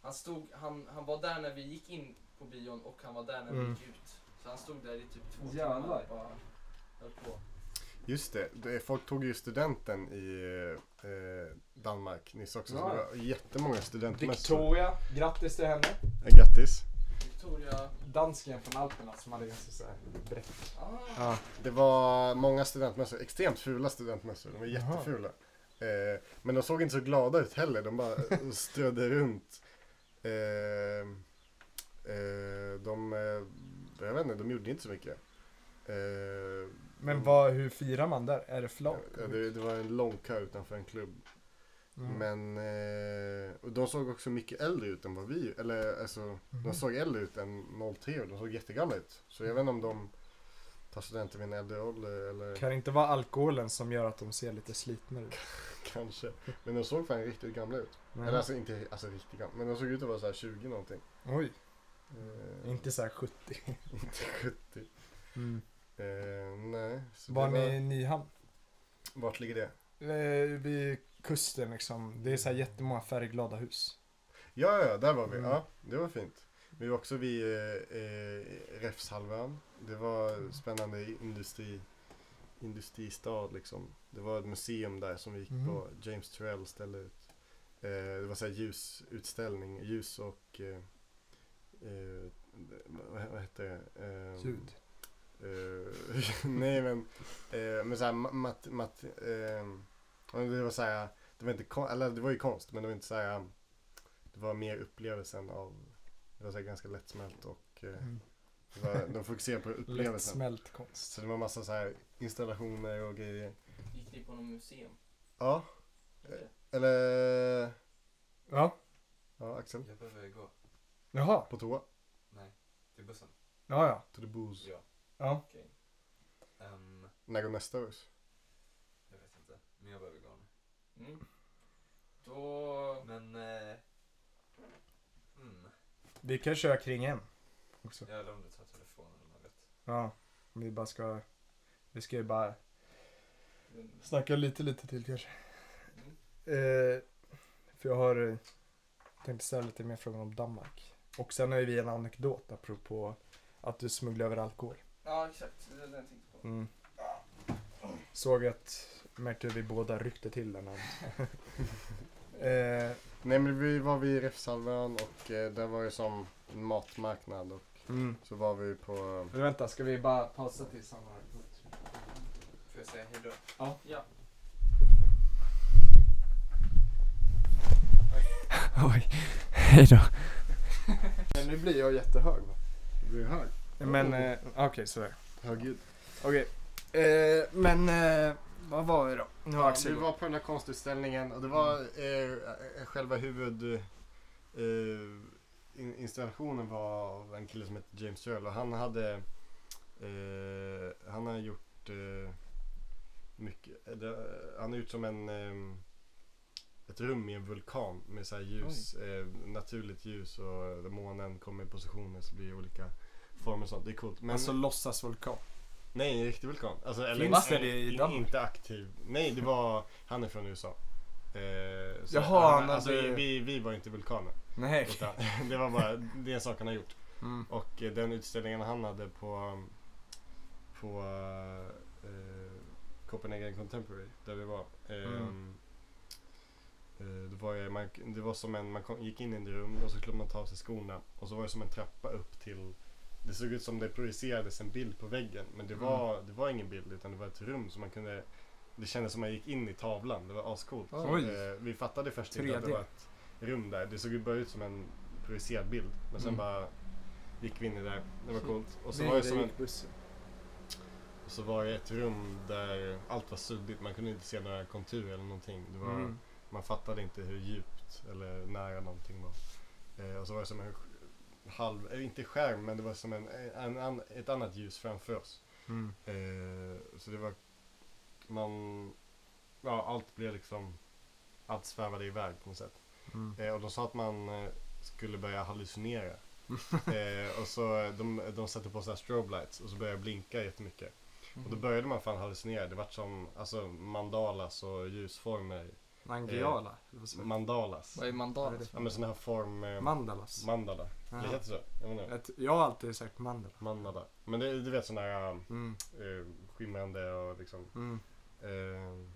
Speaker 3: Han, stod, han, han var där när vi gick in på bion och han var där när
Speaker 1: Mm.
Speaker 3: vi gick ut. Så han stod där i typ två
Speaker 4: Jävlar.
Speaker 3: timmar och bara höll på.
Speaker 2: Just det, det, folk tog ju studenten i eh, Danmark nyss också. Så
Speaker 4: Ja.
Speaker 2: det var jättemånga studentmässor.
Speaker 4: Victoria, grattis till henne.
Speaker 2: Eh, Grattis!
Speaker 3: Victoria,
Speaker 4: Dansken från Alperna som hade ganska såhär brett.
Speaker 3: ah,
Speaker 1: Ja.
Speaker 2: Det var många studentmössor, extremt fula studentmössor. De var
Speaker 1: Jaha.
Speaker 2: jättefula. Eh, men de såg inte så glada ut heller.
Speaker 1: [LAUGHS]
Speaker 2: De bara eh, strödde runt. Eh, eh, de, eh, jag vet inte, de gjorde inte så mycket. Eh,
Speaker 4: Mm.
Speaker 1: Men vad, hur firar man där? Är det flak?
Speaker 2: ja, det, det var en lång kö utanför en klubb.
Speaker 1: Mm.
Speaker 2: Men eh, och de såg också mycket äldre ut än vad vi, eller alltså
Speaker 1: Mm.
Speaker 2: de såg äldre ut än 03 och de såg jättegamla ut. Så jag vet inte om de tar studenter vid en äldre ålder eller
Speaker 1: Kan det inte vara alkoholen som gör att de ser lite slitna ut?
Speaker 2: [LAUGHS] kanske. Men de såg fan riktigt gamla ut.
Speaker 1: Nej.
Speaker 2: [LAUGHS] Eller alltså inte alltså, riktigt gamla, men de såg ut att vara så här 20 någonting.
Speaker 1: Oj,
Speaker 2: Eh,
Speaker 1: inte så här 70.
Speaker 2: inte 70.
Speaker 4: Mm.
Speaker 2: Eh, nej. Så
Speaker 1: Var
Speaker 2: det
Speaker 1: ni i Nyhamn?
Speaker 2: var- Vart ligger det?
Speaker 1: Eh, Vid kusten liksom. Det är så här jättemånga färgglada hus.
Speaker 2: Ja, ja, ja, där var vi.
Speaker 1: Mm.
Speaker 2: Ja, det var fint. Vi var också vid eh, eh, Räfshalvön. Det var spännande industri, industristad liksom. Det var ett museum där som vi gick
Speaker 1: Mm.
Speaker 2: på. James Turrell ställde ut. Eh, det var så här ljusutställning, ljus och eh, eh, vad, vad hette det? Eh,
Speaker 1: Ljud.
Speaker 2: Eh, [LAUGHS] nej men, eh, men såhär mat, mat, ehm, ja, men det var såhär, det var inte kon- eller det var ju konst men det var inte såhär, det var mer upplevelsen av, det var såhär ganska lättsmält och eh,
Speaker 1: Mm.
Speaker 2: det var, de fokuserade på upplevelsen.
Speaker 1: Lättsmält konst.
Speaker 2: Så det var massa såhär installationer och grejer.
Speaker 3: gick ni på något museum?
Speaker 2: Ja, eller,
Speaker 1: Ja,
Speaker 2: ja Axel,
Speaker 4: Jag behöver gå.
Speaker 1: jaha.
Speaker 2: på toa,
Speaker 4: Nej, till bussen.
Speaker 1: Ja, ja.
Speaker 2: to the booze.
Speaker 4: Ja.
Speaker 1: Ja.
Speaker 3: Okej.
Speaker 4: Ehm,
Speaker 2: När går nästa buss?
Speaker 4: jag vet inte. Men jag behöver gå nu.
Speaker 3: Mm. Då...
Speaker 4: Men... Eh, mm.
Speaker 1: Vi kan köra kring en. Också.
Speaker 4: Jag undrar om du tar telefonen eller något.
Speaker 1: Ja. Vi bara ska... Vi ska ju bara snacka lite, lite till kanske.
Speaker 3: Mm.
Speaker 1: Eh, för jag har eh, tänkte ställa lite mer frågor om Danmark. Och sen har ju vi en anekdot apropå att du smugglar över alkohol.
Speaker 3: Ja, exakt. Det var det jag tänkte på.
Speaker 1: Mm. Såg att, märkte hur vi båda ryckte till den. här.
Speaker 4: [LAUGHS]
Speaker 1: eh,
Speaker 2: Nej men vi var vid Räfshalvön och eh, där var det som en matmarknad och
Speaker 1: mm.
Speaker 2: så var vi på
Speaker 4: Men vänta, ska vi bara pausa tills han har gått?
Speaker 3: Får jag säga hejdå?
Speaker 4: Ja.
Speaker 3: Ja.
Speaker 4: Oj, hej då.
Speaker 1: Men nu blir jag jättehög va?
Speaker 2: Vi hög.
Speaker 1: Men, eh, okej så är det.
Speaker 2: Högljudd.
Speaker 1: Okej. Eh, men, eh, vad var vi då? Nu har
Speaker 2: Ja,
Speaker 1: Axel
Speaker 2: vi
Speaker 1: gått.
Speaker 2: var på den här konstutställningen och det var eh, själva huvud eh, in, installationen var av en kille som hette James Earl och han hade eh, han har gjort eh, mycket. Det, han är ut som en... ehm, Ett rum i en vulkan med så här ljus, eh, naturligt ljus och eh, månen kommer i positioner så blir det olika former och sånt. Det är coolt. Men
Speaker 1: Alltså låtsas vulkan.
Speaker 2: nej, en riktig vulkan. Alltså, eller,
Speaker 1: Finns
Speaker 2: en-
Speaker 1: det det i
Speaker 2: en-
Speaker 1: Danmark?
Speaker 2: Inte aktiv. Nej, det var... Han är från USA. Eh, så
Speaker 1: Jaha,
Speaker 2: han,
Speaker 1: han
Speaker 2: alltså,
Speaker 1: hade-
Speaker 2: vi, vi var inte vulkaner.
Speaker 1: Nej.
Speaker 2: Utan, [LAUGHS] det var bara, det är en sak han har gjort.
Speaker 1: Mm.
Speaker 2: Och eh, den utställningen han hade på, på eh, Copenhagen Contemporary, där vi var. Eh,
Speaker 1: Mm.
Speaker 2: eh, det, var ju, man, det var som en, man kom, gick in i ett rum och så skulle man ta av sig skorna. Och så var det som en trappa upp till, det såg ut som det projicerades en bild på väggen. Men
Speaker 1: Mm.
Speaker 2: det var, det var ingen bild utan det var ett rum som man kunde, det kändes som man gick in i tavlan. Det var ascoolt.
Speaker 1: Oj.
Speaker 2: Eh, vi fattade först inte att det
Speaker 1: 3D.
Speaker 2: var ett rum där. Det såg ju bara ut som en projicerad bild. Men sen
Speaker 1: Mm.
Speaker 2: bara gick vi in i det där. Det var coolt. Och så var det, som en, och så var det ett rum där allt var suddigt. Man kunde inte se några konturer eller någonting. Det var,
Speaker 1: Mm.
Speaker 2: Man fattade inte hur djupt eller nära någonting var. Eh, och så var det som en sk- halv, eh, inte skärm, men det var som en, en, an- ett annat ljus framför oss.
Speaker 1: Mm.
Speaker 2: Eh, så det var, man, ja allt blev liksom, allt svävade iväg på något sätt.
Speaker 1: Mm.
Speaker 2: Eh, och de sa att man eh, skulle
Speaker 1: [LAUGHS]
Speaker 2: börja hallucinera. eh, och så eh, de, de satte på så här strobe lights och så började det blinka jättemycket. Och
Speaker 1: Mhm.
Speaker 2: då började man fan hallucinera. Det vart som alltså, mandalas och ljusformer.
Speaker 1: Nangiala. eller vad säger man?
Speaker 2: Mandalas.
Speaker 3: Vad är mandala?
Speaker 2: Ja men sådana här form... Eh,
Speaker 1: Mandalas.
Speaker 2: mandala.
Speaker 1: Ja.
Speaker 2: Det heter så? Jag vet inte.
Speaker 1: Jag t- Jag har alltid sagt mandala.
Speaker 2: Mandala. Men det, du vet sådana här
Speaker 1: Mm.
Speaker 2: eh, skimrande och liksom...
Speaker 1: Mm.
Speaker 2: Eh,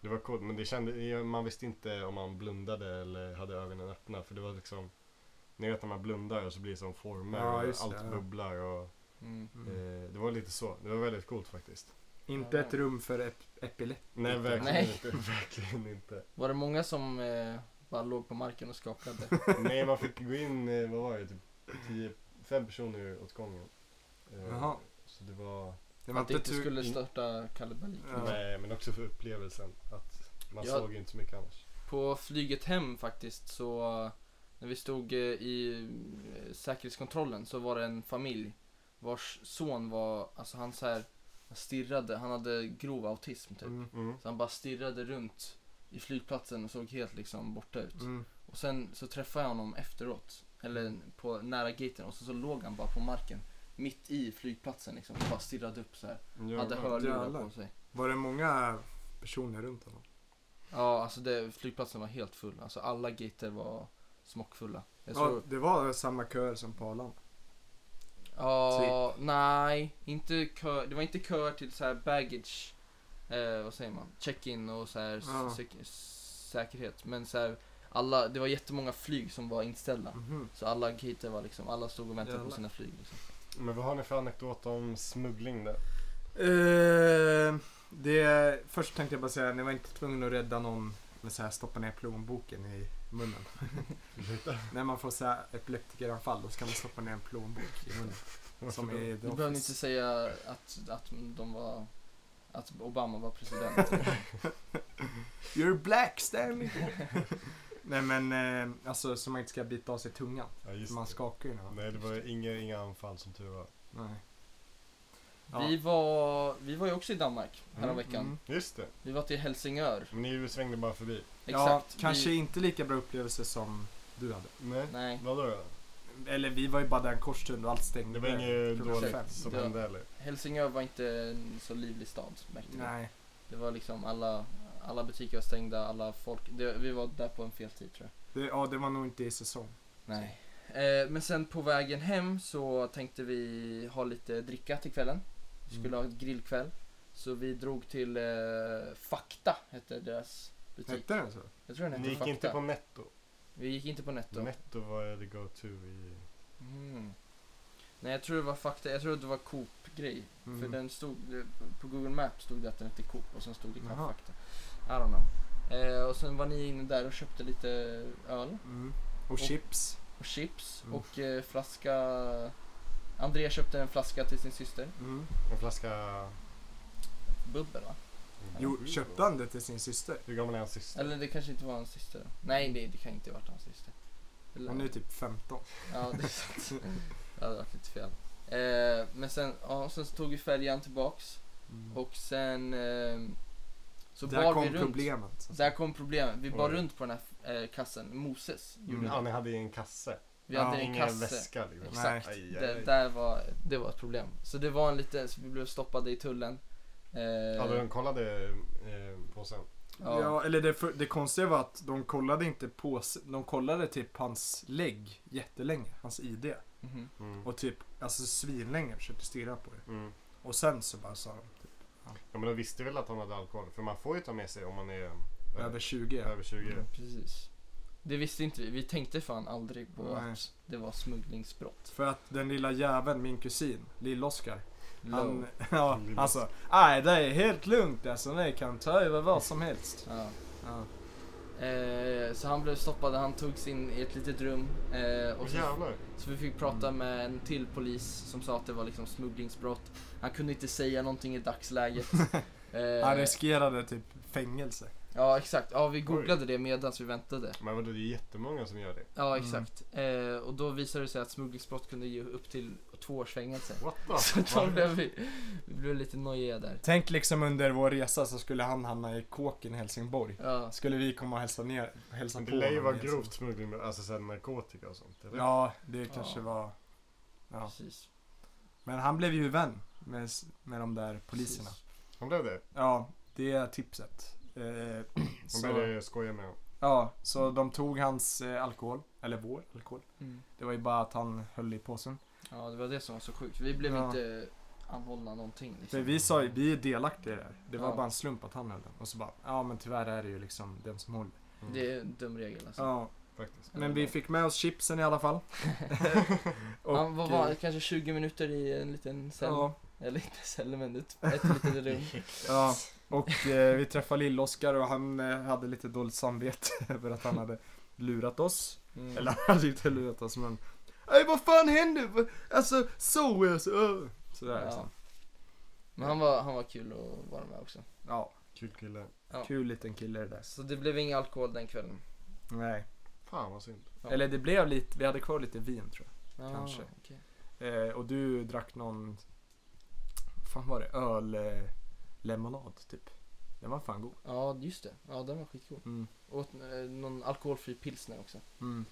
Speaker 2: det var coolt men det kände, man visste inte om man blundade eller hade ögonen öppna för det var liksom Ni vet när man blundar och så blir det som former
Speaker 1: Ja,
Speaker 2: och
Speaker 1: just det,
Speaker 2: allt
Speaker 1: ja.
Speaker 2: bubblar och
Speaker 3: Mm.
Speaker 1: Mm.
Speaker 2: eh, Det var lite så, det var väldigt coolt faktiskt
Speaker 1: Inte ett rum för ep- epileptiker.
Speaker 2: Nej
Speaker 1: Inte.
Speaker 2: verkligen
Speaker 3: Nej.
Speaker 2: inte, [LAUGHS] verkligen inte
Speaker 3: Var det många som eh, bara låg på marken och skakade?
Speaker 2: Nej man fick gå in, eh, vad var det, typ tio, fem personer åt gången eh,
Speaker 1: Jaha.
Speaker 2: Så det var,
Speaker 1: Det var
Speaker 3: Att
Speaker 1: inte
Speaker 3: det inte
Speaker 1: tur.
Speaker 3: skulle starta kalabalik.
Speaker 1: Ja.
Speaker 2: nej men också för upplevelsen att man
Speaker 3: Ja.
Speaker 2: såg ju inte så mycket annars
Speaker 3: På flyget hem faktiskt så eh, när vi stod eh, i eh, säkerhetskontrollen så var det en familj vars son var, alltså han så här stirrade, han hade grov autism typ.
Speaker 1: Mm.
Speaker 2: mm.
Speaker 3: Så han bara stirrade runt i flygplatsen och såg helt liksom borta ut.
Speaker 1: Mm.
Speaker 3: Och sen så träffade jag honom efteråt, eller på nära gaten och så, så låg han bara på marken mitt i flygplatsen liksom och bara stirrade upp så här. Hade
Speaker 2: Jävlar.
Speaker 3: hörlurar
Speaker 1: jävlar.
Speaker 3: på sig.
Speaker 1: Var det många personer runt honom?
Speaker 3: Ja, alltså det, flygplatsen var helt full. Alltså alla gater var smockfulla. Jag
Speaker 1: Ja,
Speaker 3: såg,
Speaker 1: det var samma köer som på Arlanda.
Speaker 3: ja,
Speaker 1: typ.
Speaker 3: nej, inte kö, det var inte köer till så här baggage, eh, vad säger man, check-in och så här s-
Speaker 1: Ja.
Speaker 3: säk- säkerhet. Men så här, alla, det var jättemånga flyg som var inställda.
Speaker 1: Mhm.
Speaker 3: Så alla gater var liksom, alla stod och väntade på
Speaker 1: Jävlar.
Speaker 3: sina flyg. Liksom.
Speaker 2: Men vad har ni för anekdot om smuggling där?
Speaker 1: Eh, det, först tänkte jag bara säga, ni var inte tvungna att rädda någon med så här stoppa ner plånboken i munnen. [LAUGHS] När man får så här epileptikeranfall då ska man stoppa ner en plånbok i munnen. Som i The
Speaker 3: Du behöver inte
Speaker 1: Office.
Speaker 3: säga att, att de var, att Obama
Speaker 1: [LAUGHS]
Speaker 3: var president.
Speaker 1: You're black Stanley! [LAUGHS] Nej men eh, alltså så man inte ska bita av sig tungan.
Speaker 2: Ja, just
Speaker 1: Man
Speaker 2: det.
Speaker 1: skakar ju när man...
Speaker 2: Nej, det var inga, inga anfall som tur var.
Speaker 1: Nej.
Speaker 3: Vi var, vi var ju också i Danmark häromveckan.
Speaker 1: Mm, mm.
Speaker 2: Just det,
Speaker 3: Vi var till Helsingör.
Speaker 2: men ni svängde bara förbi.
Speaker 3: Exakt.
Speaker 1: Ja, kanske
Speaker 3: Vi,
Speaker 1: inte lika bra upplevelse som du hade.
Speaker 2: Nej,
Speaker 3: nej,
Speaker 2: vadå då?
Speaker 1: Eller vi var ju bara där en kort stund och allt stängde.
Speaker 2: Det var inget
Speaker 1: klockan
Speaker 2: dåligt
Speaker 1: fem.
Speaker 2: som
Speaker 3: Det-
Speaker 2: hände eller?
Speaker 3: Helsingör var inte en så livlig stad märkte vi.
Speaker 1: Nej.
Speaker 3: Det var liksom alla, alla butiker var stängda, alla folk. Det, vi var där på en fel tid tror jag.
Speaker 1: Det, ja, det var nog inte i säsong.
Speaker 3: Nej. Eh, men sen på vägen hem så tänkte vi ha lite dricka till kvällen. Vi skulle
Speaker 1: Mm.
Speaker 3: ha ett grillkväll. Så vi drog till eh, Fakta, hette deras butik.
Speaker 1: Hette den så?
Speaker 3: Jag tror den hette
Speaker 2: Ni gick
Speaker 3: Fakta.
Speaker 2: inte på netto?
Speaker 3: Vi gick inte på Netto.
Speaker 2: Netto var the go-to i...
Speaker 3: Mm. Nej, jag tror det var Fakta, jag tror det var Coop-grej. För
Speaker 1: Mm.
Speaker 3: den stod, på Google Maps stod det att den hette Coop och sen stod det
Speaker 1: Jaha.
Speaker 3: knappt fakta. I don't know. Eh, och sen var ni inne där och köpte lite öl
Speaker 1: Mm. Och, chips.
Speaker 3: och chips
Speaker 1: Mm.
Speaker 3: och eh, flaska... Andrea köpte en flaska till sin syster.
Speaker 1: Mm.
Speaker 2: En flaska...
Speaker 3: Bubbel va?
Speaker 1: Jo, köpte han det till sin syster?
Speaker 2: Hur gammal är hans syster?
Speaker 3: Eller det kanske inte var hans syster. Nej, det, det kan inte ha varit hans syster. Eller-
Speaker 1: Hon är typ 15.
Speaker 3: Ja, det är sant. det hade varit lite fel. Eh, men sen, ja, sen så tog vi färjan tillbaks.
Speaker 1: Mm.
Speaker 3: Och sen eh, Så
Speaker 5: Där
Speaker 3: bar
Speaker 5: kom
Speaker 3: vi runt.
Speaker 5: problemet.
Speaker 3: Där kom problemen. Vi bar
Speaker 2: Oj.
Speaker 3: runt på den här eh, kassen. Moses gjorde
Speaker 1: Mm.
Speaker 2: Mm. Ja,
Speaker 3: det.
Speaker 2: ni hade ju en kasse.
Speaker 3: Vi
Speaker 1: Ja,
Speaker 3: hade en
Speaker 2: Ingen
Speaker 3: kasse.
Speaker 2: väska liksom.
Speaker 3: Exakt.
Speaker 2: Aj, aj,
Speaker 3: Det,
Speaker 2: aj.
Speaker 3: där var, det var ett problem. Så det var en liten, så vi blev stoppade i tullen. Eh,
Speaker 2: Ja, de kollade eh, påsen.
Speaker 1: Ja.
Speaker 3: ja.
Speaker 1: eller det, för- det konstiga var att de kollade inte på, s- de kollade typ hans lägg jättelänge, hans ID.
Speaker 3: mhm.
Speaker 2: Mm.
Speaker 1: Och typ, alltså svinlänge försökte stirra på det.
Speaker 2: Mm.
Speaker 1: Och sen så bara sa de, typ,
Speaker 2: Ja, men de visste väl att han hade alkohol. För man får ju ta med sig om man är
Speaker 1: över 20.
Speaker 2: över 20.
Speaker 1: Mm.
Speaker 3: Precis. Det visste inte vi. Vi tänkte fan aldrig på
Speaker 1: Nej.
Speaker 3: att det var smugglingsbrott.
Speaker 1: För att den lilla jäveln, min kusin, Lill-Oskar. Han,
Speaker 3: Low.
Speaker 1: [LAUGHS] ja,
Speaker 2: Mm, Lill-Oskar.
Speaker 1: alltså, nej det är helt lugnt alltså, ni kan ta över vad som helst.
Speaker 3: Ja.
Speaker 1: Ja.
Speaker 3: Eh, så han blev stoppad, han togs in i ett litet rum. Eh,
Speaker 2: Åh
Speaker 3: och så,
Speaker 2: jävlar.
Speaker 3: så vi fick
Speaker 2: Mm.
Speaker 3: prata med en till polis som sa att det var liksom smugglingsbrott. Han kunde inte säga någonting i dagsläget.
Speaker 2: [LAUGHS]
Speaker 3: Eh,
Speaker 1: Han riskerade typ fängelse.
Speaker 3: ja exakt, ja vi googlade det medan vi väntade.
Speaker 2: Men vadå, det är jättemånga som gör det.
Speaker 3: Ja
Speaker 1: Mm.
Speaker 3: exakt. Eh, och då visade det sig att smugglingsbrott kunde ge upp till två års fängelse.
Speaker 2: What
Speaker 3: [LAUGHS] Så
Speaker 2: the
Speaker 3: då blev vi, vi blev lite nojiga där.
Speaker 1: Tänk liksom under vår resa så skulle han hamna i kåken i Helsingborg.
Speaker 3: Ja,
Speaker 1: Skulle vi komma och hälsa, ner, hälsa
Speaker 2: Men
Speaker 1: på
Speaker 2: det lär ju
Speaker 1: honom
Speaker 2: vara
Speaker 1: i Helsingborg.
Speaker 2: grovt smuggling med alltså, så här, narkotika och sånt. Eller?
Speaker 1: liksom. Ja, det kanske
Speaker 3: Ja.
Speaker 1: var... Ja.
Speaker 3: precis.
Speaker 1: Men han blev ju vän med, s- med de där poliserna.
Speaker 3: Precis.
Speaker 2: De blev det.
Speaker 1: Ja, det är tipset. Eh, [CLEARS THROAT]
Speaker 2: De
Speaker 1: så,
Speaker 2: började skoja med honom.
Speaker 1: ja, så de tog hans eh, alkohol, eller vår alkohol.
Speaker 3: Mm.
Speaker 1: Det var ju bara att han höll i påsen.
Speaker 3: Ja, det var det som var så sjukt. Vi blev
Speaker 1: Ja.
Speaker 3: inte anhållna någonting. Liksom.
Speaker 1: För vi sa ju, vi är delaktiga i det här. Det var
Speaker 3: Ja.
Speaker 1: bara en slump att han höll den. Och så bara, ja men tyvärr är det ju liksom den som håller.
Speaker 2: Mm,
Speaker 3: Det är en dum regel alltså.
Speaker 1: Ja,
Speaker 2: Faktiskt.
Speaker 1: men vi fick med oss chipsen i alla fall. Och,
Speaker 3: Han var, var
Speaker 1: eh,
Speaker 3: kanske 20 minuter i en liten cell.
Speaker 1: Ja,
Speaker 3: Eller inte cell, men ett, ett litet rum.
Speaker 1: [LAUGHS] ja. Och eh, vi träffade Lill-Oskar och han eh, hade lite dåligt samvete [LAUGHS] över att han hade lurat oss.
Speaker 3: Mm.
Speaker 1: Eller han hade inte lurat oss men Ey vad fan händer? Va- Alltså så är så ö." Sådär
Speaker 3: ja.
Speaker 1: liksom.
Speaker 3: Men han var, han var kul att vara med också.
Speaker 1: Ja,
Speaker 2: Kul kille.
Speaker 3: Ja.
Speaker 1: kul liten kille det där.
Speaker 3: Så det blev ingen alkohol den kvällen.
Speaker 1: Nej.
Speaker 2: Fan vad synd.
Speaker 3: Ja.
Speaker 1: Eller det blev lite, vi hade kvar lite vin tror
Speaker 3: Ja,
Speaker 1: Kanske.
Speaker 3: okej.
Speaker 1: jag. Eh, och du drack någon, fan var det, öl, eh, lemonad typ. Den var fan god.
Speaker 3: Ja, just det. Ja, den var skitgod.
Speaker 1: Mm.
Speaker 3: Åt eh, någon alkoholfri pilsner också.
Speaker 1: Mm.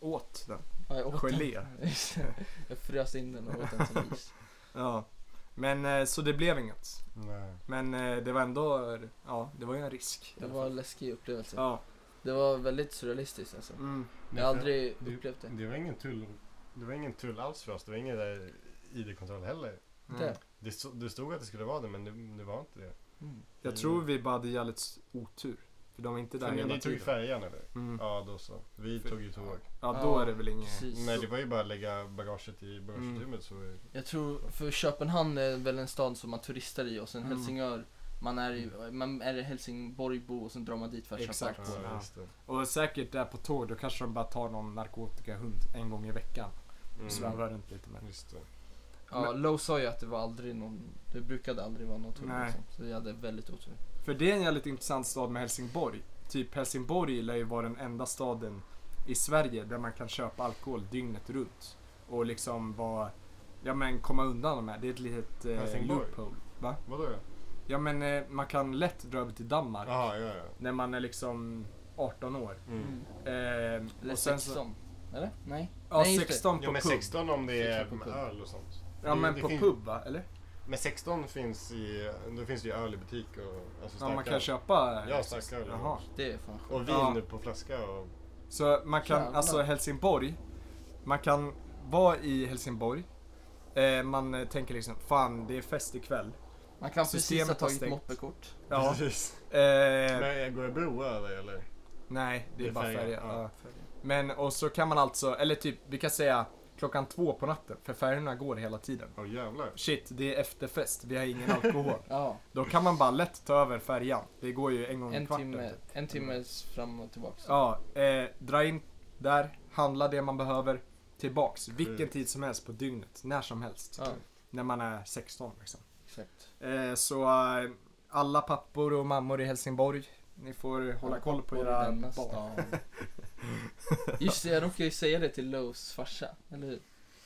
Speaker 1: Åt den.
Speaker 3: Ja, jag åt den.
Speaker 1: Gelé.
Speaker 3: [LAUGHS] Just det. jag frös in den och åt
Speaker 1: [LAUGHS]
Speaker 3: den som is.
Speaker 1: Ja. Men eh, så det blev inget.
Speaker 2: Nej.
Speaker 1: Men eh, det var ändå, ja det var ju en risk. i
Speaker 3: Det
Speaker 1: alla
Speaker 3: var
Speaker 1: fall.
Speaker 3: en läskig upplevelse.
Speaker 1: Ja.
Speaker 3: Det var väldigt surrealistiskt alltså.
Speaker 1: Mm.
Speaker 3: Jag har aldrig
Speaker 2: det-
Speaker 3: upplevt det.
Speaker 2: Det var ingen tull. Det var ingen tull alls för oss. Det var ingen där ID-kontroll heller.
Speaker 1: mm.
Speaker 3: Där.
Speaker 2: Det, stod- det stod att det skulle vara det men det, det var inte det.
Speaker 3: Mm.
Speaker 1: Jag tror vi bara hade jävligt s- otur. För de är inte där
Speaker 2: För
Speaker 1: hela
Speaker 2: ni tog ju
Speaker 1: tiden.
Speaker 2: färjan eller?
Speaker 1: Mm.
Speaker 2: Ja då så. Vi
Speaker 1: För-
Speaker 2: tog ju tåg.
Speaker 1: Ja, då är det väl inget.
Speaker 3: Precis.
Speaker 2: Nej det var ju bara att lägga bagaget
Speaker 1: Mm.
Speaker 2: i bagageutrymmet så.
Speaker 3: Jag tror, för Köpenhamn är väl en stad som man turistar i och sen
Speaker 1: Mm.
Speaker 3: Helsingör, man är, i- man är Helsingborgbo och sen drar man dit för att köpa
Speaker 1: Exakt.
Speaker 3: alkohol.
Speaker 2: Ja,
Speaker 1: Ja.
Speaker 2: just det.
Speaker 1: Och säkert där på tåg, då kanske de bara tar någon narkotikahund en gång i veckan.
Speaker 2: Mm.
Speaker 1: och Svävar runt lite med.
Speaker 2: Just det.
Speaker 3: Ja, Low sa ju att det var aldrig någon, det brukade aldrig vara någon tull
Speaker 1: Nej.
Speaker 3: liksom. Så vi hade väldigt otur.
Speaker 1: För det är en jävligt intressant stad med Helsingborg. Typ Helsingborg lär ju vara den enda staden i Sverige där man kan köpa alkohol dygnet runt. Och liksom vara, ja men komma undan de här. Det är ett litet eh,
Speaker 2: Helsingborg?
Speaker 1: loophole. Va?
Speaker 2: Vadå?
Speaker 1: Ja men eh, man kan lätt dra över till Danmark.
Speaker 2: Jaha, ja ja.
Speaker 1: När man är liksom 18 år.
Speaker 2: Mm.
Speaker 1: Ehm,
Speaker 3: Eller
Speaker 1: och sen
Speaker 3: 16.
Speaker 1: så-
Speaker 3: Eller? Nej?
Speaker 1: Ja,
Speaker 3: Nej, just det.
Speaker 1: 16 på
Speaker 2: Ja men
Speaker 1: pub.
Speaker 2: 16 om det är
Speaker 3: 16 på
Speaker 2: med
Speaker 3: pub.
Speaker 2: öl och sånt.
Speaker 1: Ja
Speaker 2: Det-
Speaker 1: men
Speaker 2: det
Speaker 1: på
Speaker 2: finns-
Speaker 1: pub va? Eller?
Speaker 2: Men 16 finns i, då finns det ju öl i butik och alltså
Speaker 1: Ja man kan
Speaker 2: starköl.
Speaker 1: köpa...
Speaker 2: Ja, starköl.
Speaker 1: Jaha.
Speaker 3: Det är fan sjukt.
Speaker 2: Och vin
Speaker 1: Ja.
Speaker 2: på flaska och...
Speaker 1: Så man kan,
Speaker 3: Jävlar.
Speaker 1: alltså Helsingborg. Man kan vara i Helsingborg. Eh, man eh, tänker liksom, fan det är fest ikväll.
Speaker 3: Man kan precis
Speaker 1: Systemet
Speaker 3: ha
Speaker 1: har
Speaker 3: tagit
Speaker 1: stängt.
Speaker 3: moppekort.
Speaker 1: Ja.
Speaker 2: Precis.
Speaker 1: Eh,
Speaker 2: Men går det broar över eller?
Speaker 1: nej, det är bara
Speaker 2: färja,
Speaker 1: färja.
Speaker 2: ja.
Speaker 1: Ja. Men och så kan man alltså, eller typ vi kan säga klockan två på natten. För färjorna går hela tiden.
Speaker 2: Åh jävlar.
Speaker 1: Shit, det är efterfest, vi har ingen [LAUGHS] alkohol.
Speaker 3: Ja,
Speaker 1: Då kan man bara lätt ta över färjan. Det går ju en gång i
Speaker 3: en
Speaker 1: kvarten.
Speaker 3: timme,
Speaker 1: typ.
Speaker 3: en timmes fram och tillbaks.
Speaker 1: Ja, eh, dra in där, handla det man behöver, tillbaks. Vilken
Speaker 2: Sjukt.
Speaker 1: tid som helst på dygnet, när som helst.
Speaker 3: Ja,
Speaker 1: När man är 16 liksom.
Speaker 3: exakt.
Speaker 1: Eh, så eh, alla pappor och mammor i Helsingborg, ni får hålla koll på
Speaker 3: Och i
Speaker 1: era
Speaker 3: denna
Speaker 1: barn.
Speaker 3: stan. Just det, jag råkade ju säga det till Lows farsa, eller hur?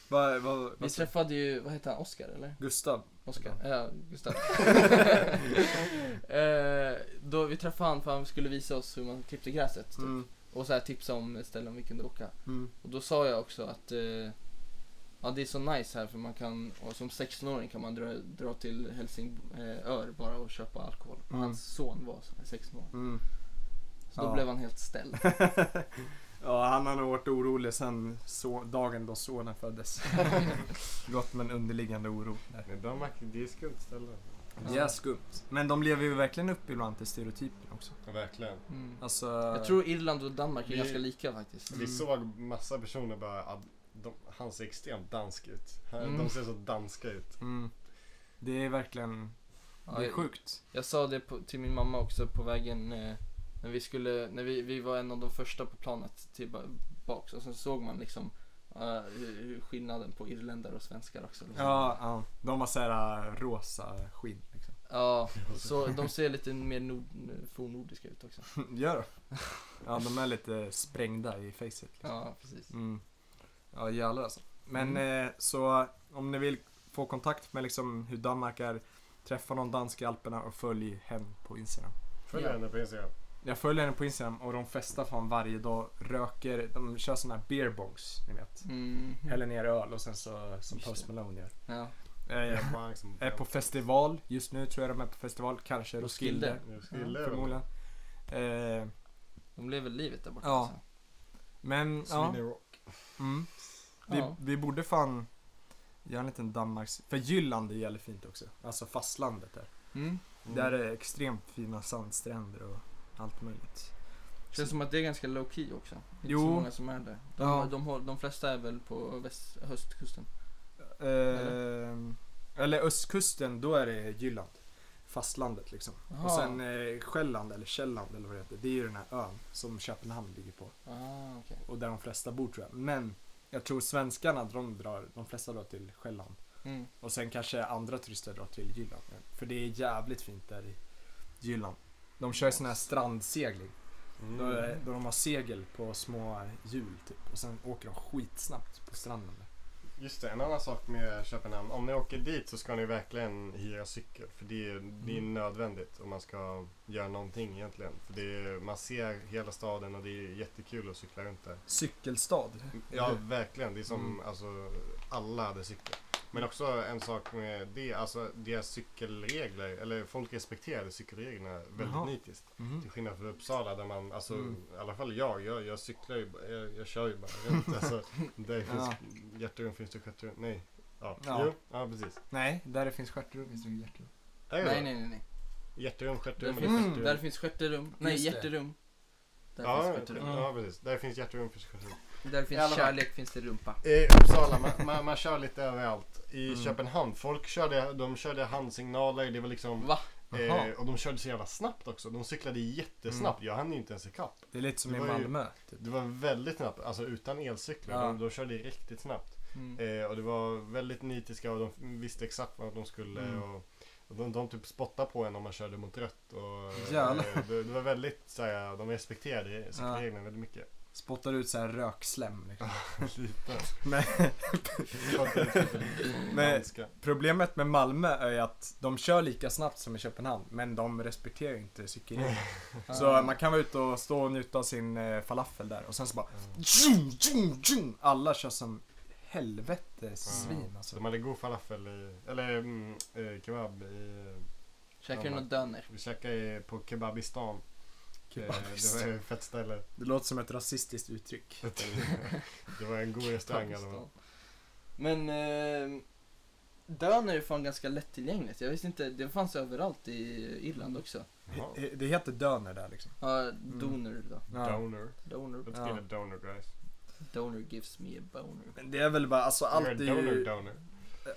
Speaker 1: Va, va, va,
Speaker 3: Vi träffade ju, vad heter han, Oscar eller?
Speaker 1: Gustav.
Speaker 3: Oscar? Ja, Gustav. [LAUGHS] eh, träffade han för han skulle visa oss hur man klippte gräset. Typ.
Speaker 2: Mm.
Speaker 3: Och så här tipsa om ställen vi kunde åka.
Speaker 2: Mm.
Speaker 3: Och då sa jag också att eh, ja, det är så nice här för man kan, och som 16-åring kan man dra, dra till Helsingör bara och köpa alkohol. Och
Speaker 1: Mm.
Speaker 3: hans son var så här 16 år.
Speaker 1: Mm. [LAUGHS]
Speaker 3: Så då
Speaker 1: Ja.
Speaker 3: blev han helt ställd.
Speaker 1: ja, han har nog varit orolig sen så, dagen då sonen
Speaker 3: [LAUGHS]
Speaker 1: föddes. Gott men underliggande oro. Där.
Speaker 2: Men Danmark, det är skumt ställe.
Speaker 1: Det är skumt. Men de lever ju verkligen upp ibland till stereotypen också.
Speaker 2: Ja, verkligen.
Speaker 3: Mm.
Speaker 1: Alltså,
Speaker 3: Jag tror Irland och Danmark är
Speaker 2: Vi-
Speaker 3: ganska lika faktiskt.
Speaker 1: Mm.
Speaker 2: Vi såg massa personer bara att de, han ser extremt dansk ut. Han-
Speaker 3: Mm.
Speaker 2: De ser så danska ut.
Speaker 1: Mm. Det är verkligen,
Speaker 3: Ja,
Speaker 1: det är
Speaker 3: jag-
Speaker 1: sjukt.
Speaker 3: Jag sa det på, till min mamma också på vägen eh, när vi skulle, när vi, vi var en av de första på planet tillbaks och sen såg man liksom eh, hur, hur skillnaden på irländare och svenskar också. Liksom.
Speaker 1: Ja, ja. De har såhär äh, rosa skinn liksom.
Speaker 3: Ja, så de ser lite mer nord, fornnordiska ut också.
Speaker 1: [LAUGHS] Gör de? Ja, de är lite sprängda i facet. Liksom.
Speaker 3: Ja, precis.
Speaker 1: Mm. Ja, jävlar alltså. Men
Speaker 3: Mm.
Speaker 1: eh, så om ni vill få kontakt med liksom hur Danmark är, träffa någon dansk i Alperna och följ henne på Instagram.
Speaker 2: Följ
Speaker 3: Ja.
Speaker 2: henne på Instagram.
Speaker 1: Jag följer henne på Instagram och de festar fan varje dag, röker, de kör såna här beer bongs, ni vet.
Speaker 3: Mm.
Speaker 1: Häller ner öl och sen så, som
Speaker 3: Just
Speaker 1: Post
Speaker 3: det.
Speaker 1: Malone gör.
Speaker 3: Ja.
Speaker 1: Eh,
Speaker 2: Jag bara liksom-
Speaker 1: är på festival, just nu tror jag de är på festival, kanske
Speaker 3: Roskilde.
Speaker 1: Roskilde.
Speaker 2: Jag skulle
Speaker 1: Förmodligen. Eh,
Speaker 3: De lever livet där borta.
Speaker 1: Ja.
Speaker 3: Alltså.
Speaker 1: men ja.
Speaker 2: Sweden Rock.
Speaker 1: Mm. Vi,
Speaker 3: Ja.
Speaker 1: vi borde fan göra en liten Danmarks... För Jylland är jävligt fint också. Alltså fastlandet där.
Speaker 3: Mm.
Speaker 1: Där är det extremt fina sandstränder och allt möjligt.
Speaker 3: Känns som att det är ganska low key också. Det är
Speaker 1: Jo.
Speaker 3: inte så många som är där. De,
Speaker 1: Ja.
Speaker 3: de, har- de flesta är väl på väst, höstkusten.
Speaker 1: Ehm, eller östkusten, då är det Jylland. Fastlandet liksom.
Speaker 3: Aha.
Speaker 1: Och sen eh, Själland eller Källand eller vad det heter. Det är ju den här ön som Köpenhamn ligger på.
Speaker 3: Ah, okej.
Speaker 1: Och där de flesta bor tror jag. Men jag tror svenskarna, de, drar, de flesta drar till Själland.
Speaker 3: mm.
Speaker 1: Och sen kanske andra turister drar till Jylland. För det är jävligt fint där i Jylland. De kör sån här strandsegling.
Speaker 2: Mm.
Speaker 1: Då, är- då de har segel på små hjul typ. Och sen åker de skitsnabbt på stranden. där.
Speaker 2: Just det, en annan sak med Köpenhamn. Om ni åker dit så ska ni verkligen hyra cykel. För det är, det är
Speaker 1: Mm.
Speaker 2: nödvändigt om man ska göra någonting egentligen. För det är, man ser hela staden och det är jättekul att cykla runt där.
Speaker 1: Cykelstad.
Speaker 2: Ja,
Speaker 1: Mm.
Speaker 2: verkligen. Det är som
Speaker 1: Mm.
Speaker 2: alltså, alla hade cykel. Men också en sak med det, alltså deras cykelregler, eller folk respekterade cykelreglerna väldigt
Speaker 1: Jaha.
Speaker 2: nitiskt. Till
Speaker 1: Mhm.
Speaker 2: skillnad från Uppsala där man, alltså
Speaker 1: Mm.
Speaker 2: i alla fall jag, jag, jag cyklar ju, bara- jag, jag kör ju bara
Speaker 1: [LAUGHS]
Speaker 2: runt. Alltså, där finns
Speaker 1: Ja.
Speaker 2: hjärterum, finns det sjätte rum? Nej. Ja,
Speaker 1: Ja.
Speaker 2: Jo, ja precis.
Speaker 1: Nej, där det finns stjärtrum finns det hjärtrum.
Speaker 2: Är det
Speaker 3: Nej,
Speaker 2: så?
Speaker 3: nej, nej. nej.
Speaker 2: Hjärterum,
Speaker 3: Där
Speaker 2: stjärterum eller
Speaker 3: finns,
Speaker 1: Mm.
Speaker 2: stjärterum?
Speaker 3: där finns sjätte rum. Nej,
Speaker 1: Just det.
Speaker 3: hjärterum. Där
Speaker 2: ja,
Speaker 3: finns Mm. sjätte rum.
Speaker 2: ja, precis. Där finns hjärterum, finns stjärterum.
Speaker 3: Där
Speaker 2: I alla
Speaker 3: finns
Speaker 2: fall.
Speaker 3: kärlek, finns det rumpa.
Speaker 2: I Uppsala, man, man, man kör lite överallt. I
Speaker 1: Mm.
Speaker 2: Köpenhamn, folk körde, de körde handsignaler, det var liksom...
Speaker 3: Va?
Speaker 1: Jaha. Mm.
Speaker 2: Eh, och de körde så jävla snabbt också. De cyklade jättesnabbt. Jag hann ju inte ens ikapp.
Speaker 1: Det är lite som
Speaker 2: Det
Speaker 1: i
Speaker 2: var ju-
Speaker 1: Malmö. Typ.
Speaker 2: Det var väldigt snabbt, alltså utan elcyklar.
Speaker 1: Ja.
Speaker 2: De, de körde riktigt snabbt.
Speaker 3: Mm.
Speaker 2: Eh, och det var väldigt nitiska och de visste exakt vad de skulle.
Speaker 1: Mm.
Speaker 2: Och, och de, de typ spottade på en om man körde mot rött. Och,
Speaker 1: Jävlar.
Speaker 2: eh, det, det var väldigt såhär, de respekterade cykelreglerna
Speaker 1: [LAUGHS]
Speaker 2: väldigt mycket.
Speaker 1: Spottar ut så här rökslem. Liksom. [LAUGHS]
Speaker 2: Lite.
Speaker 1: Men [LAUGHS] Nej.
Speaker 2: Danska.
Speaker 1: problemet med Malmö är ju att de kör lika snabbt som i Köpenhamn. Men de respekterar ju inte cykelregler.
Speaker 3: Ah.
Speaker 1: Så man kan vara ute och stå och njuta av sin eh, falafel där och sen så bara tjung, tjung, tjung. Alla kör som helvete svin alltså.
Speaker 2: De hade god falafel i, eller mm, eh, kebab i,
Speaker 3: Käkar du
Speaker 2: Ja,
Speaker 3: något döner?
Speaker 2: vi käkade i- på Kebabistan.
Speaker 1: Kebabistan.
Speaker 2: Eh, det var ett
Speaker 1: [LAUGHS]
Speaker 2: fett ställe.
Speaker 1: Det låter som ett rasistiskt uttryck.
Speaker 2: Det var en god restaurang i alla fall.
Speaker 3: Men eh, döner är fan ganska lättillgängligt. Jag visste inte, det fanns överallt i Irland också.
Speaker 2: Jaha.
Speaker 1: Det- Det heter döner där liksom.
Speaker 3: Ja,
Speaker 2: Mm.
Speaker 3: doner då.
Speaker 1: Ja.
Speaker 2: Donor.
Speaker 3: Donor.
Speaker 2: Let's
Speaker 1: Ja.
Speaker 2: get a donor guys.
Speaker 3: Donor gives me a boner.
Speaker 1: Men det är väl bara, alltså allt är
Speaker 2: You're a donor
Speaker 1: ju,
Speaker 2: donor.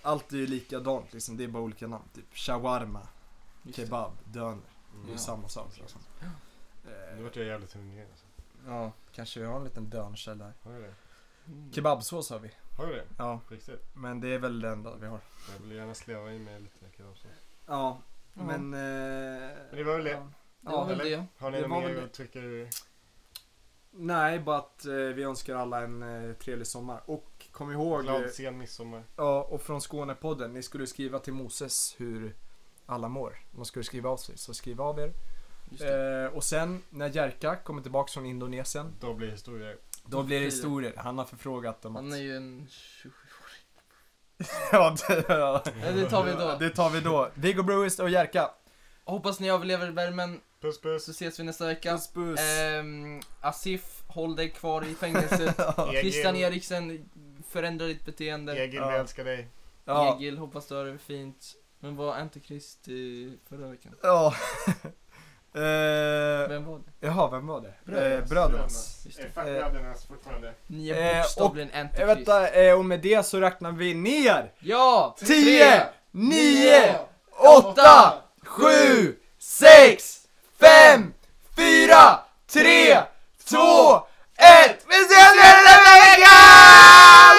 Speaker 1: allt är ju likadant liksom. Det är bara olika namn. Typ shawarma,
Speaker 3: Just det.
Speaker 1: kebab, döner. Det är
Speaker 3: Ja.
Speaker 1: ju samma sak liksom.
Speaker 2: Mm. Nu
Speaker 1: Eh,
Speaker 2: vart jag jävligt hungrig alltså.
Speaker 1: Ja, kanske vi har en liten dönerkälla här.
Speaker 2: Har du det?
Speaker 3: Mm.
Speaker 1: Kebabsås har vi.
Speaker 2: Har du det?
Speaker 1: Ja,
Speaker 2: På Riktigt?
Speaker 1: men det är väl det enda vi har.
Speaker 2: Jag vill gärna sleva i mig lite kebabsås.
Speaker 1: Ja,
Speaker 3: Ja.
Speaker 1: men... Eh,
Speaker 2: Men det var väl det.
Speaker 1: ja.
Speaker 3: Det var väl
Speaker 2: eller?
Speaker 3: det.
Speaker 2: Har ni
Speaker 1: Det
Speaker 2: något
Speaker 1: var
Speaker 2: mer
Speaker 1: väl
Speaker 2: att trycka ur?
Speaker 1: Nej, bara att eh, vi önskar alla en eh, trevlig sommar. Och kom ihåg... eh,
Speaker 2: Glad sen midsommar.
Speaker 1: Ja, och från Skånepodden. Ni skulle skriva till Moses hur alla mår. De skulle skriva av sig, så skriv av er.
Speaker 2: Just det.
Speaker 1: Eh, och sen när Jerka kommer tillbaka från Indonesien,
Speaker 2: Då blir det historia.
Speaker 1: då blir det historier. Han har förfrågat om
Speaker 3: Han är
Speaker 1: att...
Speaker 3: ju en 27-åring.
Speaker 1: [LAUGHS] Ja, det-
Speaker 3: Nej, det tar vi då.
Speaker 1: [LAUGHS] det tar vi då. Viggo Bruist och Jerka.
Speaker 3: Hoppas ni överlever värmen,
Speaker 2: Puss puss.
Speaker 3: så ses vi nästa vecka.
Speaker 1: Puss puss.
Speaker 3: Ehm, Asif, håll dig kvar
Speaker 2: [LAUGHS]
Speaker 3: i fängelset. Christian
Speaker 2: Egil,
Speaker 3: Eriksen, förändra ditt beteende.
Speaker 2: Egil, vi
Speaker 1: Ja. Eh,
Speaker 2: älskar dig.
Speaker 1: Ja.
Speaker 3: Egil, hoppas du har det fint. Men var antikrist i förra veckan?
Speaker 1: ja. [LAUGHS] eh,
Speaker 3: Vem var det?
Speaker 1: jaha, vem var det?
Speaker 3: Brödernas.
Speaker 1: Eh, Brödernas.
Speaker 3: Just
Speaker 2: Eh,
Speaker 3: det.
Speaker 2: Fuck
Speaker 1: Eh.
Speaker 2: brödernas fortfarande.
Speaker 3: Ni är
Speaker 1: Eh,
Speaker 3: bokstavligen
Speaker 1: Eh,
Speaker 3: antikrist.
Speaker 1: vänta, eh, och med det så räknar vi ner!
Speaker 3: Ja!
Speaker 1: 10, 9, 8,
Speaker 3: åtta,
Speaker 1: 7, 6, 5, 4, 3, 2, 1. Vi ses nästa vecka!